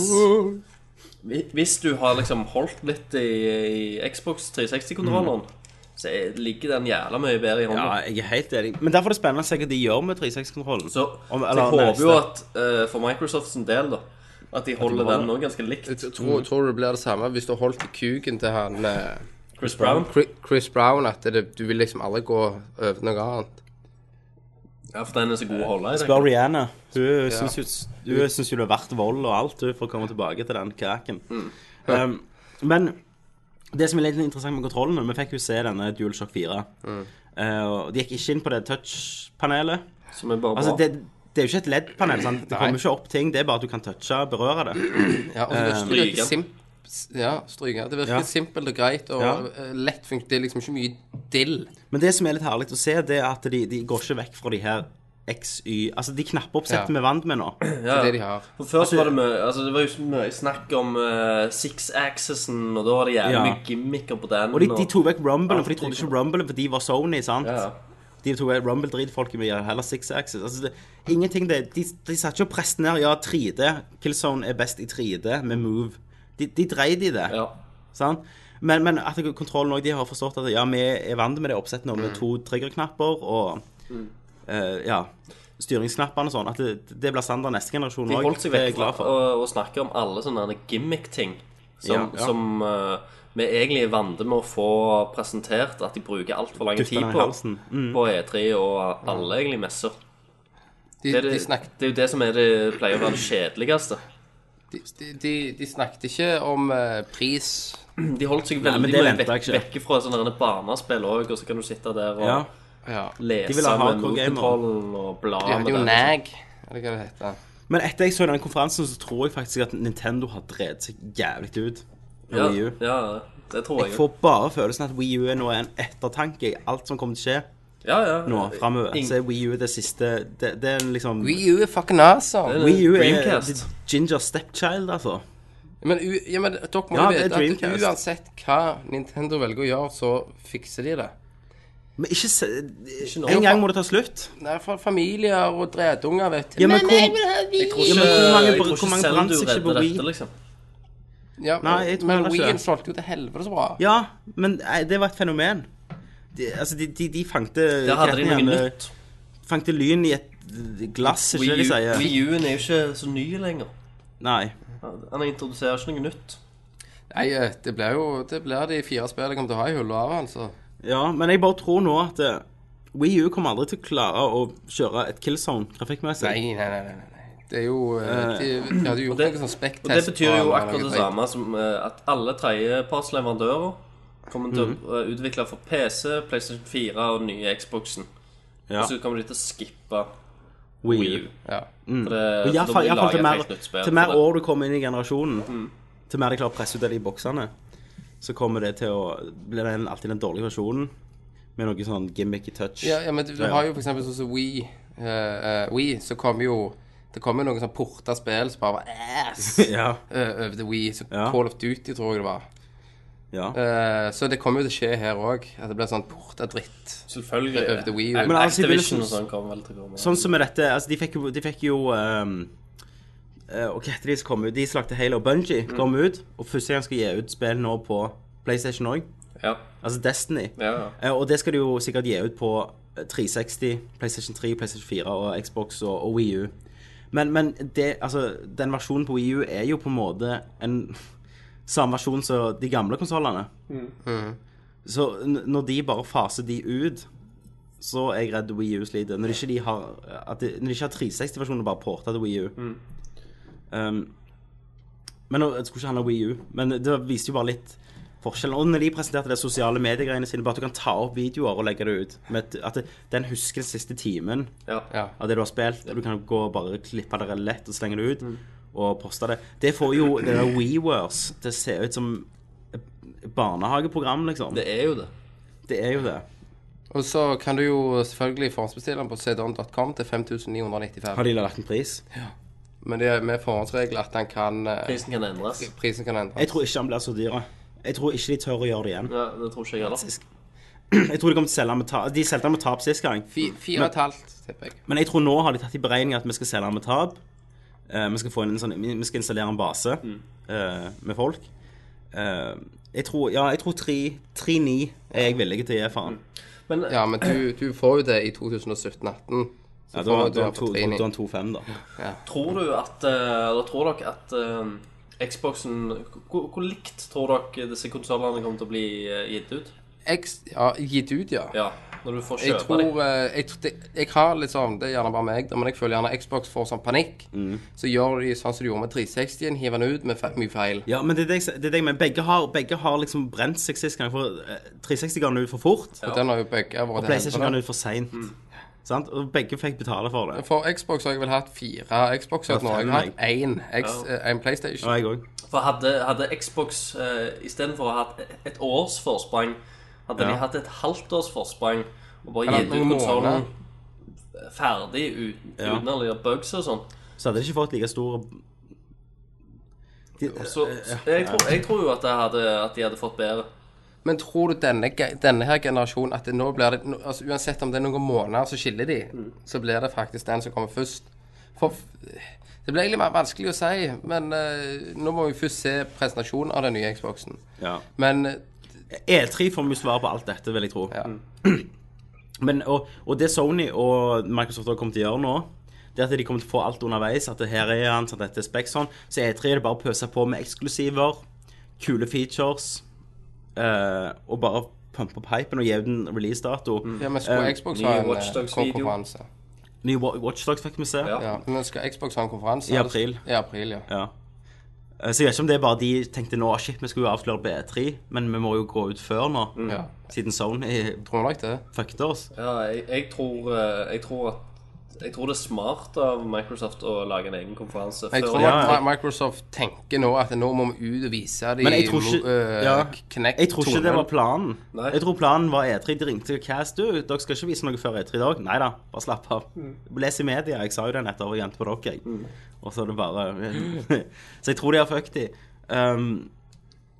Speaker 6: hvi- Hvis du har liksom holdt litt i, i Xbox 360-kontrolleren, så er- ligger den jævla mye bedre i hånda.
Speaker 4: Mm. ja, jeg er helt enig. Men derfor er det spennende å se hva de gjør med 360-kontrollen.
Speaker 6: Så,
Speaker 4: Om-
Speaker 6: så
Speaker 4: eller
Speaker 6: jeg håper
Speaker 4: neste.
Speaker 6: jo at eh, for Microsofts del, da At de holder
Speaker 4: holder.
Speaker 6: den òg ganske likt.
Speaker 5: Jeg tror, tror du det blir det samme hvis du har holdt i kuken til han eh,
Speaker 6: Chris Brown.
Speaker 5: Chri- Chris Brown, at det, du vil liksom aldri gå over noe annet.
Speaker 6: Ja, for den er så god å holde i.
Speaker 4: Spør
Speaker 6: tenker jeg.
Speaker 4: Rihanna. Hun syns jo hun syns jo det er verdt vold og alt hun, for å komme tilbake til den kraken.
Speaker 6: Mm.
Speaker 4: [laughs] Um, men det som er litt interessant med kontrollen Vi fikk jo se denne DualShock 4.
Speaker 6: Mm.
Speaker 4: Eh, og de gikk ikke inn på det touch-panelet.
Speaker 6: Som er bare bra.
Speaker 4: Altså, det, det er jo ikke et LED-panel. sant? Det kommer ikke opp ting. Det er bare at du kan touche og berøre det.
Speaker 5: Ja, og så virker det
Speaker 6: Stryker.
Speaker 5: virker simp... s- Ja, stryker. Det virker
Speaker 4: Eh, Ja.
Speaker 5: simpelt og greit og
Speaker 4: Ja.
Speaker 5: eh, lett funkt. Det er liksom ikke mye dill.
Speaker 4: Men det som er litt herlig å se, det er at de, de går ikke vekk fra de her X, Y Altså de knappeoppsettene
Speaker 5: Ja.
Speaker 4: vi er vant med nå.
Speaker 6: Ja.
Speaker 5: Det de har.
Speaker 6: For før så var det mye altså, Det var jo så mye snakk om eh, six-axisen, og da var det jævlig
Speaker 4: Ja.
Speaker 6: mye gimmicker på den.
Speaker 4: Og de, de tok vekk Rumble, for de
Speaker 6: Alt
Speaker 4: trodde
Speaker 6: de-
Speaker 4: ikke Rumble, for de var Sony, sant?
Speaker 6: Ja.
Speaker 4: De tok vekk Rumble dritfolket mye, heller Six Axis. Altså, det, ingenting det De, de satt ikke og presset ned ja, 3D. Killzone er best i 3D med Move. De, de dreide i det.
Speaker 6: Ja.
Speaker 4: Sant? Men, men at kontrollen òg De har forstått at ja, vi er vant med det oppsettet nå, med to
Speaker 6: Mm.
Speaker 4: triggerknapper og eh, ja, styringsknappene og sånn. At det, det blir standard neste generasjon
Speaker 6: De
Speaker 4: òg.
Speaker 6: holdt seg
Speaker 4: Det er
Speaker 6: vekk
Speaker 4: jeg
Speaker 6: fra
Speaker 4: glad
Speaker 6: å,
Speaker 4: for.
Speaker 6: å snakke om alle sånne gimmick-ting som,
Speaker 4: Ja, ja.
Speaker 6: som eh, vi egentlig er vant med å få presentert, at de bruker altfor lang
Speaker 4: Dytter
Speaker 6: tid
Speaker 4: den i
Speaker 6: på,
Speaker 4: halsen.
Speaker 6: på E3, og alle egentlig messer.
Speaker 5: De,
Speaker 6: Det er,
Speaker 5: de,
Speaker 6: det,
Speaker 5: snakket,
Speaker 6: det er jo det som er det pleier å være det kjedeligste.
Speaker 5: de, de, de, de snakket ikke om eh, pris.
Speaker 6: De holdt seg
Speaker 4: men
Speaker 6: veldig
Speaker 4: det
Speaker 6: mye
Speaker 4: venter jeg
Speaker 6: vekk,
Speaker 4: ikke.
Speaker 6: vekke fra sånne derne barnespill òg, og så kan du sitte der og
Speaker 4: Ja.
Speaker 5: Ja.
Speaker 6: lese
Speaker 4: De vil ha
Speaker 6: med
Speaker 4: hardcore gamer.
Speaker 6: motkontrollen og bla
Speaker 5: De hadde jo
Speaker 6: den.
Speaker 5: NAG, eller hva det heter.
Speaker 4: Men etter jeg så den konferansen, så tror jeg faktisk at Nintendo har drevet seg jævlig ut. med Wii U.
Speaker 6: Ja, ja, det tror jeg.
Speaker 4: Jeg får bare følelsen at Wii U er nå en ettertanke i alt som kommer til å skje
Speaker 6: ja, ja.
Speaker 4: nå framover.
Speaker 6: Ing-
Speaker 4: Så er Wii U det siste Det, det er en liksom
Speaker 5: Wii U er fucking awesome.
Speaker 6: Det er
Speaker 4: Wii U er
Speaker 6: Dreamcast.
Speaker 4: the ginger stepchild, altså.
Speaker 5: Men, u, ja, men dere må
Speaker 4: Ja,
Speaker 5: jo
Speaker 4: det er
Speaker 5: vite at
Speaker 4: Dreamcast.
Speaker 5: uansett hva Nintendo velger å gjøre, så fikser de det.
Speaker 4: Men ikke se
Speaker 6: nå.
Speaker 4: En gang må det ta slutt.
Speaker 5: Nei, for familier og dretunger, vet du.
Speaker 4: Ja, men hvor-
Speaker 6: Jeg tror
Speaker 4: Ja,
Speaker 6: ikke,
Speaker 4: men hvor mange-
Speaker 6: jeg tror
Speaker 4: hvor
Speaker 6: ikke
Speaker 4: mange
Speaker 6: selv
Speaker 4: brant
Speaker 6: du
Speaker 4: seg ikke på
Speaker 6: redder
Speaker 4: Wii?
Speaker 6: dette, liksom.
Speaker 5: Ja,
Speaker 4: Nei, jeg tror
Speaker 5: men
Speaker 4: heller ikke
Speaker 5: Wii-en
Speaker 4: det.
Speaker 5: solgte jo til helvete så bra.
Speaker 4: Ja, men eh, det var et fenomen. De, altså, de, de, de fangte
Speaker 6: Der hadde de
Speaker 4: katten
Speaker 6: noe
Speaker 4: igjen, eh,
Speaker 6: nytt.
Speaker 4: Fangte lyn i et glass, ikke det de sier?
Speaker 6: Wii U-en er jo ikke så ny lenger.
Speaker 4: Nei.
Speaker 6: Han introduserer ikke noe nytt.
Speaker 5: Nei, eh, det blir jo det blir de fire spillene jeg kommer til å ha i hullet av, altså.
Speaker 4: Ja, men jeg bare tror nå at eh, Wii U kommer aldri til å klare å kjøre et killzone trafikkmessig.
Speaker 5: Nei, nei, nei, nei, nei. Det er jo eh, De, de hadde jo gjort
Speaker 6: det-
Speaker 5: noe sånn spekktest.
Speaker 6: Og det betyr jo
Speaker 5: på-
Speaker 6: akkurat det samme som eh, at alle tredjepartsleverandører kommer til
Speaker 4: Mhm.
Speaker 6: å eh, utvikle for PC, PlayStation 4 og den nye Xboxen.
Speaker 4: Ja.
Speaker 6: Og så kommer de til å skippe
Speaker 4: Wii
Speaker 6: altså, Wii U. Altså,
Speaker 5: Ja.
Speaker 6: For
Speaker 4: Og
Speaker 6: det, for da må
Speaker 4: iallfall
Speaker 6: de lage
Speaker 4: til
Speaker 6: et
Speaker 4: mer,
Speaker 6: helt nytt spill
Speaker 4: til mer
Speaker 6: for det. Mm.
Speaker 4: år du kommer inn i generasjonen, til mer de klarer å presse ut av de boksene, så kommer det til å bli den, alltid den dårlige versjonen med noe sånn gimmicky touch.
Speaker 5: Ja, ja, men du, du
Speaker 4: Ja.
Speaker 5: har jo for eksempel sånn som Wii, eh, eh, Wii, så kom jo Det kom jo noen sånn porta spill som bare var ass
Speaker 4: [laughs] ja.
Speaker 5: eh, over til Wii. Så
Speaker 4: Ja.
Speaker 5: Call of Duty, tror jeg det var.
Speaker 4: ja.
Speaker 5: Eh, så det kommer jo til å skje her òg, at det blir sånn porta dritt.
Speaker 6: Selvfølgelig.
Speaker 5: Over til Wii U.
Speaker 4: Men altså, i
Speaker 6: Activision
Speaker 4: begynnelsen-
Speaker 6: og sånn kommer vel til å komme.
Speaker 4: Sånn som med dette, altså de fikk jo, de fikk jo ehm, eh, Og hva heter de som kom ut? De som lagde Halo Bungie
Speaker 6: Mm.
Speaker 4: kom ut, og første gang skal gi ut spill nå på PlayStation òg.
Speaker 6: Ja.
Speaker 4: Altså Destiny.
Speaker 6: Ja, ja.
Speaker 4: Eh, og det skal de jo sikkert gi ut på eh, 360, PlayStation 3, PlayStation 4 og Xbox og, og Wii U. Men, men det, altså, den versjonen på Wii U er jo på en måte en [laughs] samme versjon som de gamle konsollene. Så n- når de bare faser de ut, så er jeg redd Wii U sliter. Når de ikke, de har, at de, når de ikke har 360-versjonen og bare porter til Wii U. Um, men nå- Det skulle ikke handle om Wii U, men det viste jo bare litt forskjellen. Og når de presenterte det sosiale mediegreiene sine, bare at du kan ta opp videoer og legge det ut med et, At det, den husker den siste timen
Speaker 6: Ja.
Speaker 5: Ja.
Speaker 4: av det du har spilt. og Du kan gå og bare klippe det lett og slenge det ut og poste det. Det får jo det der WeWars til å se ut som et barnehageprogram, liksom.
Speaker 6: Det er jo det.
Speaker 4: Det er jo det.
Speaker 5: Og så kan du jo selvfølgelig forhåndsbestille den på cdon.com til 5995.
Speaker 4: Har de lagt en pris?
Speaker 5: Men det er med forhåndsregler at den kan eh,
Speaker 6: Prisen kan endres.
Speaker 5: Prisen kan
Speaker 4: Jeg
Speaker 5: endres.
Speaker 4: tror ikke han blir så dyr. Jeg tror ikke de tør å gjøre det igjen.
Speaker 6: Ja, det tror ikke jeg heller.
Speaker 4: Jeg tror De kommer til å selge med tap. De solgte den med tap sist gang.
Speaker 5: Fi- Fire og et halvt, tipper jeg.
Speaker 4: Men jeg tror nå har de tatt i beregning at vi skal selge den med tap. Eh, vi, skal få inn en sånn, vi skal installere en base eh, med folk. Eh, jeg tror, ja, jeg tror 3-9 er jeg villig til å gi faen.
Speaker 6: Men eh,
Speaker 5: Ja, men du, du får jo det i 2017-18. Så får
Speaker 4: Ja, da da
Speaker 5: du
Speaker 4: er
Speaker 5: det på
Speaker 4: han
Speaker 5: Trini.
Speaker 4: 2-5, da.
Speaker 6: tror du at eh, Eller tror dere at eh, Xboxen hvor, hvor likt tror dere disse konsollene kommer til å bli eh, gitt ut?
Speaker 5: X, ja, gitt ut, ja.
Speaker 6: Ja, når du får
Speaker 5: Jeg
Speaker 6: kjøpe
Speaker 5: tror
Speaker 6: dem?
Speaker 5: eh, jeg, tr- det, jeg har litt sånn, det er gjerne bare meg, da, men jeg føler gjerne Xbox får sånn panikk.
Speaker 4: Mm.
Speaker 5: Så gjør de sånn som de gjorde med 360-en, hiver den ut med fe- mye feil.
Speaker 4: Ja, men det er det jeg, s- det er det jeg mener. Begge har, begge har liksom brent seg sist gang. For eh, 360 ga den ut for fort,
Speaker 5: Og den har jo begge vært
Speaker 4: og PlayStation ga
Speaker 5: helvete.
Speaker 4: den ut for seint. Sant? Og begge fikk betale for det.
Speaker 5: For Xbox har jeg vel hatt fire Xboxer
Speaker 4: Ja,
Speaker 5: nå. Jeg
Speaker 4: fem,
Speaker 5: har hatt én X- eh, en PlayStation.
Speaker 4: Og jeg òg.
Speaker 6: For hadde, hadde Xbox uh, istedenfor å ha hatt et- et års forsprang, hadde
Speaker 4: Ja.
Speaker 6: de hatt et halvt års forsprang og bare
Speaker 5: Eller
Speaker 6: gitt ut
Speaker 5: noen
Speaker 6: konsollen ferdig uten,
Speaker 4: Ja.
Speaker 6: uten alle de bugs og sånn.
Speaker 4: Så hadde de ikke fått like stor de,
Speaker 6: Så, så jeg, tror, jeg tror jo at, jeg hadde, at de hadde fått bedre.
Speaker 5: Men tror du denne, ge- denne her generasjonen at det nå blir det nå- altså Uansett om det er noen måneder så skiller de,
Speaker 6: Mm.
Speaker 5: så blir det faktisk den som kommer først. For f- det blir egentlig mer vanskelig å si, men eh, nå må vi først se presentasjonen av den nye Xboxen.
Speaker 4: Ja.
Speaker 5: Men eh,
Speaker 4: E3 får vi svar på alt dette, vil jeg tro. [clears throat] Men, og, og det Sony og Microsoft har kommet til å gjøre nå, det er at de kommer til å få alt underveis. At det her er han, sånn, dette er spek sånn. Så E3 er det bare å pøse på med eksklusiver, kule features, eh, og bare pumpe opp hypen og gi ut en releasedato.
Speaker 5: ja, men skulle
Speaker 4: Eh,
Speaker 5: Xbox
Speaker 6: ny
Speaker 5: ha en
Speaker 6: Watch
Speaker 5: eh,
Speaker 6: Dogs video.
Speaker 5: konferanse?
Speaker 4: Ny Wa- Watch Dogs fikk vi se.
Speaker 6: Ja.
Speaker 5: Ja, men skal Xbox ha en konferanse?
Speaker 4: I april.
Speaker 5: I april, ja.
Speaker 4: Ja. Eh, Så jeg vet ikke om det er bare de tenkte nå ah, shit, vi skulle jo avsløre på E3, men vi må jo gå ut før nå.
Speaker 6: Mm.
Speaker 5: ja.
Speaker 4: Siden Sony
Speaker 5: Tror nok det.
Speaker 4: fucket oss.
Speaker 6: Ja, jeg, jeg, tror, eh, jeg tror at jeg tror det er smart av Microsoft å lage en egen konferanse.
Speaker 5: Jeg
Speaker 6: før-
Speaker 5: tror
Speaker 4: Ja,
Speaker 5: at Mi- Microsoft tenker nå at nå må vi ut og vise de
Speaker 4: Men jeg tror ikke-
Speaker 5: eh,
Speaker 4: ja.
Speaker 5: Kinect
Speaker 4: Jeg tror ikke det
Speaker 5: 2.0.
Speaker 4: var planen.
Speaker 6: Nei.
Speaker 4: Jeg tror planen var E3. De ringte til Cast. Du, dere skal ikke vise noe før E3 i dag. Nei da, bare slapp av. Les i media. Jeg sa jo det nettopp og gjemte på dere. Jeg. Og så er det bare [laughs] Så jeg tror de har fucked de. Um,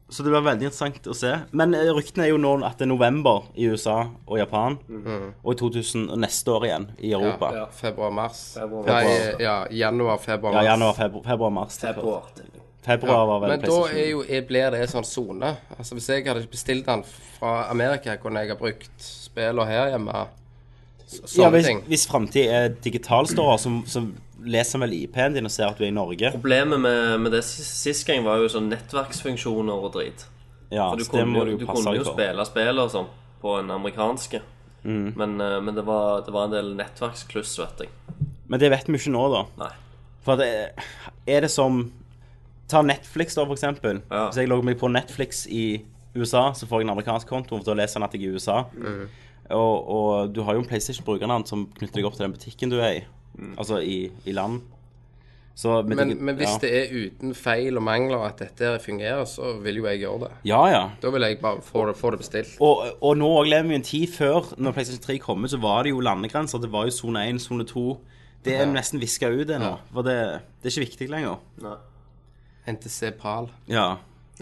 Speaker 4: så det blir veldig interessant å se. Men eh, ryktene er jo nå at det er november i USA og Japan.
Speaker 5: Mm.
Speaker 4: Og i 2000 og neste år igjen i Europa.
Speaker 5: Ja, februar-mars.
Speaker 6: Februar,
Speaker 5: Nei,
Speaker 6: mars.
Speaker 5: ja, januar-februar-mars.
Speaker 4: Ja, januar, februar, februar mars.
Speaker 6: Februar.
Speaker 4: Februar var vel
Speaker 5: Men da er jo, er- blir det en sånn sone. Altså, hvis jeg hadde bestilt den fra Amerika, kunne jeg ha brukt spillene her hjemme. S- Sånne
Speaker 4: ja, hvis,
Speaker 5: ting.
Speaker 4: hvis framtid er digitalstårer, så, så leser vel IP-en din og ser at du er i Norge.
Speaker 6: Problemet med, med det sist, sist gang var jo sånn nettverksfunksjoner og drit.
Speaker 4: Ja,
Speaker 6: For
Speaker 4: så Altså,
Speaker 6: du
Speaker 4: det
Speaker 6: kunne,
Speaker 4: må du
Speaker 6: jo,
Speaker 4: jo
Speaker 6: du
Speaker 4: passe
Speaker 6: kunne jo
Speaker 4: deg for. Mm.
Speaker 6: spille spill og sånn på en amerikanske. Men, eh, men det, var, det var en del nettverkskluss, vet jeg.
Speaker 4: Men det vet vi ikke nå, da.
Speaker 6: Nei.
Speaker 4: For det, er det som Ta Netflix, da, for eksempel.
Speaker 6: Ja.
Speaker 4: Hvis jeg logger meg på Netflix i USA, så får jeg en amerikansk konto, for da leser han at jeg er i USA.
Speaker 6: Mm.
Speaker 4: Og, og du har jo en PlayStation-brukernavn som knytter deg opp til den butikken du er i.
Speaker 6: Mm.
Speaker 4: Altså i, i land. Så, med
Speaker 5: Men,
Speaker 4: digi-
Speaker 5: men hvis
Speaker 4: ja.
Speaker 5: det er uten feil og mangler at dette her fungerer, så vil jo jeg gjøre det.
Speaker 4: Ja, ja.
Speaker 5: Da vil jeg bare få det, få det bestilt.
Speaker 4: Og, og nå også lever vi i en tid før, når PlayStation 3 kom ut, så var det jo landegrenser. Det var jo sone 1, sone 2. Det er nesten viska ut det nå. For det, det er ikke viktig lenger.
Speaker 6: Nei.
Speaker 5: NTC Pal.
Speaker 4: Ja.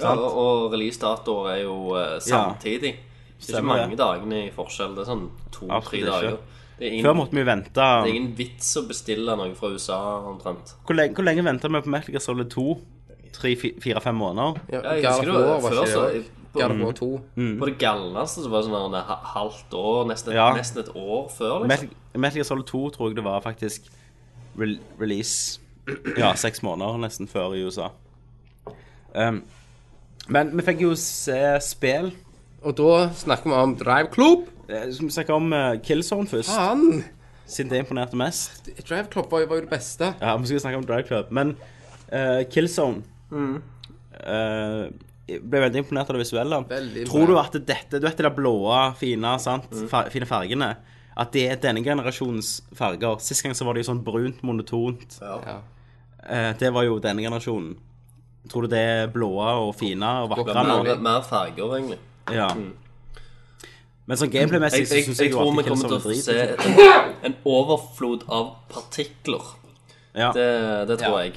Speaker 6: Ja, og, og releasedatoer er jo eh, samtidig. Det er ikke
Speaker 4: Stemmer det.
Speaker 6: mange dagene i forskjell. Det er sånn
Speaker 4: Absolutt
Speaker 6: to-tre
Speaker 4: ikke.
Speaker 6: dager. Det er,
Speaker 4: Før
Speaker 6: ingen,
Speaker 4: måtte vi vente
Speaker 6: det er ingen vits å bestille noe fra USA omtrent.
Speaker 4: Hvor lenge, hvor lenge venta vi på Metal Gear Solid 2? 3-4-5 måneder?
Speaker 5: Ja,
Speaker 6: Ja, jeg
Speaker 5: God
Speaker 6: husker
Speaker 5: of
Speaker 6: det var
Speaker 5: War var
Speaker 6: før,
Speaker 5: ikke
Speaker 6: så-
Speaker 5: det også. God of War 2.
Speaker 6: På det galneste så var det sånn her, det ha- halvt år, nesten,
Speaker 4: Ja.
Speaker 6: nesten et år før.
Speaker 4: Metal,
Speaker 6: liksom.
Speaker 4: Metal Gear Solid 2 tror jeg det var faktisk re release Ja, seks måneder nesten før i USA. Um, men vi fikk jo se spill.
Speaker 5: Og da snakker vi om Drive Club.
Speaker 4: Eh, Skal vi snakke om eh, Killzone først,
Speaker 5: Faen!
Speaker 4: siden det imponerte mest?
Speaker 5: Drive Club var jo var jo det beste.
Speaker 4: Ja, vi skal snakke om Drive Club, men eh, Killzone eh, jeg ble veldig imponert av det visuelle.
Speaker 5: Veldig
Speaker 4: Tror du
Speaker 5: bra.
Speaker 4: at dette Du vet det der blåe, fine, sant? Fa- fine fargene? At det er denne generasjons farger. Sist gang så var det jo sånn brunt, monotont.
Speaker 5: Ja.
Speaker 4: Eh, det var jo denne generasjonen. Tror du det er blåe og fine og vakre
Speaker 5: Godt
Speaker 4: nå?
Speaker 5: mulig.
Speaker 6: Mer, mer farger, egentlig.
Speaker 4: Ja. Men sånn gameplay-messig
Speaker 6: Jeg,
Speaker 4: så
Speaker 6: jeg,
Speaker 4: syns
Speaker 6: jeg
Speaker 4: jeg jo
Speaker 6: tror vi
Speaker 4: alltid
Speaker 6: kommer til
Speaker 4: Killzone
Speaker 6: å
Speaker 4: er
Speaker 6: se
Speaker 4: drit. liksom.
Speaker 6: en overflod av partikler.
Speaker 4: Ja.
Speaker 6: Det, det tror jeg.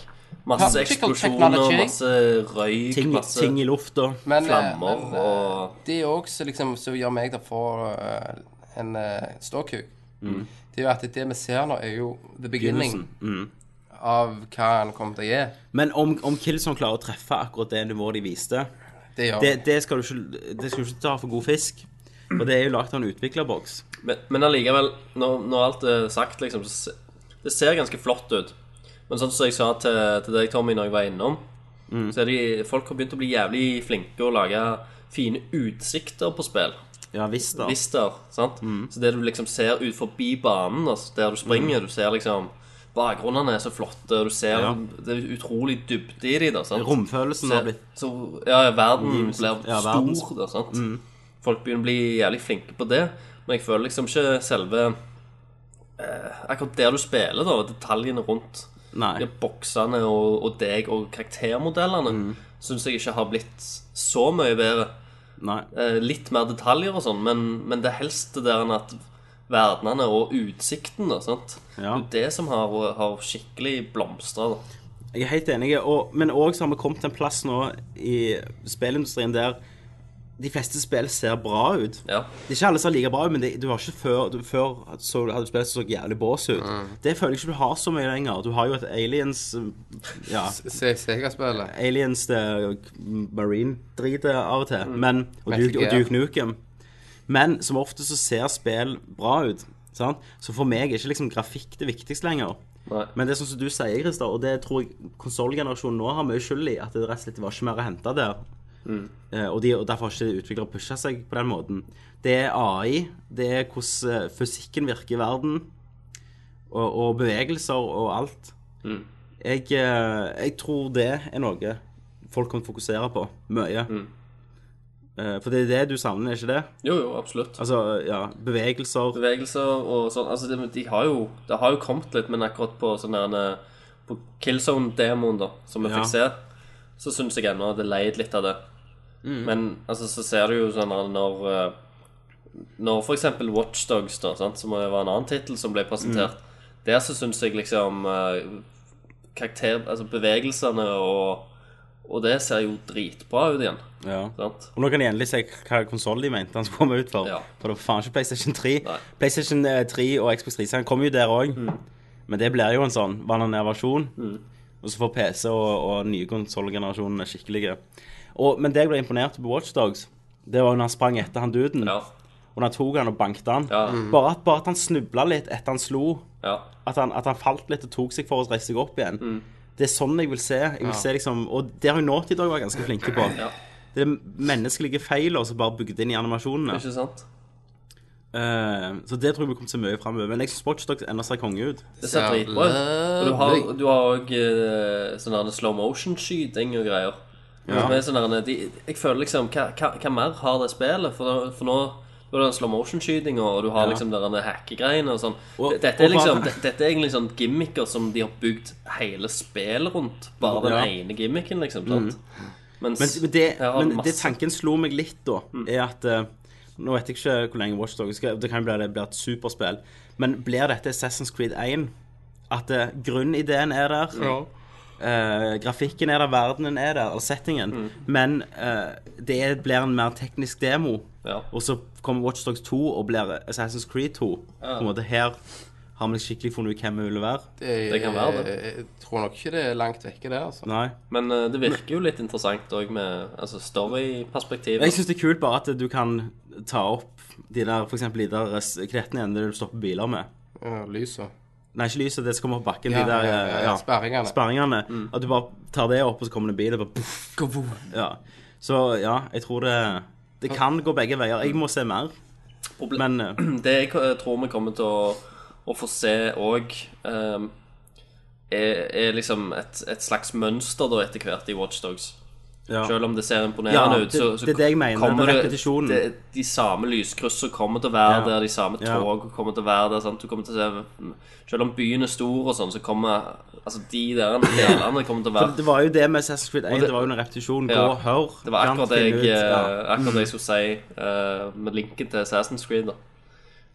Speaker 6: Masse
Speaker 5: Particle
Speaker 6: eksplosjoner,
Speaker 5: technology.
Speaker 6: masse røyk,
Speaker 4: Ting,
Speaker 6: masse
Speaker 4: ting i lufta.
Speaker 5: Men, eh,
Speaker 6: flammer
Speaker 5: men, eh,
Speaker 6: og
Speaker 5: Det er også liksom, som gjør meg til å få eh, en eh, ståkuk.
Speaker 6: Mm.
Speaker 5: Det er jo at det vi ser nå, er jo the beginning
Speaker 6: Mm.
Speaker 5: av hva han kommer til å gi.
Speaker 4: Men om, om Killzone klarer å treffe akkurat det nivået de viste
Speaker 5: Det gjør
Speaker 4: det, det, skal du ikke, det skal du ikke ta for god fisk. For det er jo lagd av en utviklerboks.
Speaker 6: Men, men allikevel, når, når alt er sagt, liksom, så se- det ser ganske flott ut. Men sånn som jeg sa til, til deg, Tommy, når jeg var innom,
Speaker 4: Mm.
Speaker 6: så er de, folk har begynt å bli jævlig flinke å lage fine utsikter på spill.
Speaker 4: Ja visst, da.
Speaker 6: Lister, sant?
Speaker 4: Mm.
Speaker 6: Så det du liksom ser ut forbi banen, altså, der du springer, du ser liksom Bakgrunnene er så flotte, og du ser
Speaker 4: Ja.
Speaker 6: Det er utrolig dybde i de, da. sant?
Speaker 4: Romfølelsen har
Speaker 6: Så-
Speaker 4: blitt
Speaker 6: så, ja, ja, verden blir
Speaker 4: Mm. Ja, verden- Mm.
Speaker 6: stor, da, sant? Folk begynner å bli jævlig flinke på det, men jeg føler liksom ikke selve eh, Akkurat der du spiller, da, og detaljene rundt
Speaker 4: Nei.
Speaker 6: de boksene og, og deg og karaktermodellene,
Speaker 4: Mm.
Speaker 6: syns jeg ikke har blitt så mye bedre.
Speaker 4: Nei.
Speaker 6: Eh, litt mer detaljer og sånn, men, men det er helst det der enn at verdenene og utsiktene. sant?
Speaker 4: Ja.
Speaker 6: Det er det som har, har skikkelig blomstra.
Speaker 4: Jeg er helt enig, og, men òg så har vi kommet til en plass nå i spillindustrien der de fleste spill ser bra ut.
Speaker 6: Ja.
Speaker 4: Det er ikke alle som er like bra, men det, du har ikke før, du, før at så, hadde du spilt så jævlig bås ut. Det føler jeg ikke du har så mye lenger. Du har jo et aliens Ja, [laughs]
Speaker 5: Se Sega-spillet.
Speaker 4: aliens det er jo marine-dritet av og til, men, og,
Speaker 5: Metal
Speaker 4: Duke, og
Speaker 5: Gear.
Speaker 4: Duke Nukem. Men som ofte så ser spill bra ut. Sant? Så for meg er ikke liksom grafikk det viktigste lenger.
Speaker 6: Nei.
Speaker 4: Men det er sånn som du sier, Christer, og det tror jeg konsollgenerasjonen nå har mye skyld i, at det rett og slett var ikke mer å hente der. Eh, og, de, og derfor har ikke utviklere pusha seg på den måten. Det er AI, det er hvordan eh, fysikken virker i verden, og, og bevegelser og alt. Jeg, eh, jeg tror det er noe folk kommer til å fokusere på mye. Eh, for det er det du savner, er ikke det?
Speaker 6: Jo, jo, absolutt.
Speaker 4: Altså, ja, bevegelser
Speaker 6: Bevegelser og sånn. Altså, de, de har jo, det har jo kommet litt, men akkurat på sånn der På Killzone-demoen, da, som vi
Speaker 4: Ja.
Speaker 6: fikk se, så syns jeg ennå det leid litt av det. Men altså, så ser du jo sånn at når eh, Når for eksempel Watchdogs, da, sant, som var en annen tittel som ble presentert, der så syns jeg liksom eh, Karakter Altså bevegelsene og Og det ser jo dritbra ut igjen.
Speaker 4: Ja.
Speaker 6: Sant?
Speaker 4: Og nå kan jeg endelig se hva konsoll de mente han skulle komme ut for.
Speaker 6: Ja.
Speaker 4: For det var faen ikke PlayStation 3.
Speaker 6: Nei.
Speaker 4: PlayStation eh, 3 og Xbox 3 kom jo der òg.
Speaker 6: Mm.
Speaker 4: Men det blir jo en sånn vanlig versjon. Og så får PC og, og nye konsollgenerasjonen skikkelige. Og, men det jeg ble imponert på Watchdogs, det var når han sprang etter han duden.
Speaker 6: Ja.
Speaker 4: Og når han tok han og banket han.
Speaker 6: Ja. Mm.
Speaker 4: Bare, at, bare at han snubla litt etter han slo.
Speaker 6: Ja.
Speaker 4: At han, at han falt litt og tok seg for å reise seg opp igjen.
Speaker 6: Mm.
Speaker 4: Det er sånn jeg vil se. Jeg vil se liksom, og det har jo Naughty Dog vært ganske flinke på.
Speaker 6: Ja.
Speaker 4: Det er menneskelige feil som bare bygd inn i animasjonene.
Speaker 6: Ikke sant?
Speaker 4: Eh, så det tror jeg vi kommer til å se mye fremover. Men jeg syns Watchdog ennå ser konge ut.
Speaker 6: Det ser dritbra ut. Og du har, du har også eh, sånn der slow motion-skyting og greier. Som er sånn der, de, jeg føler liksom hva, hva, hva mer har det spillet? For, for nå nå er det slow motion-skytinga, og du har
Speaker 4: Ja.
Speaker 6: liksom der hackegreiene og sånn.
Speaker 4: Og-
Speaker 6: Dette- Dette er
Speaker 4: og bare-
Speaker 6: liksom dette, dette er egentlig sånn gimmicker som de har bygd hele spillet rundt. Bare den
Speaker 4: Ja. Mhm.
Speaker 6: ene gimmicken, liksom. Sant? Mens,
Speaker 4: Men, men, det,
Speaker 6: jeg har
Speaker 4: men det
Speaker 6: masse- Mm.
Speaker 4: tanken slo meg litt, da, er at eh, Nå vet jeg ikke hvor lenge Watchdog skal Det kan jo bli at det blir et superspill. Men blir dette Assassin's Creed 1? At eh, grunnideen er der. eh, grafikken er der, verdenen er der, og settingen.
Speaker 6: Mm.
Speaker 4: Men eh, det er- blir en mer teknisk demo.
Speaker 6: Ja.
Speaker 4: Og så kommer Watchdogs 2 og blir Assassin's Creed 2. På en måte her har vi skikkelig funnet ut hvem vi ville være.
Speaker 6: Det kan være det.
Speaker 5: eh, Jeg tror nok ikke det er langt vekke, det, altså.
Speaker 4: Nei.
Speaker 6: Men eh, det virker jo litt interessant òg med altså,
Speaker 4: Jeg
Speaker 6: story-perspektivet.
Speaker 4: syns det er kult bare at du kan ta opp de der, for eksempel de der s- krettene igjen der du stopper biler med.
Speaker 5: Ja, Eh, Lyset.
Speaker 4: Nei, ikke lyset, det som kommer opp bakken.
Speaker 5: Ja,
Speaker 4: de der
Speaker 5: ja, ja, Mm.
Speaker 4: eh,
Speaker 5: ja, sperringene.
Speaker 4: sperringene. At du bare tar det opp, og så kommer det en bil, og bare puff. Ja. Så ja, jeg tror det Det kan gå begge veier. Jeg må se mer.
Speaker 6: Problem-
Speaker 4: Men
Speaker 6: [clears throat]
Speaker 4: eh,
Speaker 6: Det jeg eh, tror vi kommer til å, å få se òg er, er liksom et, et slags mønster da etter hvert i Watchdogs.
Speaker 4: ja.
Speaker 6: Selv om det ser imponerende
Speaker 4: Ja,
Speaker 6: ut, så,
Speaker 4: det-
Speaker 6: så
Speaker 4: det er det jeg mener,
Speaker 6: kommer
Speaker 4: den
Speaker 6: det-
Speaker 4: repetisjonen.
Speaker 6: Det, de samme lyskryssene kommer til å være
Speaker 4: Ja.
Speaker 6: der, de samme
Speaker 4: Ja.
Speaker 6: tog kommer til å være der. Sant? Du kommer til å se, selv om byen er stor og sånn, så kommer altså de der delene kommer til å
Speaker 4: For
Speaker 6: være
Speaker 4: det var jo det med Assassin's Creed 1.
Speaker 6: det-
Speaker 4: Det var jo en repetisjon. Gå
Speaker 6: Ja.
Speaker 4: og hør.
Speaker 6: Det var
Speaker 4: Kan
Speaker 6: akkurat det
Speaker 4: finne
Speaker 6: jeg,
Speaker 4: ut, ja.
Speaker 6: eh, akkurat det jeg skulle si eh, med linken til Assassin's Creed. Da.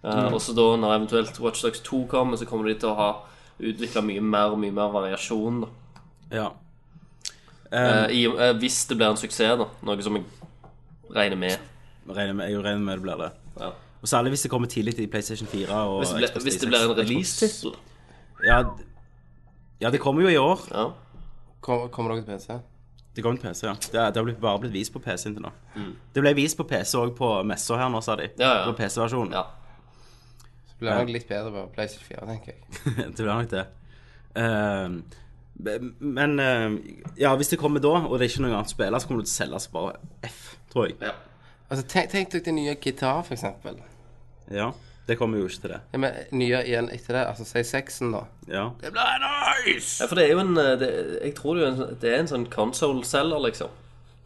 Speaker 6: Eh,
Speaker 4: Mm.
Speaker 6: Og så da, når eventuelt Watchdogs 2 kommer, så kommer de til å ha utvikla mye mer mye mer variasjon. Da.
Speaker 4: Ja. Ehm,
Speaker 6: Eh, i, eh, hvis det blir en suksess, da. Noe som jeg regner med.
Speaker 4: Jeg regner med, jeg regner med det blir det.
Speaker 6: Ja.
Speaker 4: Og særlig hvis det kommer tidlig til PlayStation 4 og
Speaker 6: Hvis det, ble,
Speaker 4: Xbox
Speaker 6: hvis
Speaker 4: 360.
Speaker 6: det blir en release-tittel.
Speaker 4: Ja, d- ja, det kommer jo i år.
Speaker 6: Ja.
Speaker 5: Kom- Kommer dere til PC?
Speaker 4: Det kommer til PC, ja. Det, det har blitt, bare blitt vist på PC inntil nå. Det ble vist på PC òg på messa her nå, sa de.
Speaker 6: Mm. Ja, ja.
Speaker 4: På PC-versjonen.
Speaker 6: ja.
Speaker 5: Det blir nok litt bedre på PlayStation 4, tenker jeg.
Speaker 4: [laughs] det blir nok det. Ehm, be- men eh, ja, hvis det kommer da, og det er ikke noe annet å spille, så kommer det til å selges bare F, tror jeg.
Speaker 6: ja.
Speaker 5: Altså, tenk, tenk dere det nye gitar, for eksempel.
Speaker 4: Ja. Det kommer jo ikke til det.
Speaker 5: Ja, men eh, nye igjen etter det, altså si sexen, da.
Speaker 4: Ja.
Speaker 6: ja, for det er jo en eh, det, Jeg tror det er en, det er en sånn console-selger, liksom.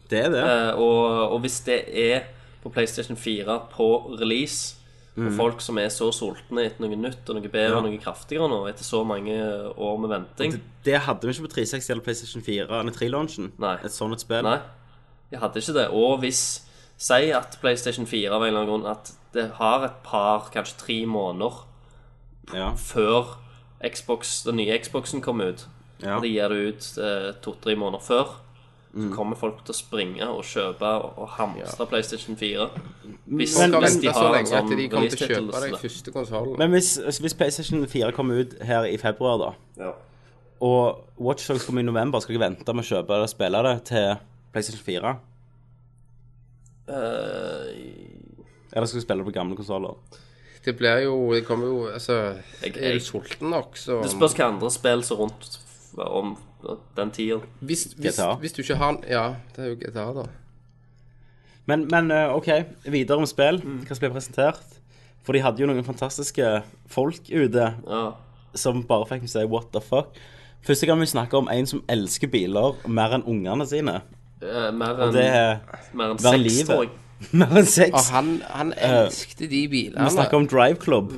Speaker 4: Det er det.
Speaker 6: Eh, og, og hvis det er på PlayStation 4 på release og folk som er så sultne etter noe nytt og noe bedre og
Speaker 4: Ja.
Speaker 6: noe kraftigere nå, etter så mange år med venting
Speaker 4: det. Det hadde vi ikke på 360 eller PlayStation 4 eller 3-launchen.
Speaker 6: Nei.
Speaker 4: Et sånt et spill.
Speaker 6: Nei, de hadde ikke det. Og hvis Si at PlayStation 4 av en eller annen grunn At det har et par, kanskje tre måneder
Speaker 4: Ja.
Speaker 6: før Xbox, den nye Xboxen kommer ut.
Speaker 4: Ja.
Speaker 6: De gir det ut eh, to-tre måneder før.
Speaker 5: Mm.
Speaker 6: Så kommer folk til å springe og kjøpe og, og hamstre PlayStation 4. Hvis,
Speaker 5: Folk har
Speaker 6: hvis
Speaker 5: venta
Speaker 6: de
Speaker 5: så
Speaker 6: har en
Speaker 5: lenge at
Speaker 6: sånn
Speaker 5: de kommer til å
Speaker 6: release-tittel,
Speaker 5: kjøpe den
Speaker 6: så-
Speaker 5: første konsollen.
Speaker 4: Men hvis, altså, hvis PlayStation 4 kommer ut her i februar, da,
Speaker 6: Ja.
Speaker 4: og Watchdogs kommer i november, skal jeg vente med å kjøpe det og spille det til PlayStation 4?
Speaker 6: Eh,
Speaker 4: Eller skal jeg spille det på gamle konsoller?
Speaker 5: Det blir jo Det kommer jo Altså,
Speaker 6: Jeg-
Speaker 5: er
Speaker 6: jeg-
Speaker 5: du sulten nok, så
Speaker 6: Det spørs hva andre spill som rundt om den tida.
Speaker 5: hvis, hvis,
Speaker 4: GTA.
Speaker 5: hvis du ikke har Ja, det er jo GTA, da.
Speaker 4: Men, men eh, OK, videre om spill. Hva som ble presentert? For de hadde jo noen fantastiske folk ute
Speaker 6: Ja.
Speaker 4: som bare fikk meg til å si what the fuck. Første gang vi snakker om en som elsker biler mer enn ungene sine.
Speaker 6: Eh, Mer enn
Speaker 4: Det er
Speaker 6: mer enn
Speaker 4: Hver
Speaker 6: seks,
Speaker 4: livet.
Speaker 6: tror jeg.
Speaker 4: [laughs] mer enn
Speaker 5: Og
Speaker 4: sex.
Speaker 5: han, han elsket de bilene.
Speaker 4: Eh, Vi snakker om Drive Club.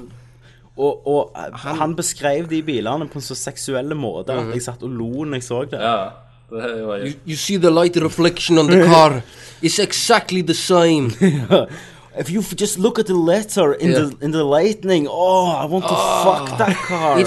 Speaker 4: Og, og eh, han beskrev de bilene på en så seksuell måte at jeg satt og lo når jeg så det.
Speaker 6: Ja. Det er jo jeg.
Speaker 5: You see the light reflection on the car. It's exactly the same.
Speaker 4: [laughs] If you just look at the letter in,
Speaker 5: Yeah. Ah.
Speaker 4: the, in the lightning Oh, I want to fuck that car.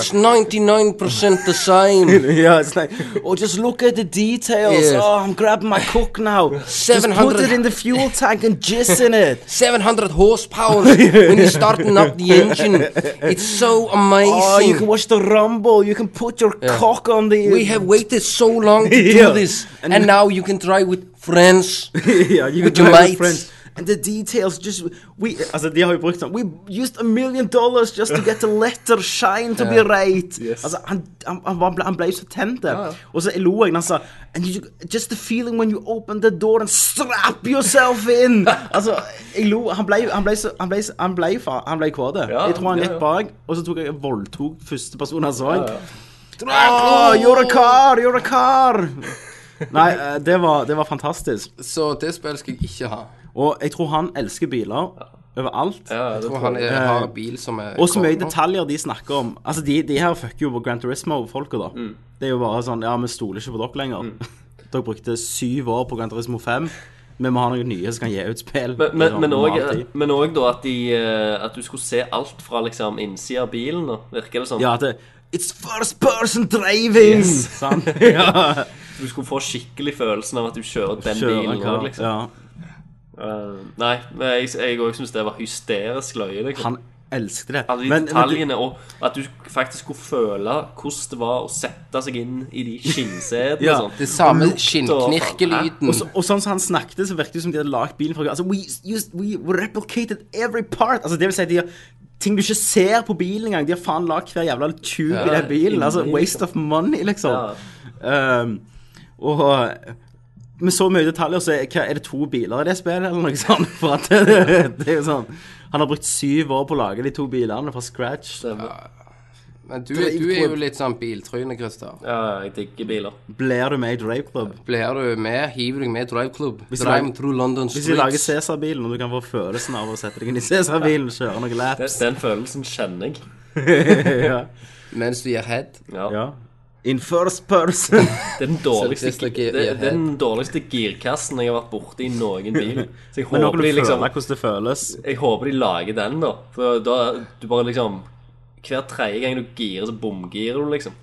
Speaker 5: 99% the same.
Speaker 4: [laughs] yeah, it's like, oh, just look at the details.
Speaker 5: Yes.
Speaker 4: Oh, I'm grabbing my cook now. just put
Speaker 5: 700
Speaker 4: it in the fuel tank and jizz
Speaker 5: [laughs]
Speaker 4: in it.
Speaker 5: 700 horsepower when you're starting up the engine. It's so amazing.
Speaker 4: Oh, you can watch the rumble. You can put your cock on the.
Speaker 5: We have waited so long to
Speaker 4: Yeah.
Speaker 5: do this, and, now you can try with friends.
Speaker 4: [laughs] yeah, you can
Speaker 5: with
Speaker 4: do
Speaker 5: your
Speaker 4: it
Speaker 5: mates.
Speaker 4: friends. And the details just we altså de har jo brukt sånn We used a million dollars just to get
Speaker 6: [laughs]
Speaker 4: the letter shine to be right. Altså han, han, han, var- ble, han ble jo så tent der.
Speaker 6: Ah.
Speaker 4: Og så lo jeg når han sa And you, just the feeling when you open the door and strap yourself
Speaker 6: [laughs]
Speaker 4: in. altså jeg lo Han ble jo han ble så han ble så- han ble fa- han ble kåt. jeg tror han
Speaker 6: ja,
Speaker 4: gikk
Speaker 6: ja.
Speaker 4: bak, og så tok jeg voldtok første person han så. Oh, you're a car, you're a
Speaker 6: [laughs]
Speaker 4: car. Nei, eh, det var, det var fantastisk.
Speaker 5: Så det spillet skal jeg ikke ha.
Speaker 4: Og jeg tror han elsker biler overalt.
Speaker 6: Ja, det
Speaker 5: For
Speaker 6: tror
Speaker 5: han
Speaker 6: jeg.
Speaker 5: er, har en bil som er
Speaker 4: Eh, Og så mye
Speaker 5: koblet.
Speaker 4: detaljer de snakker om. Altså, De, de her fucker jo på Gran Turismo-folka, da.
Speaker 6: Mm.
Speaker 4: Det er jo bare sånn Ja, vi stoler ikke på dere lenger. [laughs] Dere brukte syv år på Gran Turismo 5. Vi må ha noen nye som kan gi ut spill.
Speaker 6: Men-
Speaker 4: i
Speaker 6: men-
Speaker 4: sånn
Speaker 6: Men
Speaker 4: normal
Speaker 6: òg
Speaker 4: tid.
Speaker 6: men også da at, de, eh, at du skulle se alt fra liksom innsida av bilen, da, virker det som.
Speaker 4: Ja, at det It's first person driving! [laughs]
Speaker 6: [laughs]
Speaker 4: Sant? ja.
Speaker 6: Du skulle få skikkelig følelsen av at du kjører den
Speaker 4: Kjøre
Speaker 6: bilen
Speaker 4: hva,
Speaker 6: òg, liksom.
Speaker 4: ja.
Speaker 6: Eh, nei, men jeg jeg òg syns det var hysterisk løye. Liksom.
Speaker 4: Han elsket det.
Speaker 6: Alle de
Speaker 4: Men- men du-
Speaker 6: detaljene, og at du faktisk skulle føle hvordan det var å sette seg inn i de skinnsetene
Speaker 4: Ja.
Speaker 6: og sånn.
Speaker 5: Det samme [laughs]
Speaker 6: Lukt og-
Speaker 5: skinnknirkelyden.
Speaker 4: [laughs] Og, så, og sånn som han snakket, så virket det som de hadde lagd bilen fra Altså, we, used, we replicated every part. Altså, det vil si, de har ting du ikke ser på bilen engang. De har faen lagd hver jævla tube i den bilen. Altså,
Speaker 6: inni,
Speaker 4: waste of money, liksom. Um, og med så mye detaljer, så er, hva, er det to biler i det spillet, eller noe sånt? For at det, [laughs] det er jo sånn Han har brukt syv år på å lage de to bilene fra scratch.
Speaker 5: Men du, du er jo litt sånn biltryne, Christer.
Speaker 6: Ja, jeg digger biler.
Speaker 4: Blir du med i Drave Club?
Speaker 5: Blir du med, hiver du med i Drive Club.
Speaker 4: Hvis
Speaker 5: Drive
Speaker 4: jeg-
Speaker 5: through London
Speaker 4: Hvis de lager
Speaker 5: streets.
Speaker 4: Cæsar-bilen, og du kan få følelsen av å sette deg inn i Cæsar-bilen og kjøre noe lap.
Speaker 6: Den, den følelsen kjenner jeg.
Speaker 5: Mens du gir head.
Speaker 6: Ja.
Speaker 4: Ja. In first person.
Speaker 6: Det er den dårligste,
Speaker 5: Så det er slik i- i
Speaker 6: det, det er
Speaker 5: head.
Speaker 6: den dårligste girkassen jeg har vært borti i noen bil. Så
Speaker 4: [laughs]
Speaker 6: jeg
Speaker 4: Men nå kan du
Speaker 6: håper, de,
Speaker 4: føle
Speaker 6: liksom,
Speaker 4: hvordan det føles.
Speaker 6: jeg håper de lager den, da. For da du bare liksom Hver tredje gang du girer, så bomgirer du, liksom.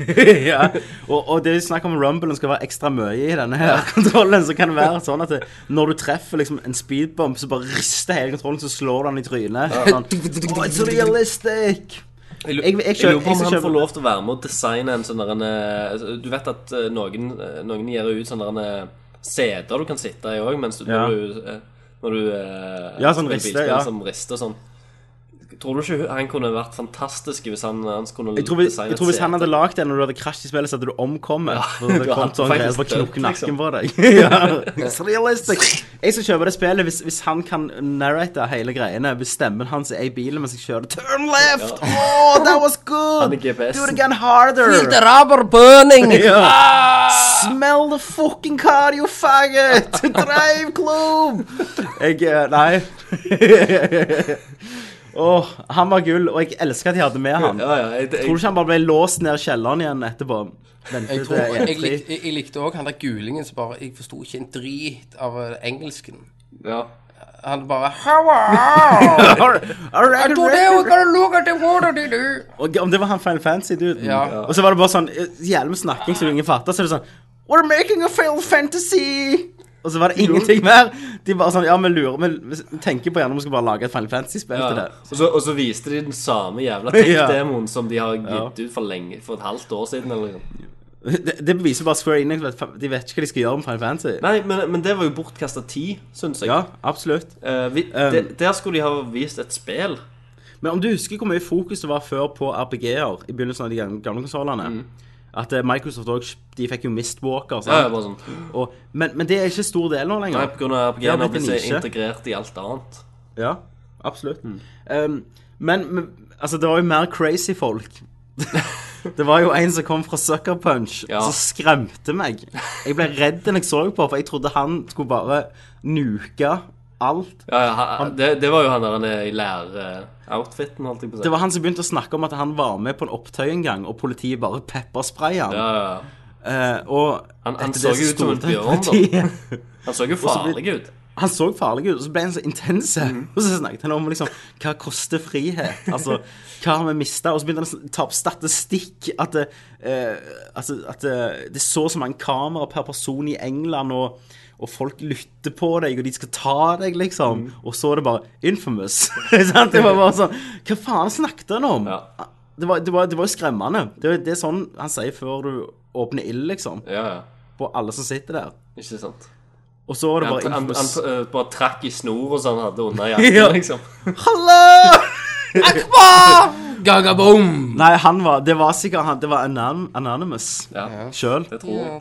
Speaker 4: [laughs] ja. og, og det er snakk om rumblen skal være ekstra mye i denne her [laughs] kontrollen. Så kan det være sånn at det, når du treffer liksom en speedbump, så bare rister hele kontrollen, så slår du den i trynet. Sånn, oh, it's realistic!
Speaker 6: Jeg, lu-
Speaker 4: Jeg- jeg
Speaker 6: jeg
Speaker 4: kjøper-
Speaker 6: lurer på om
Speaker 4: jeg
Speaker 6: han
Speaker 4: kjøper-
Speaker 6: får lov til å være med og designe en sånn der en, eh, Du vet at eh, noen, eh, noen gir ut sånne der en, eh, seter du kan sitte i òg, mens du,
Speaker 4: Ja.
Speaker 6: når du, eh, når du eh,
Speaker 4: Ja, sånn
Speaker 6: spiller
Speaker 4: riste,
Speaker 6: bilspill
Speaker 4: ja.
Speaker 6: som rister og sånn. Tror du ikke han kunne vært fantastisk hvis han, han skulle
Speaker 4: Jeg tror, vi,
Speaker 6: designe
Speaker 4: jeg tror Hvis han hadde lagd den og du hadde krasj i spillet, så hadde du omkommet. For det
Speaker 6: [laughs] du
Speaker 4: kom
Speaker 6: hadde
Speaker 4: sånn greier som
Speaker 6: faktisk
Speaker 4: bare knokk
Speaker 6: dødd, liksom.
Speaker 4: nakken
Speaker 6: [laughs]
Speaker 4: på deg. ja. It's realistic. Jeg skal kjøpe det spillet hvis, hvis han kan narrate hele greiene. Hvis stemmen hans er i bilen mens jeg kjører Turn left! Oh, that was
Speaker 6: Han
Speaker 4: good!
Speaker 6: er GPS-en.
Speaker 4: Do it again harder!
Speaker 5: Feel the rubber burning!
Speaker 6: Ah!
Speaker 4: Smell the fucking car, you faggot!
Speaker 6: [laughs]
Speaker 4: Drive club! Jeg eh, Nei. [laughs] Åh, han var gull, og jeg elsker at de hadde med han.
Speaker 6: Ja, ja, jeg, jeg,
Speaker 4: Tror du ikke han bare ble låst ned i kjelleren igjen etterpå?
Speaker 5: Jeg,
Speaker 4: Ventet
Speaker 5: tror,
Speaker 4: til [laughs]
Speaker 5: jeg,
Speaker 4: E3.
Speaker 5: likte, jeg likte også han der gulingen som bare Jeg forsto ikke en drit av eh, engelsken.
Speaker 6: Ja.
Speaker 5: Han bare
Speaker 4: [laughs]
Speaker 5: Hello! I today we're gonna look at the water they do.
Speaker 4: Og Om det var han Final Fantasy-duden.
Speaker 5: Ja.
Speaker 4: Og så var det bare sånn eh, jævlig med snakking som ingen fatta. Så er det sånn We're making a Final Fantasy! Og så var det ingenting mer. De bare sånn Ja, vi lurer Vi vi tenker på gjerne om vi skal bare lage et Final Fantasy-spill til
Speaker 6: Ja.
Speaker 4: det.
Speaker 6: Og, så, og så viste de den samme jævla
Speaker 4: [laughs] Ja.
Speaker 6: tech-demoen som de har gitt ut for lenge For et halvt år siden. Eller noe.
Speaker 4: det. Det beviser bare Square Enix at fa- de vet ikke hva de skal gjøre med Final Fantasy.
Speaker 6: Nei, men, men det var jo bortkasta tid, syns jeg.
Speaker 4: Ja, absolutt.
Speaker 6: Eh, vi, de, der skulle de ha vist et spill.
Speaker 4: Men om du husker hvor mye fokus det var før på RPG-er i begynnelsen av de gamle- gamle konsollene At eh, Microsoft også, de fikk jo Mistwalker.
Speaker 6: Mm. Ja, ja,
Speaker 4: Sant?
Speaker 6: bare sånn
Speaker 4: Og, men, men det er ikke stor del nå lenger.
Speaker 6: Nei, på grunn av
Speaker 4: Det har
Speaker 6: RPG-en har
Speaker 4: blitt
Speaker 6: blitt
Speaker 4: en
Speaker 6: så
Speaker 4: nisje.
Speaker 6: integrert i alt annet.
Speaker 4: Ja, absolutt.
Speaker 6: Mm.
Speaker 4: Um, men, men altså, det var jo mer crazy
Speaker 6: [laughs]
Speaker 4: folk. det var jo en som kom fra Sucker Punch
Speaker 6: Ja.
Speaker 4: som skremte meg. Jeg ble redd når jeg så på, for jeg trodde han skulle bare nuke alt.
Speaker 6: Ja, ja, ha- det, det var jo han der han er i læreoutfiten, holdt jeg på å si.
Speaker 4: Det var han som begynte å snakke om at han var med på en opptøy en gang, og politiet bare pepperspraya han.
Speaker 6: ja, ja, ja.
Speaker 4: Eh, og
Speaker 6: Han- han
Speaker 4: etter
Speaker 6: så
Speaker 4: det
Speaker 6: jo ut som en
Speaker 4: stolte
Speaker 6: bjørn, da.
Speaker 4: politiet.
Speaker 6: Han så jo
Speaker 4: så ble-
Speaker 6: farlig ut.
Speaker 4: Han så farlig ut, og så ble han så intens.
Speaker 6: Mhm.
Speaker 4: Og så snakket han om liksom, hva koster frihet? Altså, hva har vi mista? Og så begynte han å ta opp statistikk. At, det, eh, altså, at det, det er så og så mange kameraer per person i England, og, og folk lytter på deg, og de skal ta deg, liksom.
Speaker 6: Mhm.
Speaker 4: Og så er det bare infamous. [laughs] Sant? det var bare sånn Hva faen snakket han om?
Speaker 6: Ja.
Speaker 4: Det, var, det, var, det var jo skremmende. Det, er- det er sånn han sier før du åpner ild, liksom.
Speaker 6: Ja, ja.
Speaker 4: På alle som sitter der.
Speaker 6: Ikke sant.
Speaker 4: Og så var det
Speaker 6: Han,
Speaker 4: bare
Speaker 6: han, han
Speaker 4: [laughs] infamous.
Speaker 6: eh, bare trakk i snor og sånn han hadde [laughs] under jakken,
Speaker 4: Ja.
Speaker 6: liksom.
Speaker 4: Hallo!
Speaker 5: Gagaboom!
Speaker 4: Nei, han var, det var sikkert han, det var anon, Anonymous
Speaker 6: Ja,
Speaker 4: selv.
Speaker 6: det tror jeg.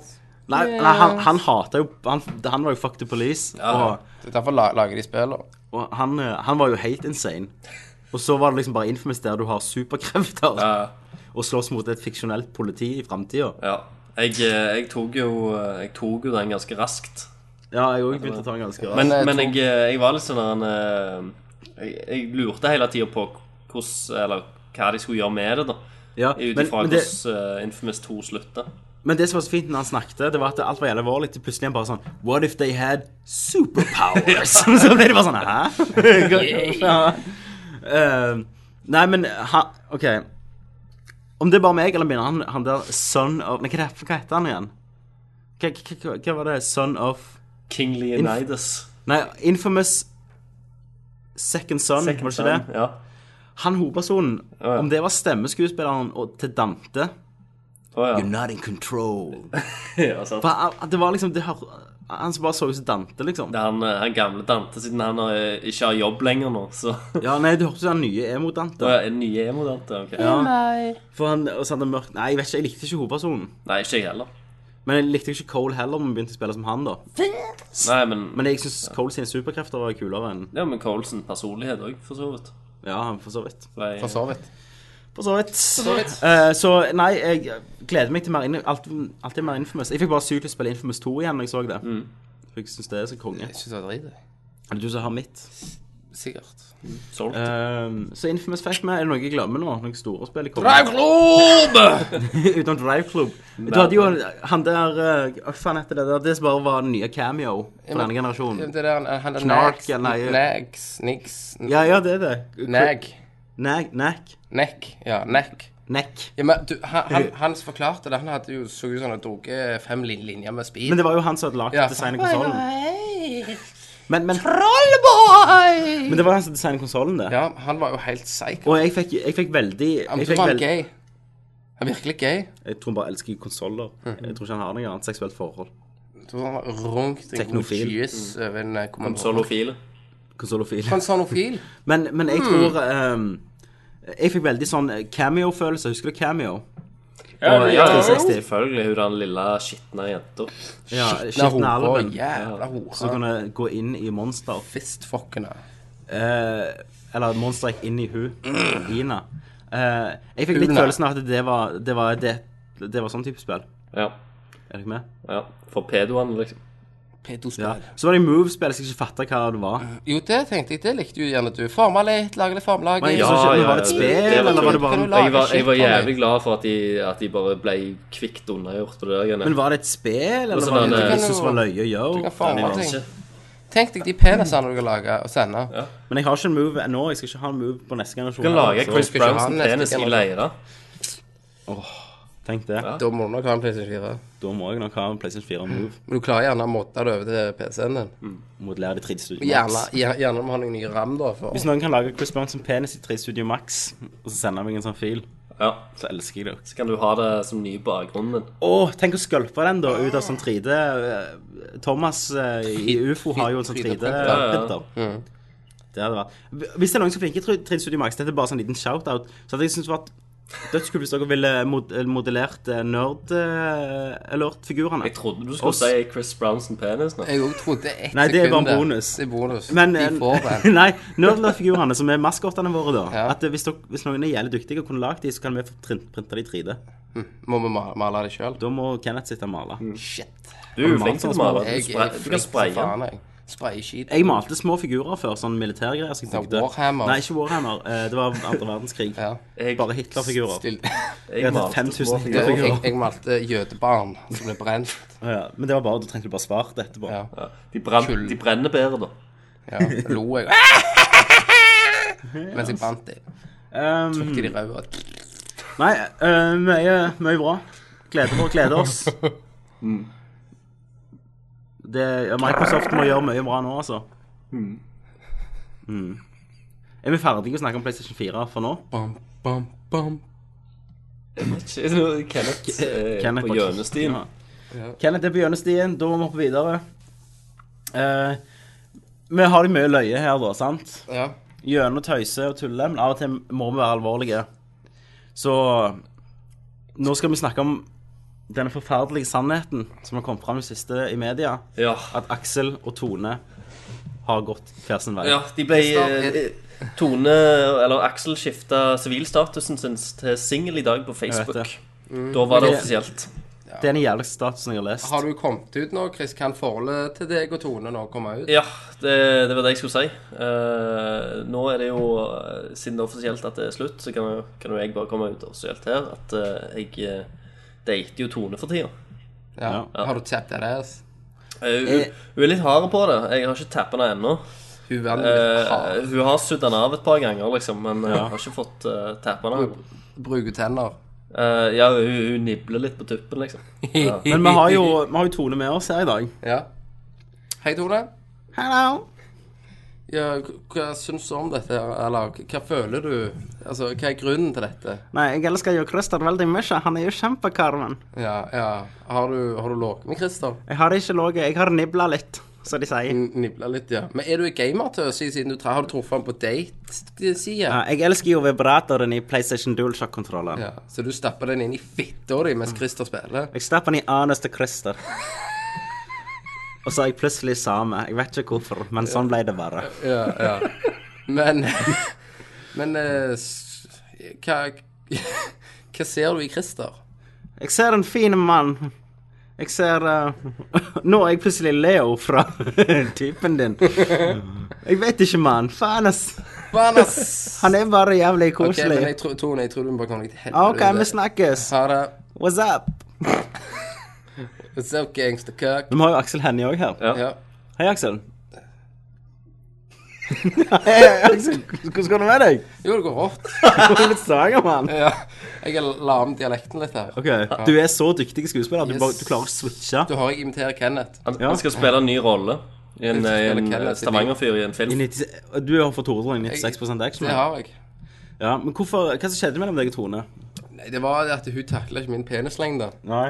Speaker 4: Nei, nei han, han hatet jo, han, han var jo fuck the police,
Speaker 6: Ja.
Speaker 4: og,
Speaker 5: Det er derfor la- lager de spiller.
Speaker 4: og han, eh, han var jo helt insane. Og så var det liksom bare infamous der du har superkrefter
Speaker 6: Ja,
Speaker 4: og slåss mot et fiksjonelt politi i fremtiden.
Speaker 6: ja. Jeg, eh, jeg, tok jo, eh, jeg tok jo den ganske raskt.
Speaker 4: Ja, jeg har også begynt å ta en ganske rart.
Speaker 6: Men,
Speaker 5: jeg
Speaker 6: men
Speaker 5: tror-
Speaker 6: jeg, eh, jeg var litt sånn der, eh, jeg, jeg lurte hele tida på hvordan, eller, hva de skulle gjøre med det, da.
Speaker 4: ja,
Speaker 6: Ut
Speaker 4: men,
Speaker 6: ifra
Speaker 4: men,
Speaker 6: hvordan
Speaker 4: det,
Speaker 6: eh, Infamous 2 slutta.
Speaker 4: men det som var så fint når han snakket, det var at alt var jævlig alvorlig, til plutselig han bare sånn, what if they had [laughs] superpowers? så ble det bare sånn, hæ? [laughs] ja. Eh, nei, men ha, OK. Om det er bare meg eller minner han, han der son of Nei, hva, er det- hva heter han igjen? Hva, hva, hva, hva var det? Son of
Speaker 6: King Leonidas.
Speaker 4: Nei, Infamous Second Son, var det ikke det?
Speaker 6: Ja.
Speaker 4: Han hovedpersonen,
Speaker 6: ja.
Speaker 4: om det var stemmeskuespilleren og, til Dante
Speaker 6: Å, ja.
Speaker 4: You're not in control.
Speaker 6: [laughs] ja, sant.
Speaker 4: For, han- det var liksom det, hør- Han som bare så ut som Dante, liksom.
Speaker 6: Det er han, eh, han gamle Dante, siden han har, eh, ikke har jobb lenger nå. Så
Speaker 4: Ja, nei, du hørte jo den nye emo-Dante.
Speaker 6: Å, ja, en nye emo-Dante. ok.
Speaker 4: For han, og så hadde han mørkt Nei, jeg vet ikke, jeg likte ikke hovedpersonen.
Speaker 6: Nei, ikke jeg heller.
Speaker 4: Men jeg likte ikke Cole heller når vi begynte å spille som han, da.
Speaker 6: Nei, men,
Speaker 4: Men jeg syns Cole sine superkrefter var kulere enn
Speaker 6: ja, men Colson personlighet òg, for så vidt.
Speaker 4: Ja, for så vidt.
Speaker 6: Ble-
Speaker 5: For så vidt.
Speaker 4: For så vidt. Eh, så nei, jeg gleder meg til mer inn, alt, alltid mer Infamous. Jeg fikk bare sykt lyst til å spille Infamous 2 igjen når jeg så det. For jeg syns det er så konge.
Speaker 5: Jeg syns det var drit, jeg.
Speaker 4: Er det du som har mitt?
Speaker 5: Sikkert.
Speaker 6: solgt.
Speaker 4: Eh, så Infamous fikk vi. Er det noe jeg glemmer nå? Noen store spill jeg
Speaker 5: Drive
Speaker 4: kommer
Speaker 5: Globe!
Speaker 4: [laughs] Utenom Drive Club. Du hadde jo han der eh, Hva faen heter det der? Det som bare var den nye cameo for denne generasjonen.
Speaker 5: Det der, han- han er
Speaker 4: Knark,
Speaker 5: Nags,
Speaker 4: ja, nei.
Speaker 5: Nags, Niks,
Speaker 4: Ja, ja, det er det.
Speaker 5: Nag.
Speaker 4: Nag. Nack.
Speaker 5: Neck. Ja, Neck.
Speaker 4: Neck.
Speaker 5: Ja, men du, han, han, han som forklarte det, han hadde jo så ut som han hadde drukket fem lin- linjer med speed.
Speaker 4: Men det var jo han som hadde lagd
Speaker 5: Ja.
Speaker 4: designet konsollen.
Speaker 5: Hei.
Speaker 4: Men, men,
Speaker 5: Trollboy!
Speaker 4: men det var han som designet konsollen, det.
Speaker 5: Ja, han var jo helt psycho.
Speaker 4: Og jeg fikk, jeg fikk veldig
Speaker 5: Han
Speaker 4: jeg,
Speaker 5: tror
Speaker 4: fikk
Speaker 5: han
Speaker 4: veld-
Speaker 5: gay. Han er virkelig gay.
Speaker 4: jeg tror han bare elsker konsoller.
Speaker 5: Mhm.
Speaker 4: Jeg tror ikke han har noe annet seksuelt forhold.
Speaker 5: Jeg tror han var runkt en god
Speaker 4: Teknofil. Mm.
Speaker 5: kyss over en eh, kommandør.
Speaker 6: Solofile.
Speaker 4: Konsolofil.
Speaker 5: Han sa noe fil.
Speaker 4: Men, men
Speaker 6: Hmm.
Speaker 4: jeg tror eh, Jeg fikk veldig sånn cameo-følelse. Husker du cameo?
Speaker 6: Ja, ja,
Speaker 4: ja.
Speaker 6: selvfølgelig. Hun den lille skitne jenta.
Speaker 4: Ja,
Speaker 5: Skitne
Speaker 4: Skitne
Speaker 5: horer,
Speaker 4: alven.
Speaker 5: Jævla
Speaker 4: Som
Speaker 5: hore.
Speaker 4: kunne gå inn i monster.
Speaker 5: Fistfuckene.
Speaker 4: Eh, eller monster gikk inn i hun.
Speaker 6: Hmm.
Speaker 4: Ina. Eh, jeg fikk litt
Speaker 5: Una.
Speaker 4: følelsen av at det var, det var, det, det var sånn type spill.
Speaker 6: Ja.
Speaker 4: Er dere med?
Speaker 6: ja. For pedoene, liksom.
Speaker 4: Ja.
Speaker 5: Pedospill.
Speaker 4: Så var det Move-spill som jeg ikke fatta hva det var.
Speaker 5: Jo, det tenkte jeg. Det likte jo gjerne du. Forma litt, lage litt formlag.
Speaker 4: Men jeg
Speaker 6: Ja,
Speaker 4: synes ikke, men var det et
Speaker 6: ja,
Speaker 4: spill,
Speaker 6: det- det var
Speaker 4: eller var det bare
Speaker 5: tull.
Speaker 4: en
Speaker 5: Lage
Speaker 6: Jeg var, jeg var
Speaker 5: skitt av meg.
Speaker 6: jævlig glad for at de, at de bare ble kvikt unnagjort. og det der greiene.
Speaker 4: Men var det et spill, eller
Speaker 6: så
Speaker 4: var
Speaker 6: den,
Speaker 4: det
Speaker 6: eh,
Speaker 4: noe som var løye å gjøre?
Speaker 5: kan forme
Speaker 6: Jeg
Speaker 5: ting.
Speaker 6: vet ikke.
Speaker 5: Tenk deg de penisene du kan lage og sende.
Speaker 4: Men jeg har ikke en move ennå. Jeg skal ikke ha en move på neste generasjon. altså.
Speaker 6: Du kan lage
Speaker 4: Så
Speaker 6: Chris
Speaker 5: skal ikke
Speaker 6: Browns
Speaker 5: ha den neste
Speaker 6: penis i
Speaker 5: generasjonen.
Speaker 6: leire.
Speaker 4: Tenk det.
Speaker 6: Ja.
Speaker 5: Da må du nok ha en PlayStation 4.
Speaker 4: Da må jeg nok ha en PlayStation 4 move.
Speaker 5: Men du klarer gjerne å modde det over til PC-en
Speaker 4: Mm.
Speaker 5: din.
Speaker 4: Modellere det i 3D Studio
Speaker 5: Gjerne,
Speaker 4: Max.
Speaker 5: gjer- gjerne må ha noen nye ram, da. For.
Speaker 4: Hvis noen kan lage Chris Brown som penis i 3D Studio Max, og så sender meg en sånn fil,
Speaker 6: Ja.
Speaker 4: så elsker jeg det.
Speaker 6: Så kan du ha det som ny bakgrunn. Men
Speaker 4: Å, tenk å skølpe den da ut av sånn 3D. eh, Thomas eh, i UFO har jo en sånn 3D-printer. Det hadde vært Hvis det er noen som er flinke i 3D Studio Max, dette er bare sånn liten shout-out, så hadde jeg syntes det vært dødskult hvis dere ville mod modellert eh, nerd eh, alert-figurene.
Speaker 6: jeg trodde du skulle
Speaker 4: Oss.
Speaker 6: si Chris Browns sin penis nå.
Speaker 5: Jeg òg trodde ett
Speaker 4: Nei, det er bare en
Speaker 5: sekund,
Speaker 4: bonus.
Speaker 5: Det er bonus.
Speaker 4: Men
Speaker 5: de får
Speaker 4: eh,
Speaker 5: den.
Speaker 4: [laughs] nei, nerdler-figurene som er maskottene våre, da.
Speaker 5: Ja.
Speaker 4: At eh, hvis, dere, hvis noen er jævlig dyktige og kunne lagd de, så kan vi få trin- printe de i 3D.
Speaker 5: Må vi ma- male det sjøl?
Speaker 4: Da må Kenneth sitte og male.
Speaker 5: Mm. Shit.
Speaker 6: Du er jo flink til å male. Du,
Speaker 5: Jeg
Speaker 6: spray,
Speaker 5: er
Speaker 6: du kan
Speaker 5: flink som
Speaker 6: spraye den.
Speaker 5: faen, jeg. Sprayskit.
Speaker 4: Jeg malte små figurer før, sånn militærgreier. som jeg
Speaker 5: Ja,
Speaker 4: tenkte-
Speaker 5: Warhammer.
Speaker 4: Nei, ikke Warhammer. eh, Det var andre verdenskrig.
Speaker 5: [laughs] Ja.
Speaker 6: Jeg,
Speaker 4: Bare Hitler-figurer.
Speaker 5: Still.
Speaker 6: jeg
Speaker 4: Jeg hadde
Speaker 6: malte
Speaker 4: 5000
Speaker 6: små
Speaker 5: Jeg,
Speaker 6: figurer.
Speaker 5: jeg, jeg malte jødebarn som ble brent.
Speaker 4: Ja, men det var bare, du trengte bare svart etterpå.
Speaker 5: Ja.
Speaker 6: Ja. De, brenn-
Speaker 5: Kull.
Speaker 6: de brenner bedre, da.
Speaker 5: Ja, da lo
Speaker 4: [laughs]
Speaker 5: jeg. Mens jeg brant dem.
Speaker 4: Um,
Speaker 5: Ikke de røde.
Speaker 4: nei, eh, mye, mye bra. Gleder vår gleder
Speaker 6: [laughs]
Speaker 4: oss.
Speaker 6: Mm.
Speaker 4: Det, ja, Microsoft må gjøre mye bra nå, altså. Mm. Er vi ferdige å snakke om PlayStation 4 for nå?
Speaker 5: Bam, bam, bam.
Speaker 6: Ikke noe Kenneth eh,
Speaker 4: Kenneth
Speaker 6: på
Speaker 4: var-
Speaker 6: hjørnestien.
Speaker 4: Ja. Kenneth er på hjørnestien, da må vi hoppe videre. Eh, vi har det mye løye her, da, sant?
Speaker 5: Ja.
Speaker 4: gjennom tøyse og tulle, men av og til må vi være alvorlige. Så nå skal vi snakke om denne forferdelige sannheten som har kommet fram i siste i media,
Speaker 6: Ja.
Speaker 4: at Aksel og Tone har gått hver sin vei.
Speaker 6: ja. De ble eh, Tone, eller Aksel, skifta sivilstatusen sin til singel i dag på
Speaker 4: Jeg
Speaker 6: Facebook.
Speaker 4: vet
Speaker 5: Mm.
Speaker 6: Da var det
Speaker 4: Men det-
Speaker 6: offisielt.
Speaker 4: Det er den jævligste statusen jeg har lest.
Speaker 5: Har du kommet ut nå, Chris? Kan forholdet til deg og Tone nå komme ut?
Speaker 6: Ja, det, det var det jeg skulle si. Eh, nå er det jo, eh, siden det er offisielt at det er slutt, så kan jo, kan jo jeg bare komme ut offisielt her at eh, jeg eh, dater jo Tone for tida.
Speaker 5: Ja. Har du tapped that ass?
Speaker 6: Eh, hun, hun er litt hard på det. Jeg har ikke tappa henne ennå.
Speaker 5: Hun er litt
Speaker 6: Eh,
Speaker 5: hard.
Speaker 6: hun har sudd den av et par ganger, liksom, men jeg har ikke fått uh, tappa den av.
Speaker 5: Bruker tenner.
Speaker 6: Eh, ja, hun, hun nibler litt på tuppen,
Speaker 4: [laughs]
Speaker 6: liksom.
Speaker 5: [laughs]
Speaker 6: Ja.
Speaker 4: Men vi har, jo, vi har jo Tone med oss her i dag.
Speaker 5: Ja. Hei, Tone.
Speaker 4: Hello.
Speaker 5: Ja, h- hva syns du om dette? her? Eller h- hva føler du? Altså, hva er grunnen til dette?
Speaker 4: Nei, jeg elsker jo Christer veldig mye. Han er jo kjempekarmen.
Speaker 5: Ja, ja. Har du, har du ligget med Christer?
Speaker 4: Jeg har ikke ligget, jeg har nibla litt, som de sier.
Speaker 5: N- Nibla litt, ja. Men er du en gamertøs i- siden du tra- har du truffet han på date-sida?
Speaker 4: Ja, jeg elsker jo vibratoren i PlayStation DualShock-kontrolleren.
Speaker 5: Ja. Så du stapper den inn i fitta di mens Christer spiller?
Speaker 4: Jeg slapp han i anus til Christer. Og så er jeg plutselig same. Jeg vet ikke hvorfor, men sånn ble det bare.
Speaker 5: Ja, ja. Men [laughs] Men eh, s- hva Hva ser du i Christer?
Speaker 4: Jeg ser en fin mann. Jeg ser eh, [laughs] Nå er jeg plutselig Leo fra [laughs] typen din. Jeg vet ikke, mann. Faen, ass.
Speaker 5: Banas!
Speaker 4: Han er bare jævlig
Speaker 5: Ok, men
Speaker 4: koselig. Ah,
Speaker 5: jeg tror, Tone, jeg tror du må bare komme deg til helvete.
Speaker 4: OK, vi snakkes.
Speaker 5: Ha det.
Speaker 4: What's up?
Speaker 5: What's up, gangster cock?
Speaker 4: Vi har jo Aksel Hennie òg her.
Speaker 5: Ja.
Speaker 4: Hei,
Speaker 5: [laughs]
Speaker 4: Aksel. Hei, Aksel. Hvordan går det med deg?
Speaker 5: Jo, det går rått.
Speaker 4: Hvor er det sanger, mann?
Speaker 5: Ja. Jeg la om dialekten litt her.
Speaker 4: Ok, Du er så dyktig skuespiller. Du,
Speaker 5: Yes.
Speaker 4: bare, du klarer å switche.
Speaker 5: Du har jeg imiterer Kenneth.
Speaker 6: Han,
Speaker 4: Ja.
Speaker 6: han skal spille en ny rolle. I en,
Speaker 5: Jeg skal
Speaker 6: i en eh,
Speaker 5: spille Kenneth i
Speaker 6: Stavanger-fyr i en film.
Speaker 4: I 90, du har fått Tore i 96 action.
Speaker 5: Det
Speaker 4: Ja.
Speaker 5: har jeg.
Speaker 4: ja, men hvorfor, Hva som skjedde mellom deg og Tone?
Speaker 5: Nei, det var det at hun takla ikke min penislengde.
Speaker 4: Nei.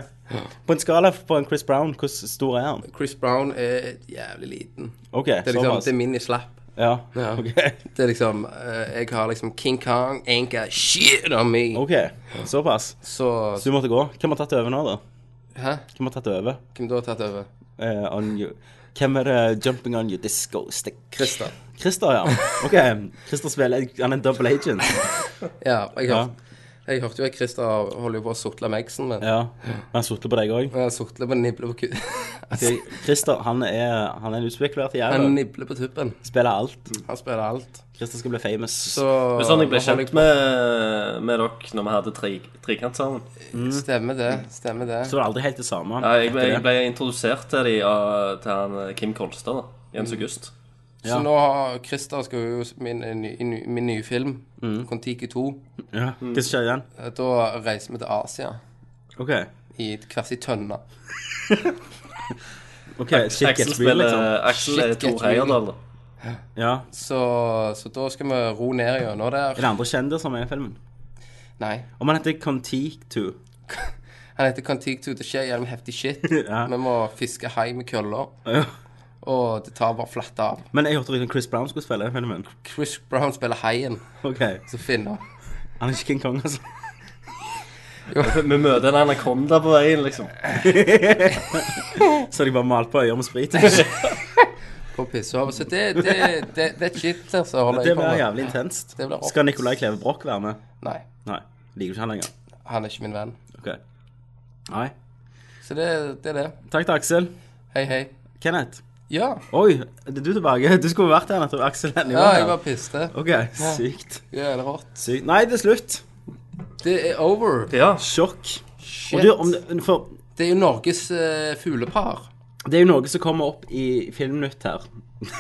Speaker 4: På en skala på en Chris Brown, hvor stor er han?
Speaker 5: Chris Brown er jævlig liten.
Speaker 4: Ok,
Speaker 5: Det er liksom,
Speaker 4: såpass.
Speaker 5: det er min i slapp.
Speaker 4: Ja.
Speaker 5: Ja.
Speaker 4: ok.
Speaker 5: Det er liksom eh, Jeg har liksom King Kong ain't got shit on me.
Speaker 4: Ok, såpass.
Speaker 5: Så
Speaker 4: Så du måtte gå. Hvem har tatt over nå, da?
Speaker 5: Hæ?
Speaker 4: Hvem har tatt over?
Speaker 5: Hvem da har tatt over?
Speaker 4: Eh, on you. Hvem er det jumping on your disco stick?
Speaker 5: Christer.
Speaker 4: Christer, ja. Ok, Christer spiller Han er en double agent.
Speaker 5: Ja, jeg
Speaker 4: Ja.
Speaker 5: hørte, jeg hørte jo at Christer holder jo på å sotle megsen min.
Speaker 4: Ja. Han sotler på deg òg.
Speaker 5: Ja. Sotle på nibler på ku... [laughs]
Speaker 4: Christer han er, han er en utspekulert
Speaker 5: Han
Speaker 4: jævel.
Speaker 5: nibler på tuppen.
Speaker 4: Spiller alt.
Speaker 5: Han spiller alt.
Speaker 4: Christer skal bli famous.
Speaker 5: Så
Speaker 6: Det er sånn jeg ble
Speaker 5: nå holder
Speaker 6: kjent med, med dere når vi hadde tre, trekant sammen.
Speaker 5: Stemmer det. Stemmer det.
Speaker 4: Så det er aldri helt det samme.
Speaker 6: Ja, jeg, ble,
Speaker 4: etter
Speaker 6: jeg
Speaker 4: det.
Speaker 6: ble introdusert til de av til han eh, Kim Kolstad. da Jens
Speaker 5: Mm.
Speaker 6: August.
Speaker 5: Så nå har Christer skal jo s- min, i ny- i ny- min nye film, Kon-Tiki 2.
Speaker 4: Ja.
Speaker 6: Mm.
Speaker 4: Hva som skjer igjen?
Speaker 5: Eh, Da reiser vi til Asia
Speaker 4: OK.
Speaker 5: i et- hver sin tønne.
Speaker 4: ok, Shit
Speaker 6: Axel
Speaker 4: gets real,
Speaker 6: spiller
Speaker 4: liksom.
Speaker 6: Axel er
Speaker 5: Shit
Speaker 6: Tor
Speaker 5: gets real.
Speaker 6: Heyerdahl. da.
Speaker 4: Ja.
Speaker 5: Så, så da skal vi ro ned gjennom
Speaker 4: Er
Speaker 5: der.
Speaker 4: det andre kjendiser med i filmen?
Speaker 5: Nei.
Speaker 4: Om han heter Contique 2.
Speaker 5: Han heter Kon-Tiki 2. Det skjer jævlig heftig shit.
Speaker 4: Ja.
Speaker 5: Vi må fiske hai med køller,
Speaker 4: Ja.
Speaker 5: og det tar bare flatt av.
Speaker 4: Men jeg hørte riktig Chris Brown skulle spille i filmen. [laughs]
Speaker 5: Chris Brown spiller haien
Speaker 4: OK.
Speaker 5: som finner.
Speaker 4: Han er ikke King Kong, altså. [laughs]
Speaker 6: Vi møter en anakonda på veien, liksom.
Speaker 4: Så de bare malt på øyer med sprit.
Speaker 5: på pissover. Så det, det, det, det er shit der som holder
Speaker 4: [laughs] Det
Speaker 5: jeg på
Speaker 4: blir
Speaker 5: med.
Speaker 4: jævlig intenst.
Speaker 5: Det blir rått.
Speaker 4: Skal Nicolai Kleve Broch være med?
Speaker 5: Nei,
Speaker 4: Nei. Liker du ikke han lenger?
Speaker 5: han er ikke min venn.
Speaker 4: OK. Nei.
Speaker 5: Så det, det er det.
Speaker 4: Takk til Aksel.
Speaker 5: Hei, hei.
Speaker 4: Kenneth.
Speaker 5: Ja,
Speaker 4: Oi, er du tilbake? Du skulle vært her nettopp, Aksel. Hennie
Speaker 5: ja
Speaker 4: var
Speaker 5: jeg
Speaker 4: her.
Speaker 5: var piste.
Speaker 4: OK, sykt.
Speaker 5: Ja, det er rått.
Speaker 4: Sykt. Nei, det er slutt.
Speaker 5: Det er over.
Speaker 6: Ja.
Speaker 4: Sjokk.
Speaker 5: Shit.
Speaker 4: Og du, om det, for
Speaker 5: Det er jo Norges eh, fuglepar.
Speaker 4: det er jo noe som kommer opp i Filmnytt her.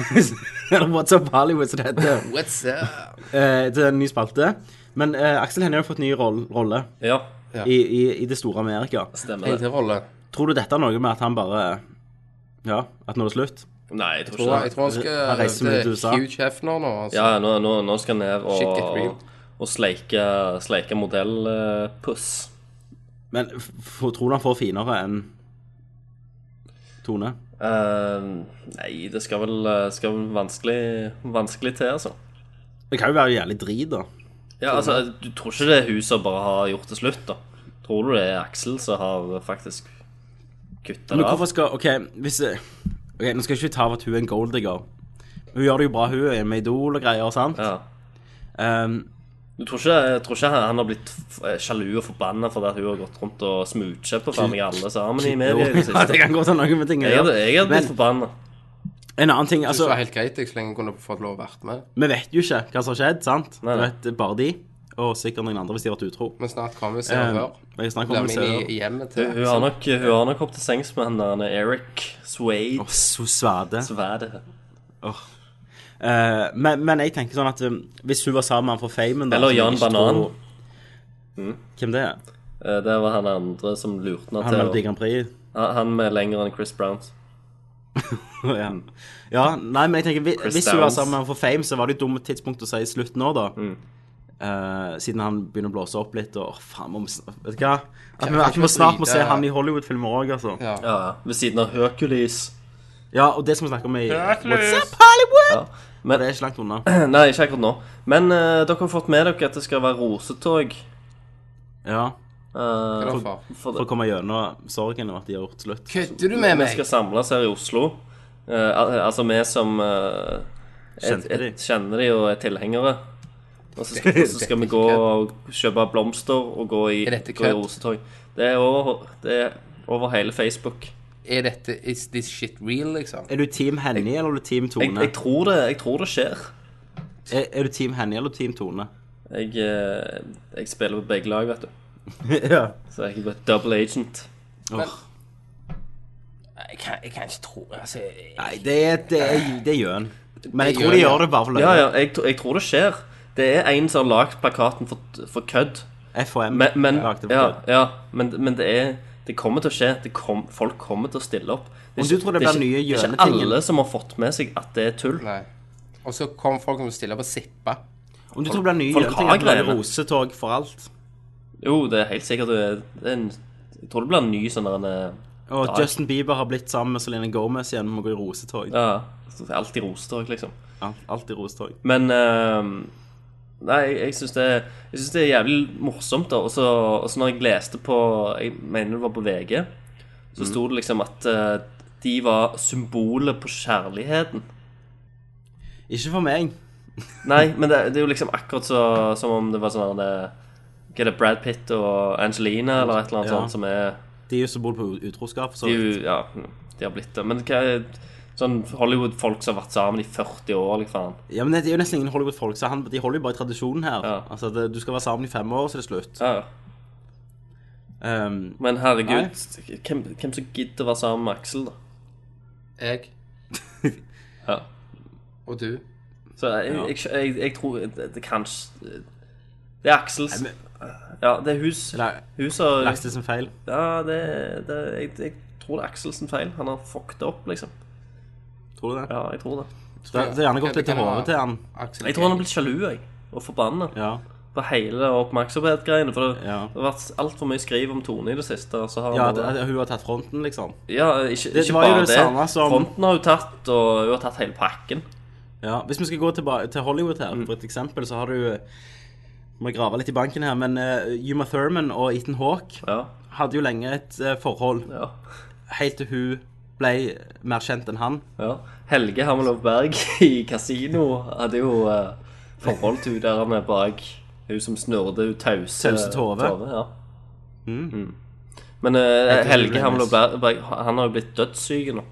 Speaker 4: [laughs] Eller What's Up Hollywood, som det heter.
Speaker 5: What's up?
Speaker 4: Eh, det er en ny spalte. Men eh, Aksel Hennie har jo fått ny roll, rolle
Speaker 6: ja.
Speaker 4: i, i, i det store Amerika.
Speaker 6: Stemmer det.
Speaker 5: Egentlig rolle.
Speaker 4: Tror du dette har noe med at han bare Ja, at nå er det slutt?
Speaker 6: Nei, jeg tror
Speaker 5: Tror
Speaker 6: ikke
Speaker 5: jeg, jeg
Speaker 6: det.
Speaker 5: tror han
Speaker 4: Han
Speaker 5: skal
Speaker 4: reiser
Speaker 5: det
Speaker 4: mye
Speaker 5: er
Speaker 4: til USA.
Speaker 5: Hugh Hefner nå. Altså.
Speaker 6: Ja, nå, nå, nå skal han ned
Speaker 5: Shit, get real.
Speaker 6: og, og sleike, sleike modellpuss.
Speaker 4: Men f f- tror du han får finere enn Tone?
Speaker 6: Ehm, nei, det skal vel, skal vel vanskelig, vanskelig til, altså.
Speaker 4: Det kan jo være jævlig drit, da.
Speaker 6: Ja, altså, Du tror ikke det er hun som bare har gjort det slutt, da? Tror du det er Aksel som har faktisk kutta
Speaker 4: Men
Speaker 6: det
Speaker 4: hvorfor
Speaker 6: av?
Speaker 4: skal OK, hvis Ok, Nå skal jeg ikke ta av at hun er en golddigger. Hun gjør det jo bra, hun er med Idol og greier, sant?
Speaker 6: Ja.
Speaker 4: Ehm,
Speaker 6: Du tror ikke, tror ikke han han har blitt f- eh, sjalu og forbanna fordi at hun har gått rundt og smoocha på faen meg alle sammen i
Speaker 4: jo,
Speaker 6: media
Speaker 4: ja,
Speaker 6: i det
Speaker 4: [laughs] det
Speaker 6: siste?
Speaker 4: kan godt ha noe med ting å
Speaker 6: Jeg hadde,
Speaker 4: gjøre.
Speaker 6: jeg hadde
Speaker 4: Men
Speaker 6: blitt forbanna.
Speaker 4: en annen ting,
Speaker 5: det
Speaker 4: altså
Speaker 5: var helt greit jeg, så lenge jeg kunne fått lov å være med.
Speaker 4: Vi vet jo ikke hva som har skjedd, sant?
Speaker 6: Nei,
Speaker 4: Vi
Speaker 6: nei.
Speaker 4: vet det er bare de, og sikkert noen andre hvis de har vært utro.
Speaker 5: Men snart kommer vi se og
Speaker 4: Ehm,
Speaker 5: hør.
Speaker 4: Jeg snakker
Speaker 5: Blir
Speaker 4: om det
Speaker 5: vi inn
Speaker 4: selv.
Speaker 5: i hjemmet
Speaker 6: Hun,
Speaker 5: til
Speaker 6: hun,
Speaker 4: Altså-
Speaker 6: har nok, hun har nok hoppet til sengs med han der Eric Swade.
Speaker 4: Åh, så svade.
Speaker 6: Så hva er det?
Speaker 4: Eh, men, men jeg tenker sånn at um, hvis hun var sammen med han for famen da,
Speaker 6: Eller
Speaker 4: som Altså, jeg
Speaker 6: Jan
Speaker 4: ikke
Speaker 6: Banan.
Speaker 4: tror- Hvem det er?
Speaker 6: Eh, Det var han andre som lurte henne
Speaker 4: Han Melodi
Speaker 6: til å
Speaker 4: Grand Prix?
Speaker 6: Han- Han med lenger enn Chris Brown.
Speaker 4: [laughs] ja. ja, nei, men jeg tenker hvi-
Speaker 6: Chris
Speaker 4: Hvis hun var
Speaker 6: Downs.
Speaker 4: sammen med han for fame, så var det jo et dumt tidspunkt å si slutt nå, da. Eh, siden han begynner å blåse opp litt, og åh, faen, må vi sn- Vet du hva? At vi, at vi må snart må se han i Hollywood-filmer òg, altså.
Speaker 5: Ja.
Speaker 4: Ja.
Speaker 6: Ja, ja. Ved siden av Hercules.
Speaker 4: og det som vi snakker om i
Speaker 5: Hercules.
Speaker 4: What's Up Hollywood!
Speaker 6: Ja. Men, eh,
Speaker 4: Det er ikke langt unna.
Speaker 6: nei, ikke akkurat nå. Men eh, dere har fått med dere at det skal være rosetog.
Speaker 4: Ja,
Speaker 5: Hva
Speaker 6: eh,
Speaker 5: da, far?
Speaker 6: for
Speaker 4: For å komme gjennom sorgen over at de har gjort slutt.
Speaker 5: Kødder du med
Speaker 6: Vi
Speaker 5: meg?
Speaker 6: skal samles her i Oslo. Eh, al- altså vi som eh, et,
Speaker 4: Kjente de.
Speaker 6: et, kjenner de og er tilhengere. Og så skal, så skal vi gå og kjøpe blomster og gå i,
Speaker 5: Er dette
Speaker 6: gå i
Speaker 5: kødd?
Speaker 6: rosetog. Det er, over, det er over hele Facebook.
Speaker 5: Er dette Is this shit real, liksom?
Speaker 4: Er du Team Henny eller er du Team
Speaker 6: Jeg,
Speaker 4: Tone?
Speaker 6: jeg, tror, det, jeg tror det skjer.
Speaker 4: Er, er du Team Henny eller Team Tone?
Speaker 6: Jeg, eh, jeg spiller på begge lag, vet du.
Speaker 4: ja.
Speaker 6: Så jeg er bare double agent.
Speaker 4: Åh.
Speaker 5: Jeg kan, jeg kan ikke tro altså, jeg-
Speaker 4: Nei, det er, det er, det er gjøn. Men jeg
Speaker 5: Det er
Speaker 4: tror de
Speaker 5: gjøn,
Speaker 4: gjør det bare for løye.
Speaker 6: Ja, ja, jeg, tro- jeg tror det skjer. Det er en som har lagd plakaten for, for kødd.
Speaker 4: FHM
Speaker 6: Men, men,
Speaker 4: lagde for
Speaker 6: ja,
Speaker 4: kødd.
Speaker 6: ja, men, men det er Det kommer til å skje. Det kom, folk kommer til å stille opp. Det
Speaker 4: Om du tror det blir
Speaker 6: er
Speaker 4: nye
Speaker 6: det er ikke
Speaker 4: gjønetingen.
Speaker 6: alle som har fått med seg at det er tull.
Speaker 5: Nei. Og så kom folk som stiller på Sippa.
Speaker 4: Om du tror det blir nye
Speaker 6: folk har
Speaker 4: gjønetinger, blir det
Speaker 6: greiene.
Speaker 4: rosetog for alt.
Speaker 6: Jo, det er helt sikkert det er, det er en, Jeg tror det blir en ny sånn der en,
Speaker 4: Og
Speaker 6: Dag.
Speaker 4: Justin Bieber har blitt sammen med Selena Gomez igjen om å gå i rosetog.
Speaker 6: Ja, så det er alltid rosetog, liksom.
Speaker 4: Ja, alltid rosetog.
Speaker 6: Men ehm, Nei, jeg, jeg syns det, jeg synes det er jævlig morsomt, da. Og så og så når jeg leste på Jeg mener det var på VG, så sto det liksom at eh, de var symbolet på kjærligheten.
Speaker 4: Ikke for meg.
Speaker 6: Nei, men det, det er jo liksom akkurat så, som om det var sånn det, Hva er det, Brad Pitt og Angelina eller et eller annet
Speaker 4: Ja.
Speaker 6: sånt som er
Speaker 4: De er jo så bor på utroskap. Så.
Speaker 6: de, er jo- Ja, de har blitt det. Men hva er sånn Hollywood-folk som har vært sammen i 40 år, liksom.
Speaker 4: Ja, men det er jo nesten ingen Hollywood-folk, så han, de holder jo bare i tradisjonen her.
Speaker 6: Ja.
Speaker 4: Altså, det, Du skal være sammen i fem år, så er det slutt.
Speaker 6: Ja, ja.
Speaker 4: Um,
Speaker 6: men herregud, hvem, hvem som gidder å være sammen med Aksel, da?
Speaker 5: Jeg.
Speaker 6: [laughs] Ja.
Speaker 5: Og du?
Speaker 6: Så jeg, jeg, jeg, jeg tror det, det kanskje Det er Aksels
Speaker 4: Nei,
Speaker 6: Ja, det er hus.
Speaker 4: Eller
Speaker 6: Hus og
Speaker 4: lagde sin feil.
Speaker 6: Ja, det, det jeg, jeg tror det er Aksel sin feil. Han har fucket opp, liksom.
Speaker 4: Tror du det?
Speaker 6: Ja, jeg tror det.
Speaker 4: Det det har gjerne gått litt i hodet til han.
Speaker 5: Aksel
Speaker 6: Jeg tror han har blitt sjalu, jeg. Og forbanna
Speaker 4: Ja.
Speaker 6: på hele det oppmerksomhetsgreiene. For det,
Speaker 4: Ja.
Speaker 6: det har vært altfor mye skriv om Tone i det siste. og Så har
Speaker 4: ja
Speaker 6: han
Speaker 4: at,
Speaker 6: bare-
Speaker 4: at hun har tatt fronten, liksom.
Speaker 6: ja, ikke,
Speaker 4: det
Speaker 6: ikke
Speaker 4: var jo
Speaker 6: bare
Speaker 4: det
Speaker 6: det.
Speaker 4: samme som-
Speaker 6: Fronten har hun tatt, og hun har tatt hele pakken.
Speaker 4: Ja, Hvis vi skal gå tilbake til Hollywood her,
Speaker 6: Mm.
Speaker 4: for et eksempel, så har du Må jeg grave litt i banken her, men eh, Uma Thurman og Ethan Hawke
Speaker 6: Ja.
Speaker 4: hadde jo lenge et eh, forhold
Speaker 6: ja.
Speaker 4: helt til hun ble mer kjent enn han.
Speaker 6: ja. Helge Hamelov Berg [laughs] i Casino hadde jo eh, forhold til hun der han er bak hun som snurrte hun tause
Speaker 4: Tause Tove.
Speaker 6: ja. Mm. Men eh, Helge
Speaker 4: Remus.
Speaker 6: Hamelov Berg, Berg, han har jo blitt dødssyk nå.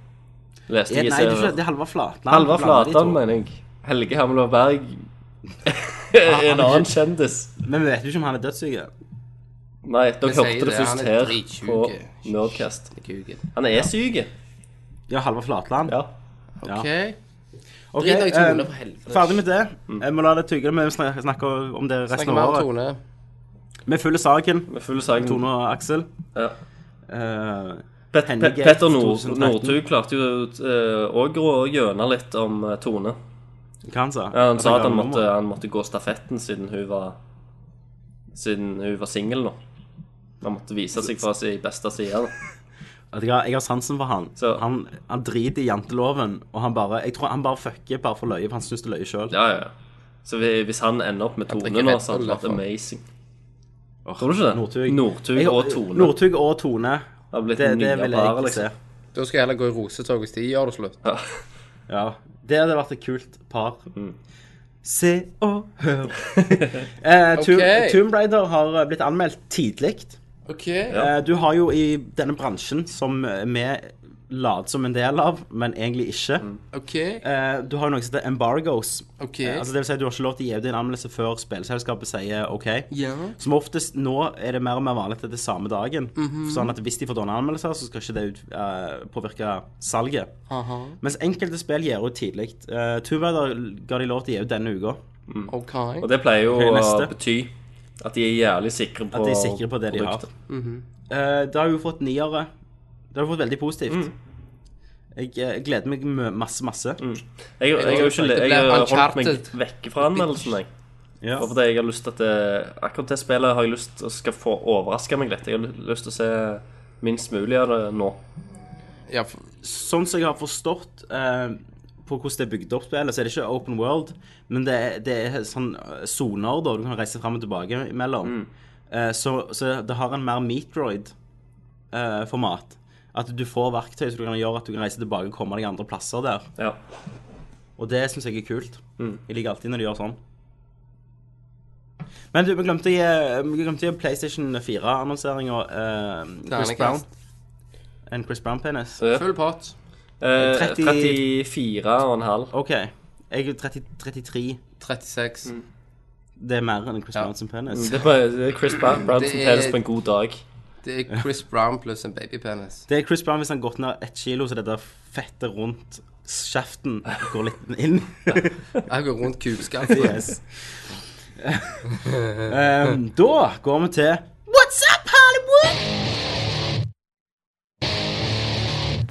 Speaker 6: Leste
Speaker 4: Er, Eh,
Speaker 6: jeg i
Speaker 4: nei, det er
Speaker 6: serien.
Speaker 4: ikke det er Halvard Flatland.
Speaker 6: Halvard
Speaker 4: Blander de to.
Speaker 6: Flatan, mener jeg. Helge Hamelov
Speaker 4: [laughs]
Speaker 6: Berg. en annen kjendis.
Speaker 4: Men vi vet jo ikke om han er dødssyk.
Speaker 6: Nei, dere
Speaker 5: Vi sier
Speaker 6: hørte det
Speaker 5: det, han
Speaker 6: først
Speaker 5: er
Speaker 6: her
Speaker 5: dritsjuk.
Speaker 6: på Nerdcast.
Speaker 5: Kuken.
Speaker 6: Han er syk.
Speaker 4: Ja, Halvard Flatland.
Speaker 6: Ja.
Speaker 5: OK.
Speaker 4: Ok,
Speaker 5: Drit deg i Tone,
Speaker 4: eh,
Speaker 5: for helvete.
Speaker 4: Ferdig med det.
Speaker 6: Mm.
Speaker 4: Jeg må la det tygge, men vi snak- snakker om det
Speaker 5: Snakker
Speaker 4: resten
Speaker 5: mer
Speaker 4: av
Speaker 5: om
Speaker 4: året.
Speaker 5: Tone.
Speaker 4: Vi følger saken.
Speaker 6: Med full sang.
Speaker 4: Tone og Aksel.
Speaker 6: Mm. Ja.
Speaker 4: Eh,
Speaker 6: Pet
Speaker 4: Henning
Speaker 6: Pet
Speaker 4: Gate,
Speaker 6: Petter Nord
Speaker 4: 2013.
Speaker 6: Northug klarte jo òg å gjøne litt om eh, Tone.
Speaker 4: hva han sa
Speaker 6: Ja, han sa at han
Speaker 4: gamle
Speaker 6: måtte,
Speaker 4: nummer.
Speaker 6: han måtte gå stafetten siden hun var Siden hun var singel nå. Han måtte vise seg fra sin beste side. da.
Speaker 4: Vet du hva, Jeg har sansen for han.
Speaker 6: Så-
Speaker 4: Han, han driter i janteloven, og han bare Jeg tror han bare fucker bare for løye, for han syns det er løye sjøl.
Speaker 6: Ja, ja. ja. Så vi- hvis han ender opp med Tone
Speaker 5: drikker
Speaker 6: nå,
Speaker 5: Red
Speaker 6: så hadde det
Speaker 5: Bull,
Speaker 6: vært
Speaker 5: derfor.
Speaker 6: amazing. Tror du ikke det?
Speaker 4: Northug.
Speaker 6: Northug og Tone
Speaker 4: Northug og Tone.
Speaker 6: har
Speaker 4: Det,
Speaker 6: blitt
Speaker 4: det
Speaker 6: nye
Speaker 4: vil
Speaker 6: par,
Speaker 4: jeg
Speaker 6: liksom.
Speaker 4: se.
Speaker 5: Da skal jeg heller gå i rosetog hvis de gjør det slutt.
Speaker 6: Ja.
Speaker 4: Ja. Det hadde vært et kult par.
Speaker 6: Mm.
Speaker 4: Se og
Speaker 6: [laughs]
Speaker 4: hør. eh, Tomb-
Speaker 5: Ok.
Speaker 4: Tomb Raider har eh, blitt anmeldt tidlig.
Speaker 5: OK.
Speaker 4: Eh, Du har jo i denne bransjen, som eh, vi later som en del av, men egentlig ikke
Speaker 6: Mm.
Speaker 5: OK.
Speaker 4: eh, Du har jo noe som heter embargoes.
Speaker 5: OK.
Speaker 4: Eh, Altså, det vil si at du har ikke lov til å gi ut en anmeldelse før spillselskapet sier OK.
Speaker 5: Ja.
Speaker 4: Som oftest nå er det mer og mer vanlig at det er samme dagen.
Speaker 5: Mhm.
Speaker 4: Sånn at hvis de får dårlige anmeldelser, så skal ikke det ut, eh, påvirke salget.
Speaker 5: Aha.
Speaker 4: Mens enkelte spill gir ut tidlig. Uh, Tomb Raider ga de lov til å gi ut denne uka.
Speaker 5: OK.
Speaker 6: Og det pleier jo
Speaker 4: Ok,
Speaker 6: å
Speaker 4: neste.
Speaker 6: bety at de er jævlig sikre på
Speaker 4: At de er sikre på det de har.
Speaker 6: produktet.
Speaker 5: Mhm.
Speaker 4: Eh, det har jo fått niere. Det har jo fått veldig positivt.
Speaker 5: Mm.
Speaker 4: Jeg eh, gleder meg mø- masse, masse.
Speaker 5: Mm.
Speaker 6: Jeg, jeg, har jo ikke
Speaker 5: Det
Speaker 6: jeg,
Speaker 5: ble
Speaker 6: har holdt meg
Speaker 5: Uncharted.
Speaker 6: vekk fra anmeldelsen, jeg.
Speaker 4: Ja.
Speaker 6: Bare fordi jeg har lyst til at det, akkurat det spillet har jeg lyst til å skal få overraske meg litt. Jeg har lyst til å se minst mulig av det nå.
Speaker 5: Ja, for-
Speaker 4: Sånn som jeg har forstått eh, på hvordan det er bygd opp spillet, så er det ikke open world, men det er, det er sånn eh, soner da, du kan reise fram og tilbake imellom. Eh, så, så det har en mer Meatroid-format. at du får verktøy som du kan gjøre at du kan reise tilbake og komme deg andre plasser der.
Speaker 6: Ja.
Speaker 4: Og det syns jeg er kult. Jeg liker alltid når de gjør sånn. Men du, vi glemte å gi, vi glemte å gi PlayStation 4-annonseringa uh, Chris
Speaker 5: Ternekast.
Speaker 4: Brown. En Chris Brown-penis.
Speaker 5: full pott.
Speaker 6: Eh,
Speaker 4: 30
Speaker 6: 34,5.
Speaker 4: OK. Jeg er 30, 33.
Speaker 5: 36.
Speaker 6: Mm.
Speaker 4: Det er mer enn en Chris
Speaker 5: Ja.
Speaker 4: Brown sin penis.
Speaker 6: Det er bare- det er Chris
Speaker 4: Mm,
Speaker 6: Brown Brown som
Speaker 5: Det er-
Speaker 6: penis på en god dag.
Speaker 5: Det er Chris Brown pluss en babypenis.
Speaker 4: Det er Chris Brown hvis han har gått ned ett kilo, så det der fettet rundt kjeften går litt inn.
Speaker 5: Jeg går rundt kukskaftet.
Speaker 4: Yes. um, da går vi til What's up, Hollywood?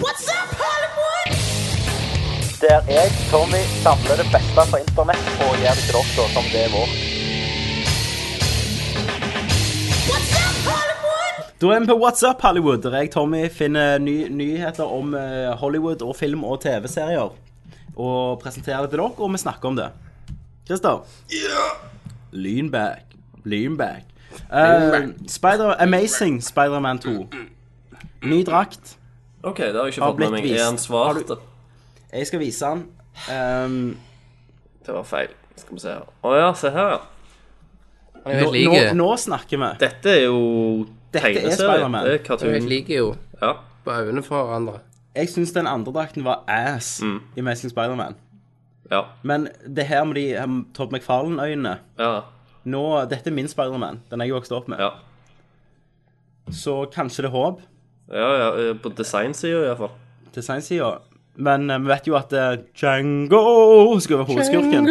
Speaker 4: What's up, Hollywood? Der jeg, Tommy, samler det beste fra internett og gjør det til dere som det er vårt. Da er vi på What's Up Hollywood, der jeg, Tommy, finner ny nyheter om eh, Hollywood og film- og TV-serier. Og presenterer det til dere, og vi snakker om det. Christer. Lynback. Lynback. Uh, Spider Amazing Spider-Man 2. Ny drakt.
Speaker 6: OK, det har jeg ikke
Speaker 4: Har
Speaker 6: fått
Speaker 4: blitt
Speaker 6: med meg. Er han
Speaker 4: vist. Har
Speaker 6: svart?
Speaker 4: du- Jeg skal vise den. Um,
Speaker 6: Det var feil. Skal vi se her. Å ja, se her, ja.
Speaker 5: Han er jo
Speaker 4: nå,
Speaker 5: helt
Speaker 4: nå,
Speaker 5: like.
Speaker 4: nå snakker vi.
Speaker 6: Dette er jo
Speaker 4: Dette er
Speaker 6: tegneserie.
Speaker 4: Spider-Man.
Speaker 5: Han er
Speaker 6: Det er
Speaker 5: jo
Speaker 6: cartoon.
Speaker 5: helt like, jo.
Speaker 6: Ja.
Speaker 5: På øynene for hverandre.
Speaker 4: Jeg syns den andre drakten var ass
Speaker 6: Mm.
Speaker 4: i Amazing Spider-Man.
Speaker 6: ja.
Speaker 4: Men det her med de um, Todd McFarlane-øynene
Speaker 6: Ja.
Speaker 4: Nå, Dette er min Spider-Man, Den jeg vokste opp med.
Speaker 6: Ja.
Speaker 4: Så kanskje det er håp
Speaker 6: ja, ja. eh, På designsida, iallfall.
Speaker 4: til seinsida. Men eh, vi vet jo at eh, Django skal være hovedskurken.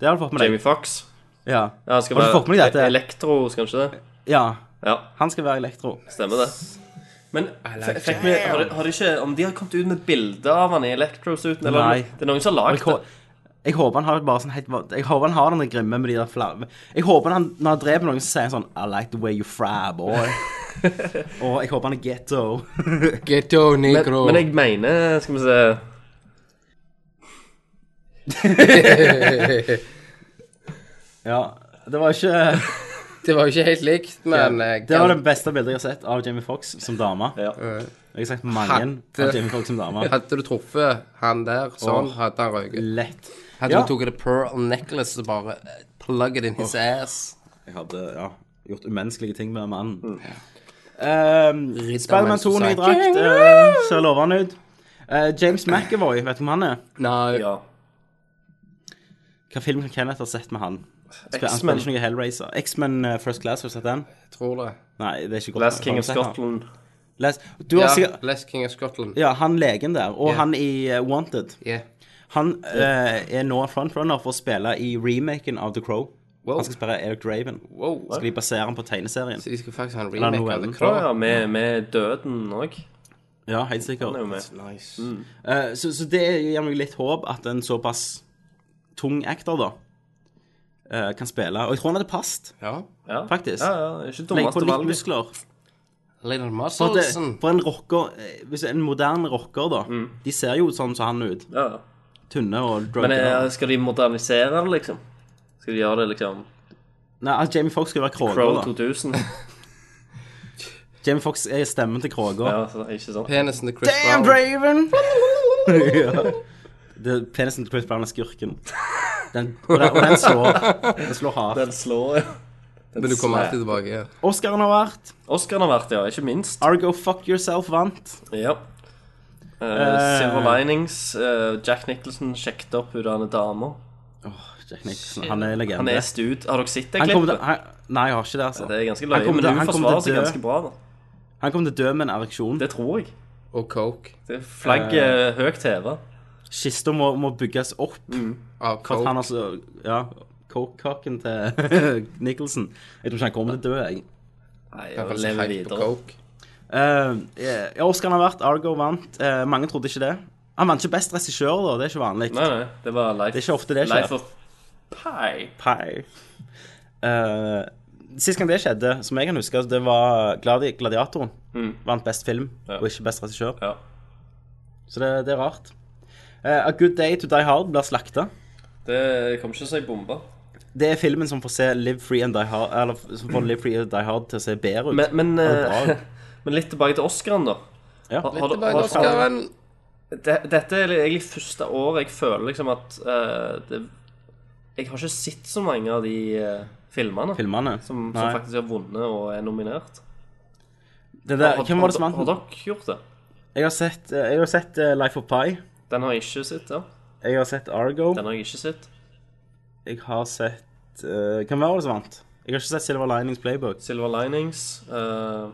Speaker 4: Det har du fått med deg.
Speaker 6: Jamie Fox.
Speaker 4: Ja.
Speaker 6: Ja, han skal
Speaker 4: Har du fått med deg dette?
Speaker 6: være e- elektro, skal han ikke det?
Speaker 4: ja.
Speaker 6: Ja,
Speaker 4: Han skal være elektro.
Speaker 6: stemmer det. Men f- fikk vi, har, de- har de ikke, om de har kommet ut med bilde av han i elektrosuiten? Eller
Speaker 4: Nei.
Speaker 6: Om, det er noen som har
Speaker 4: Jeg,
Speaker 6: lagd
Speaker 4: hå-
Speaker 6: det?
Speaker 4: jeg håper han har bare sånn helt Jeg håper han har den der grimme med de der flamme Jeg håper han, når han dreper noen, så sier han sånn I like the way you fry,
Speaker 6: [laughs]
Speaker 4: boy. Og jeg håper han er getto.
Speaker 5: Ghetto
Speaker 6: Men,
Speaker 5: negro.
Speaker 6: men jeg mener, skal vi se
Speaker 4: Ja. Det var ikke
Speaker 5: Det var jo ikke helt likt, men eh,
Speaker 4: Det var det beste bildet jeg har sett av Jamie Foxx som dame. Jeg har sett mange
Speaker 5: Hatte.
Speaker 4: av Jamie Foxx som dame.
Speaker 5: Hadde du truffet han der sånn, hadde han røyket.
Speaker 4: Lett.
Speaker 5: Hadde
Speaker 4: Ja.
Speaker 5: du tatt det pearl necklace og bare eh, plug it in his ass.
Speaker 4: Jeg hadde ja, gjort umenneskelige ting med mannen.
Speaker 6: Mm.
Speaker 4: Um, Spiderman 2 ny
Speaker 5: Society.
Speaker 4: drakt. eh, ser lovende ut. Eh, James McAvoy, vet du hvem han er?
Speaker 5: Nei,
Speaker 6: Ja.
Speaker 4: Hva film kan Kenneth ha sett med han? Spil- Han
Speaker 6: X-Men.
Speaker 4: spiller ikke noe Hellraiser. X-Men eh, First Class, har du sett den?
Speaker 5: jeg tror det.
Speaker 4: Nei, det er ikke godt.
Speaker 6: Last King
Speaker 4: Har du
Speaker 6: of
Speaker 4: sett den?
Speaker 6: Scotland.
Speaker 4: Last, du har
Speaker 5: Ja,
Speaker 4: sikkert
Speaker 5: Les King of Scotland.
Speaker 4: ja, han legen der, og
Speaker 5: Ja.
Speaker 4: han i eh, Wanted.
Speaker 5: Yeah.
Speaker 4: Han eh, er nå frontrunner for å spille i remaken av The Crow.
Speaker 5: Wow.
Speaker 4: Han skal spille Eric Draven.
Speaker 5: Wow.
Speaker 4: Skal de basere han på tegneserien?
Speaker 5: Så de skal faktisk ha en
Speaker 4: Eller
Speaker 5: remake av
Speaker 4: novellen.
Speaker 5: The
Speaker 6: Ja,
Speaker 5: Crow.
Speaker 6: ja, med, med døden òg.
Speaker 4: Ja, helt sikkert.
Speaker 6: Han er jo med.
Speaker 5: Nice.
Speaker 4: Eh, så, så det gir meg litt håp at en såpass tung actor, da, eh, kan spille. Og jeg tror han hadde passet,
Speaker 5: Ja.
Speaker 6: Ja.
Speaker 4: Faktisk.
Speaker 6: Ja, ja, ikke
Speaker 4: Legg på
Speaker 6: dummeste
Speaker 4: litt
Speaker 6: valget.
Speaker 4: muskler.
Speaker 5: Little
Speaker 4: For, at det,
Speaker 5: Muscleson.
Speaker 4: for en rocker eh, Hvis en moderne rocker, da De ser jo sånn som han ut.
Speaker 6: Ja. ja.
Speaker 4: Tynne og
Speaker 6: Mm. Men
Speaker 4: drugga.
Speaker 6: eh, skal de modernisere det, liksom? Skal de gjøre det liksom
Speaker 4: Nei, altså, Jamie Foxx skal være
Speaker 6: Pro
Speaker 4: Kråger, da.
Speaker 6: 2000?
Speaker 4: Jamie Foxx er stemmen til Kråger.
Speaker 6: Ja, så, ikke
Speaker 4: [laughs]
Speaker 6: sant?
Speaker 5: Penisen til Chris
Speaker 4: Damn,
Speaker 5: Brown.
Speaker 6: [laughs]
Speaker 4: Draven! ja. Det er penisen til Chris Brown er skurken. Den, og, den, og den slår, den slår hardt.
Speaker 6: Den slår jo.
Speaker 5: Men du kommer alltid tilbake. Ja.
Speaker 4: Oscaren har vært.
Speaker 6: Oscaren har vært, ja. Ikke minst.
Speaker 4: Argo Fuck Yourself vant.
Speaker 6: Ja. Eh, Silver Linings. eh, Jack Nicholson sjekket opp hun derne dama.
Speaker 4: Jack Nicholson, han er legende.
Speaker 6: Han er stud. Har dere sett det
Speaker 4: Han kommer til,
Speaker 6: klippet?
Speaker 4: han, nei, jeg har ikke det, altså.
Speaker 6: Det er ganske
Speaker 4: Han
Speaker 6: løye,
Speaker 4: kommer
Speaker 6: men
Speaker 4: til-
Speaker 6: hun
Speaker 4: han kommer
Speaker 6: forsvarer
Speaker 4: til
Speaker 6: seg
Speaker 4: å dø.
Speaker 6: ganske bra, da.
Speaker 4: Han kommer til å dø med en ereksjon.
Speaker 6: Det tror jeg.
Speaker 5: Og Coke.
Speaker 6: Det er flagget eh, høyt heva.
Speaker 4: Kista må, må bygges opp.
Speaker 6: Mm,
Speaker 5: Av
Speaker 4: For at
Speaker 5: Coke.
Speaker 4: han altså Ja, kokekaken til [laughs] Nicholson. Jeg tror ikke han kommer til å dø, jeg.
Speaker 6: Nei,
Speaker 5: Han
Speaker 6: jeg
Speaker 5: var så
Speaker 6: lever
Speaker 5: hype på
Speaker 6: videre.
Speaker 5: Coke.
Speaker 4: Uh, ja, Oscar har vært, Argo vant. Eh, mange trodde ikke det. Han vant ikke best regissør, da. Det er ikke vanlig.
Speaker 6: Nei, nei. Det var life.
Speaker 4: Det er ikke ofte det skjer.
Speaker 6: Life of Pi.
Speaker 4: Pai. Eh, sist gang det skjedde, som jeg kan huske, altså, det var Gladi Gladiatoren. Vant best film,
Speaker 6: Mm. Ja.
Speaker 4: og ikke best regissør.
Speaker 6: Ja.
Speaker 4: Så det, det er rart. Eh, A Good Day to Die Hard blir slakta.
Speaker 6: Det kom ikke som ei bombe.
Speaker 4: Det er filmen som får se Live Free and Die Hard Eller som får Live Free and Die Hard til å se bedre ut.
Speaker 6: Mm. Men, men,
Speaker 4: det er bra.
Speaker 6: eh, [laughs] men litt tilbake til Oscaren, da.
Speaker 4: Ja.
Speaker 6: Har- har
Speaker 5: Litt
Speaker 6: du-
Speaker 5: tilbake
Speaker 6: har-
Speaker 5: til Oscaren.
Speaker 6: Det- Dette er egentlig første året jeg føler liksom at eh, det, Jeg har ikke sett så mange av de eh, filmene
Speaker 4: Filmene.
Speaker 6: som, som
Speaker 4: Nei.
Speaker 6: faktisk har vunnet og er nominert.
Speaker 4: Det der,
Speaker 6: Har-
Speaker 4: hvem var det som
Speaker 6: har-
Speaker 4: vant
Speaker 6: Har
Speaker 4: den?
Speaker 6: dere gjort det?
Speaker 4: Jeg har sett, eh, jeg har sett eh, Life of Pi.
Speaker 6: Den har jeg ikke sett, ja.
Speaker 4: Jeg har sett Argo.
Speaker 6: Den har jeg ikke sett.
Speaker 4: Jeg har sett eh, Hvem var det som vant? Jeg har ikke sett Silver Linings Playbook.
Speaker 6: Silver Linings. eh,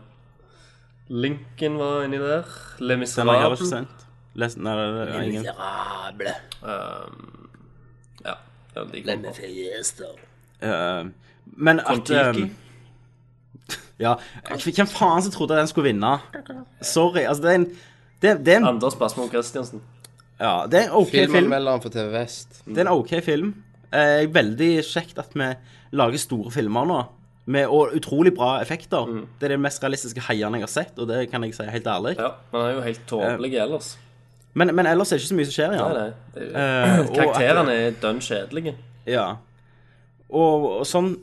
Speaker 6: Lincoln var inni der. Le
Speaker 4: Den har jeg ikke
Speaker 6: Miserable.
Speaker 4: sett. Les, nei, nei, nei, nei, ingen.
Speaker 6: eh, Ja, det var de kom på.
Speaker 4: Eh, men at
Speaker 6: Kon-Tiki.
Speaker 4: eh, Ja, hvem faen som trodde den skulle vinne? Sorry, altså det er en det, det er en,
Speaker 6: Anders Basmo Christiansen.
Speaker 4: ja, det er en OK film.
Speaker 5: Filmanmelderen for TV Vest.
Speaker 4: Det er en OK film. Eh, veldig kjekt at vi lager store filmer nå. Med, og utrolig bra effekter. Det er det mest realistiske heiene jeg har sett, og det kan jeg si helt ærlig.
Speaker 6: Mm. Ja, men han er jo helt tåpelig ellers.
Speaker 4: Men, men ellers er det ikke så mye som skjer i
Speaker 6: Nei,
Speaker 4: den.
Speaker 6: nei. Det er jo-
Speaker 4: Eh, og at-
Speaker 6: Karakterene er dønn kjedelige.
Speaker 4: Ja. Og, og sånn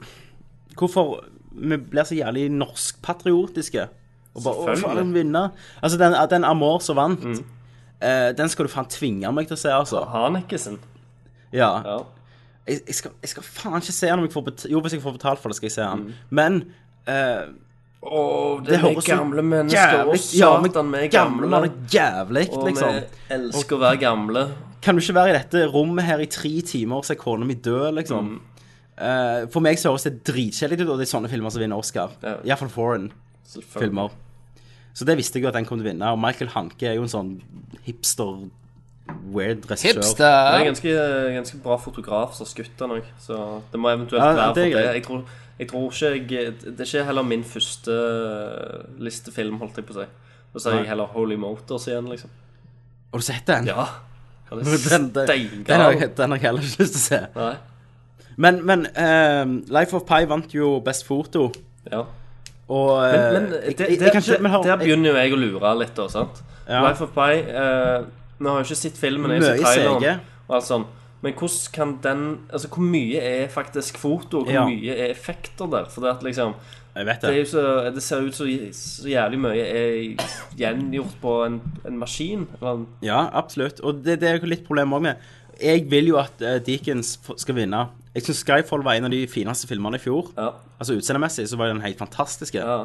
Speaker 4: Hvorfor vi blir så jævlig norskpatriotiske? Og bare, Å,
Speaker 6: Selvfølgelig. Mm.
Speaker 4: faen, vinne. Altså, den, at den Amor som vant, eh, den skal du faen tvinge meg til å se, altså.
Speaker 6: Hanekesen.
Speaker 4: Ja.
Speaker 6: Ja.
Speaker 4: jeg, jeg, skal, jeg skal faen ikke se han om jeg får betalt Jo, hvis jeg får betalt for det, skal jeg se han. Men eh,
Speaker 6: Åh, Mm. det,
Speaker 4: Det
Speaker 6: er
Speaker 4: høres så
Speaker 6: gamle mennesker og
Speaker 4: ja, men
Speaker 6: satan, vi er gamle.
Speaker 4: var det jævlig,
Speaker 6: og
Speaker 4: liksom.
Speaker 6: vi elsker å være gamle.
Speaker 4: Kan du ikke være i dette rommet her i tre timer og se kona mi dø, liksom?
Speaker 6: Mm.
Speaker 4: Eh, for meg så høres det dritkjedelig ut, og det er sånne filmer som vinner Oscar.
Speaker 6: Ja.
Speaker 4: Iallfall foreign
Speaker 6: Selvfølgelig.
Speaker 4: filmer. Så det visste jeg jo at den kom til å vinne. Og Michael Hanke er jo en sånn hipster, weird regissør.
Speaker 6: Det er
Speaker 9: Hipster!
Speaker 6: en ganske, ganske bra fotograf som har skutt den òg, så det må eventuelt
Speaker 4: Ja,
Speaker 6: være for
Speaker 4: det er
Speaker 6: det.
Speaker 4: greit.
Speaker 6: Jeg tror, jeg tror ikke jeg Det er ikke heller min første eh, listefilm, holdt jeg på å si. Da sier jeg heller Holy Motors igjen, liksom.
Speaker 4: Har du sett den?
Speaker 6: Ja. Han er
Speaker 4: [laughs] Den, den, den, har,
Speaker 6: steingal.
Speaker 4: jeg- den har jeg heller ikke lyst til å se.
Speaker 6: Nei.
Speaker 4: Men, men eh, Life of Pi vant jo Best Foto.
Speaker 6: Ja.
Speaker 4: Og eh,
Speaker 6: Men
Speaker 4: jeg-
Speaker 6: det,
Speaker 4: jeg-
Speaker 6: det,
Speaker 4: jeg kan ikke- men hør,
Speaker 6: der
Speaker 4: jeg-
Speaker 6: begynner jo jeg å lure litt, da. sant?
Speaker 4: Ja.
Speaker 6: Life of Pi eh, Vi har jo ikke sett filmen, jeg har
Speaker 4: Mye
Speaker 6: sett traileren
Speaker 4: CG.
Speaker 6: og alt sånn. Men hvordan kan den Altså, hvor mye er faktisk foto, og hvor
Speaker 4: Ja.
Speaker 6: mye er effekter der? For det at liksom
Speaker 4: Jeg vet
Speaker 6: Det, er
Speaker 4: det.
Speaker 6: jo så, det ser ut som så jævlig mye er gjengjort på en, en maskin. Eller en,
Speaker 4: Ja, absolutt. Og det, det er jo litt problem også med. Jeg vil jo at eh, Deakins f- skal vinne. Jeg syns Skyfall var en av de fineste filmene i fjor.
Speaker 6: ja,
Speaker 4: Altså utseendemessig så var den helt fantastiske.
Speaker 6: ja.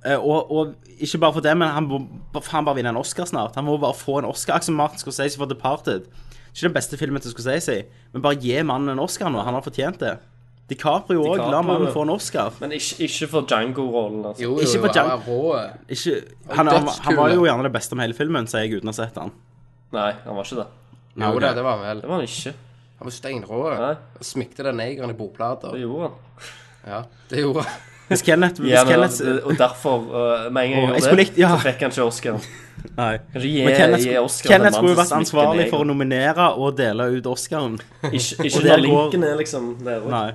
Speaker 4: Eh, og, og ikke bare for det, men han må bare- faen bare vinne en Oscar snart. Han må bare få en Oscar. Akkurat som Martin Scorsese for Departed. Ikke den beste filmen til Scorsese, men bare gi mannen en Oscar nå. Han har fortjent det. DiCaprio òg. La
Speaker 6: DiCaprio.
Speaker 4: mannen få en Oscar.
Speaker 6: Men ikke, ikke for Django-rollen, altså.
Speaker 5: Jo, jo,
Speaker 4: Ikke
Speaker 5: jo,
Speaker 4: på
Speaker 5: han
Speaker 4: Jan-
Speaker 5: er rå.
Speaker 4: Ikke, han, han, han var
Speaker 5: dødskule.
Speaker 4: jo gjerne det beste med hele filmen, sier jeg uten å ha sett han.
Speaker 6: Nei, han var ikke det.
Speaker 5: Jo
Speaker 4: ok.
Speaker 5: da, det var han vel.
Speaker 6: Det var han ikke.
Speaker 5: Han var steinrå.
Speaker 6: Nei.
Speaker 5: Og Smykte den negeren i bordplater.
Speaker 6: Det gjorde han.
Speaker 5: Ja, det gjorde han.
Speaker 4: Hvis Kenneth, hvis
Speaker 6: Ja, men,
Speaker 4: Kenneth
Speaker 6: det- og derfor, uh, med
Speaker 4: Åh,
Speaker 6: en gang jeg
Speaker 4: jeg
Speaker 6: gjorde
Speaker 4: skulle
Speaker 6: det,
Speaker 4: likt- ja.
Speaker 6: så fikk han ikke Oscar.
Speaker 4: Nei.
Speaker 6: Kanskje gi,
Speaker 4: Men Kenneth,
Speaker 6: gi Oscar til en mann
Speaker 4: Kenneth skulle jo
Speaker 6: som
Speaker 4: vært
Speaker 6: smykker
Speaker 4: ansvarlig
Speaker 6: neger.
Speaker 4: for å nominere og dele ut Oscaren.
Speaker 6: Ikke,
Speaker 4: Og
Speaker 6: ikke
Speaker 4: der
Speaker 6: der
Speaker 4: går-
Speaker 6: linken er liksom der også.
Speaker 4: Nei.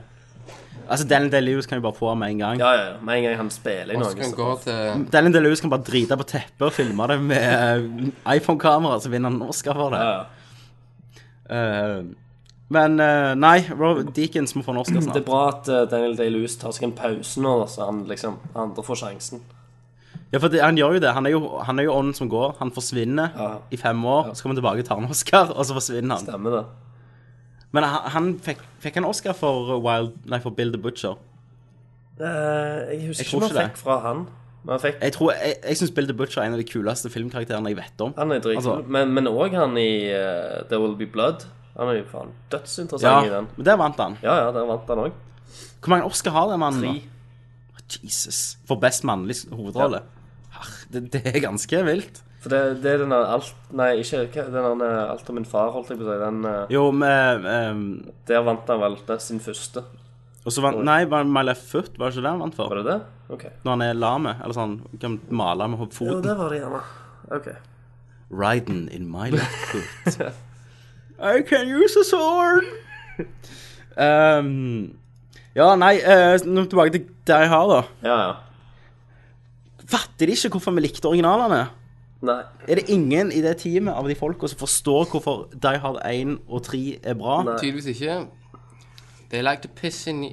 Speaker 4: Altså, Daniel Day-Lewis kan jo bare få han med en gang.
Speaker 6: Ja, ja, ja. Med en gang han spiller i
Speaker 5: Så
Speaker 6: noe.
Speaker 5: kan han
Speaker 6: Så.
Speaker 5: gå til
Speaker 4: Daniel Day-Lewis kan bare drite på teppet og filme det med eh, iPhone-kamera, så vinner han en Oscar for det.
Speaker 6: Ja, ja.
Speaker 4: Eh, men eh, nei, Robert Deakins må få en Oscar
Speaker 6: [clears throat] Det er
Speaker 4: snart.
Speaker 6: bra at uh, Daniel Day-Lewis tar seg en pause nå, da, så han liksom andre får sjansen.
Speaker 4: Ja, for det, Han gjør jo det. Han er jo, han er jo ånden som går. Han forsvinner
Speaker 6: Ja.
Speaker 4: i fem år, så kommer han tilbake og tar en Oscar, og så forsvinner han.
Speaker 6: Stemmer det.
Speaker 4: Men han, han fikk, fikk han Oscar for Wild, nei, for Bill the Butcher.
Speaker 6: Eh, jeg husker
Speaker 4: Jeg
Speaker 6: ikke
Speaker 4: tror
Speaker 6: hva han
Speaker 4: ikke
Speaker 6: fikk fra han. Men han fikk
Speaker 4: Jeg tror, jeg, jeg syns Bill the Butcher er en av de kuleste filmkarakterene jeg vet om.
Speaker 6: Han er dritkul.
Speaker 4: Altså-
Speaker 6: men, men også han i uh, There Will Be Blood. Han er jo faen
Speaker 4: Ja,
Speaker 6: dødsinteressant i den.
Speaker 4: men der vant han.
Speaker 6: Ja, ja, der vant han òg.
Speaker 4: Hvor mange Oscar har den mannen?
Speaker 6: Tre.
Speaker 4: nå? Jesus. For best mannlig hovedrolle. Herre, det, det er ganske vilt.
Speaker 6: For det, det er den der alt Nei, ikke hva- den der eh, Alt om min far, holdt jeg på å si. Den, eh,
Speaker 4: Jo, med ehm,
Speaker 6: der vant han vel det, sin første.
Speaker 4: Og så vant Nei, var det My Left Foot var det ikke det han vant
Speaker 6: Var
Speaker 4: for?
Speaker 6: det det? OK.
Speaker 4: Når han er lame, eller sånn, kan male med
Speaker 6: Jo,
Speaker 4: foten.
Speaker 6: det var det gjerne. OK.
Speaker 4: Riding in
Speaker 6: [laughs]
Speaker 4: my left foot. I can use a sword. [laughs] Ehm, ja, nei, eh, nå tilbake til der jeg har, da.
Speaker 6: Ja, ja.
Speaker 4: Fatter de ikke hvorfor vi likte originalene?
Speaker 6: Nei.
Speaker 4: Er det ingen i det teamet av de folka som forstår hvorfor Die Hard 1 og 3 er bra?
Speaker 6: Nei.
Speaker 5: Tydeligvis ikke. They like to piss in,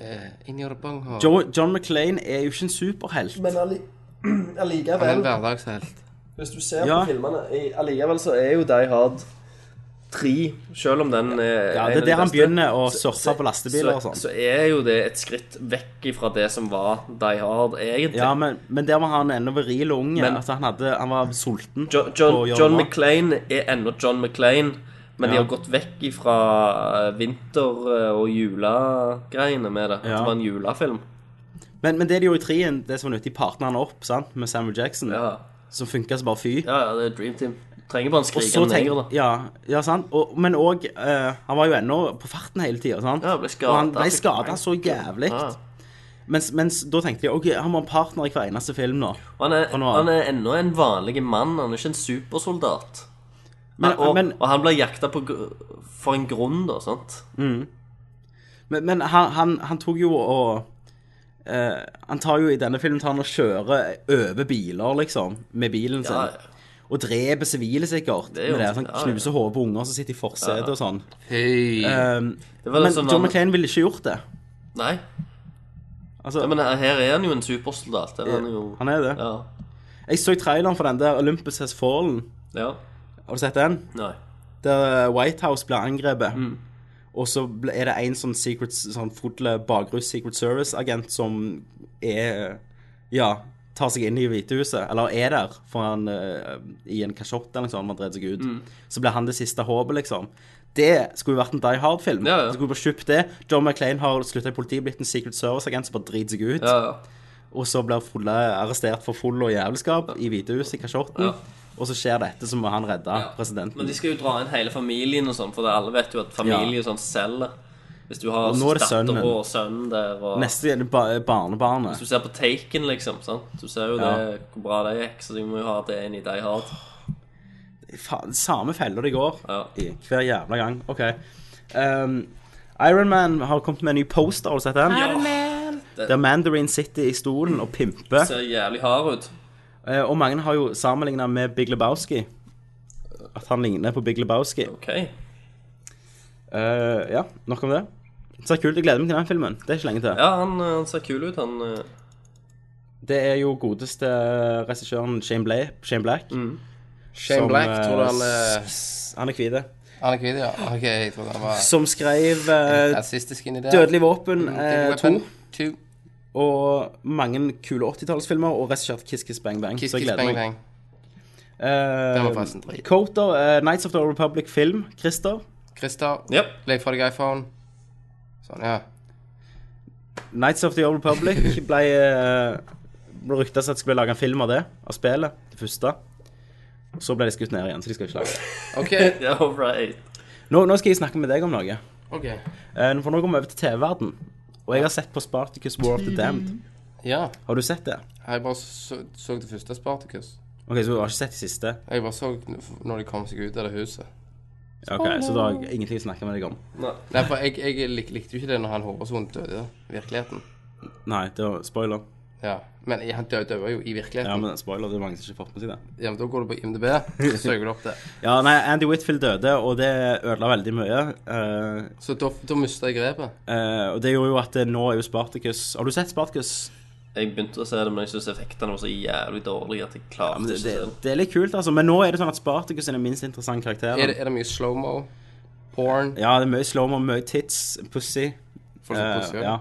Speaker 5: eh, in your bunghole.
Speaker 4: Jo, John McClane er jo ikke en superhelt.
Speaker 6: Men alli- [clears throat]
Speaker 5: Han er en
Speaker 6: allikevel,
Speaker 5: hverdagshelt.
Speaker 6: hvis du ser
Speaker 4: Ja.
Speaker 6: på filmene i- Allikevel så er jo Die Hard 3, selv om den er
Speaker 4: Ja,
Speaker 6: en
Speaker 4: det
Speaker 6: av
Speaker 4: er
Speaker 6: de
Speaker 4: der han
Speaker 6: beste,
Speaker 4: begynner å
Speaker 6: så-
Speaker 4: surfe
Speaker 6: så-
Speaker 4: på lastebiler og
Speaker 6: så-
Speaker 4: sånn.
Speaker 6: Så er jo det et skritt vekk fra det som var Die Hard, egentlig.
Speaker 4: Ja, men, men der var han ennå viril og unge.
Speaker 6: Men-
Speaker 4: altså, han, hadde, han var sulten.
Speaker 6: Jo-
Speaker 4: på å
Speaker 6: John,
Speaker 4: gjøre
Speaker 6: John
Speaker 4: mat.
Speaker 6: McClane er ennå John McClane, men de
Speaker 4: Ja.
Speaker 6: har gått vekk fra vinter- eh, og julegreiene med det. At
Speaker 4: Ja.
Speaker 6: det var en julefilm.
Speaker 4: Men, men det de gjorde i trien, det som var nyttig, partnerne opp sant? med Samuel Jackson,
Speaker 6: Ja,
Speaker 4: som funka som bare fy.
Speaker 6: ja, ja det er Dream Team. Trenger bare
Speaker 4: Og
Speaker 6: en
Speaker 4: så
Speaker 6: skrikende
Speaker 4: tenk-
Speaker 6: neger, da.
Speaker 4: ja, ja, sant? Og, men òg Han var jo ennå på farten hele tida.
Speaker 6: Ja, ble skadet.
Speaker 4: og han ble skada så jævlig.
Speaker 6: Ja.
Speaker 4: Mens, mens da tenkte de OK, han må ha en partner i hver eneste film nå.
Speaker 6: Og Han er,
Speaker 4: Og nå-
Speaker 6: han er ennå en vanlig mann, han er ikke en supersoldat. Eh,
Speaker 4: Men,
Speaker 6: og,
Speaker 4: men,
Speaker 6: og han blir jakta på gr- for en grunn, da, sant?
Speaker 4: men, men han, han, han tok jo og eh, Han tar jo i denne filmen tar han og kjører over biler, liksom, med bilen sin.
Speaker 6: Ja,
Speaker 4: Og dreper sivile, sikkert.
Speaker 6: er jo-
Speaker 4: med det, sånn,
Speaker 6: ja, ja.
Speaker 4: Knuser hodet på unger som sitter i forsetet og sånn.
Speaker 5: Hei.
Speaker 4: Um,
Speaker 6: det var
Speaker 4: men
Speaker 6: liksom
Speaker 4: John
Speaker 6: han-
Speaker 4: McClane ville ikke gjort det.
Speaker 6: Nei,
Speaker 4: Altså,
Speaker 6: ja, men her er han jo en supersoldat. Der er han jo
Speaker 4: han er det.
Speaker 6: Ja.
Speaker 4: Jeg så traileren for den der Olympus Has Fallen.
Speaker 6: ja.
Speaker 4: Har du sett den?
Speaker 6: Nei.
Speaker 4: Der eh, White House blir angrepet.
Speaker 6: Mm.
Speaker 4: Og så ble- er det en sånn secret, sånn fulle bakrus Secret Service-agent som er eh, Ja, tar seg inn i Hvitehuset. Eller er der for han, eh, i en kasjott eller noe sånt. Man drev seg ut.
Speaker 6: Mm.
Speaker 4: Så blir han det siste håpet, liksom. Det skulle jo vært en Die Hard-film.
Speaker 6: Ja, ja.
Speaker 4: Så skulle vi bare kjøpt det. John McClain har slutta i politiet, blitt en Secret Service-agent som bare driter seg ut.
Speaker 6: Ja, ja.
Speaker 4: Og så blir Folle arrestert for full og jævelskap i Hvitehuset i kasjotten.
Speaker 6: Ja.
Speaker 4: Og så skjer dette, så må han redde
Speaker 6: Men
Speaker 4: presidenten.
Speaker 6: de skal jo dra inn hele familien og sånn, for det- alle vet jo at familie og sånn selger. Hvis du har
Speaker 4: Og nå er det
Speaker 6: datter
Speaker 4: sønnen.
Speaker 6: og sønnen der og
Speaker 4: Neste er ba barnebarnet.
Speaker 6: Hvis du ser på Taken, liksom, sant? du ser jo
Speaker 4: Ja.
Speaker 6: det, hvor bra det gikk, så de må jo ha det inn i Die Hard.
Speaker 4: Faen, samme feller de går
Speaker 6: Ja.
Speaker 4: i hver jævla gang. OK. Um, Ironman har kommet med en ny poster, har du sett den? Der Mandarin sitter i stolen og pimper.
Speaker 6: Ser jævlig hard ut.
Speaker 4: Eh, Og mange har jo sammenligna med Big Lebowski. At han ligner på Big Lebowski.
Speaker 6: OK.
Speaker 4: Eh, ja, nok om det. Så kult. Jeg gleder meg til den filmen. Det er ikke lenge til.
Speaker 6: Ja, han, han ser kul ut, han. eh,
Speaker 4: Det er jo godeste regissøren Shane, Bla Shane Black.
Speaker 6: Mm.
Speaker 5: Shane Black, tror du han
Speaker 4: eh,
Speaker 5: eh,
Speaker 4: s- Han er hvit, ja.
Speaker 5: Han er kvitt, ja? Ok, jeg trodde han var
Speaker 4: Som skrev eh,
Speaker 5: rasistisk inni der.
Speaker 4: Dødelig våpen
Speaker 5: Mm,
Speaker 4: eh,
Speaker 5: Weapon
Speaker 4: 2
Speaker 5: two.
Speaker 4: og mange kule 80-tallsfilmer og regissert Kiss Kiss Bang Bang.
Speaker 5: Kiss
Speaker 4: så jeg
Speaker 5: Kiss
Speaker 4: gleder
Speaker 5: Bang
Speaker 4: meg.
Speaker 5: Bang. Den var forresten
Speaker 4: Eh,
Speaker 5: drit.
Speaker 4: Coter, eh, Nights of the Old Republic film, Christer.
Speaker 5: Christer,
Speaker 6: Ja.
Speaker 5: legg fra deg iPhone. Sånn, ja.
Speaker 4: Nights of the Old
Speaker 5: [laughs]
Speaker 4: Republic ble, eh, ble rykta at det skulle bli laga en film av det, av spillet, det første. Og så ble det skutt ned igjen, så de skal ikke lage det. [laughs]
Speaker 5: OK.
Speaker 6: Ja, [laughs] all right.
Speaker 4: Nå, nå skal jeg snakke med deg om noe.
Speaker 5: ok
Speaker 4: Eh, For nå går vi over til TV-verden. Og jeg har sett på Spartacus War of the Damned.
Speaker 5: Ja.
Speaker 4: Har du sett det?
Speaker 5: Jeg bare så, så det første Spartacus.
Speaker 4: Ok, Så du har ikke sett det siste?
Speaker 5: Jeg bare så når de kom seg ut av det huset.
Speaker 4: Ok, Så da har jeg ingenting å snakke med deg om.
Speaker 5: Nei, for jeg, jeg lik, likte jo ikke det når han Håvason døde. Virkeligheten.
Speaker 4: Nei, det var spoiler.
Speaker 5: Ja. Men han døde, døde jo i
Speaker 4: Ja,
Speaker 5: virkeligheten.
Speaker 4: men spoiler, det er mange som ikke har fått med seg det.
Speaker 5: Ja, men Da går du på IMDb,
Speaker 4: [laughs]
Speaker 5: så søker du opp det.
Speaker 4: Ja, nei, Andy Whitfield døde, og det ødela veldig mye. Eh,
Speaker 5: Så da, da mista jeg grepet.
Speaker 4: eh, og det gjorde jo at eh, nå er jo Spartacus Har du sett Spartacus?
Speaker 6: Jeg begynte å se det, men jeg syns effektene var så jævlig dårlige at jeg klarte
Speaker 4: Men
Speaker 6: ikke
Speaker 4: det,
Speaker 6: å
Speaker 4: det,
Speaker 6: se det.
Speaker 4: det er litt kult, altså. Men nå er det sånn at Spartacus er den minst interessante karakteren.
Speaker 5: Er det, er det mye slow-mo? Porn?
Speaker 4: Ja, det er mye slow-mo, mye tits, pussy.
Speaker 5: Folk som
Speaker 4: Eh,
Speaker 5: pusser,
Speaker 4: ja.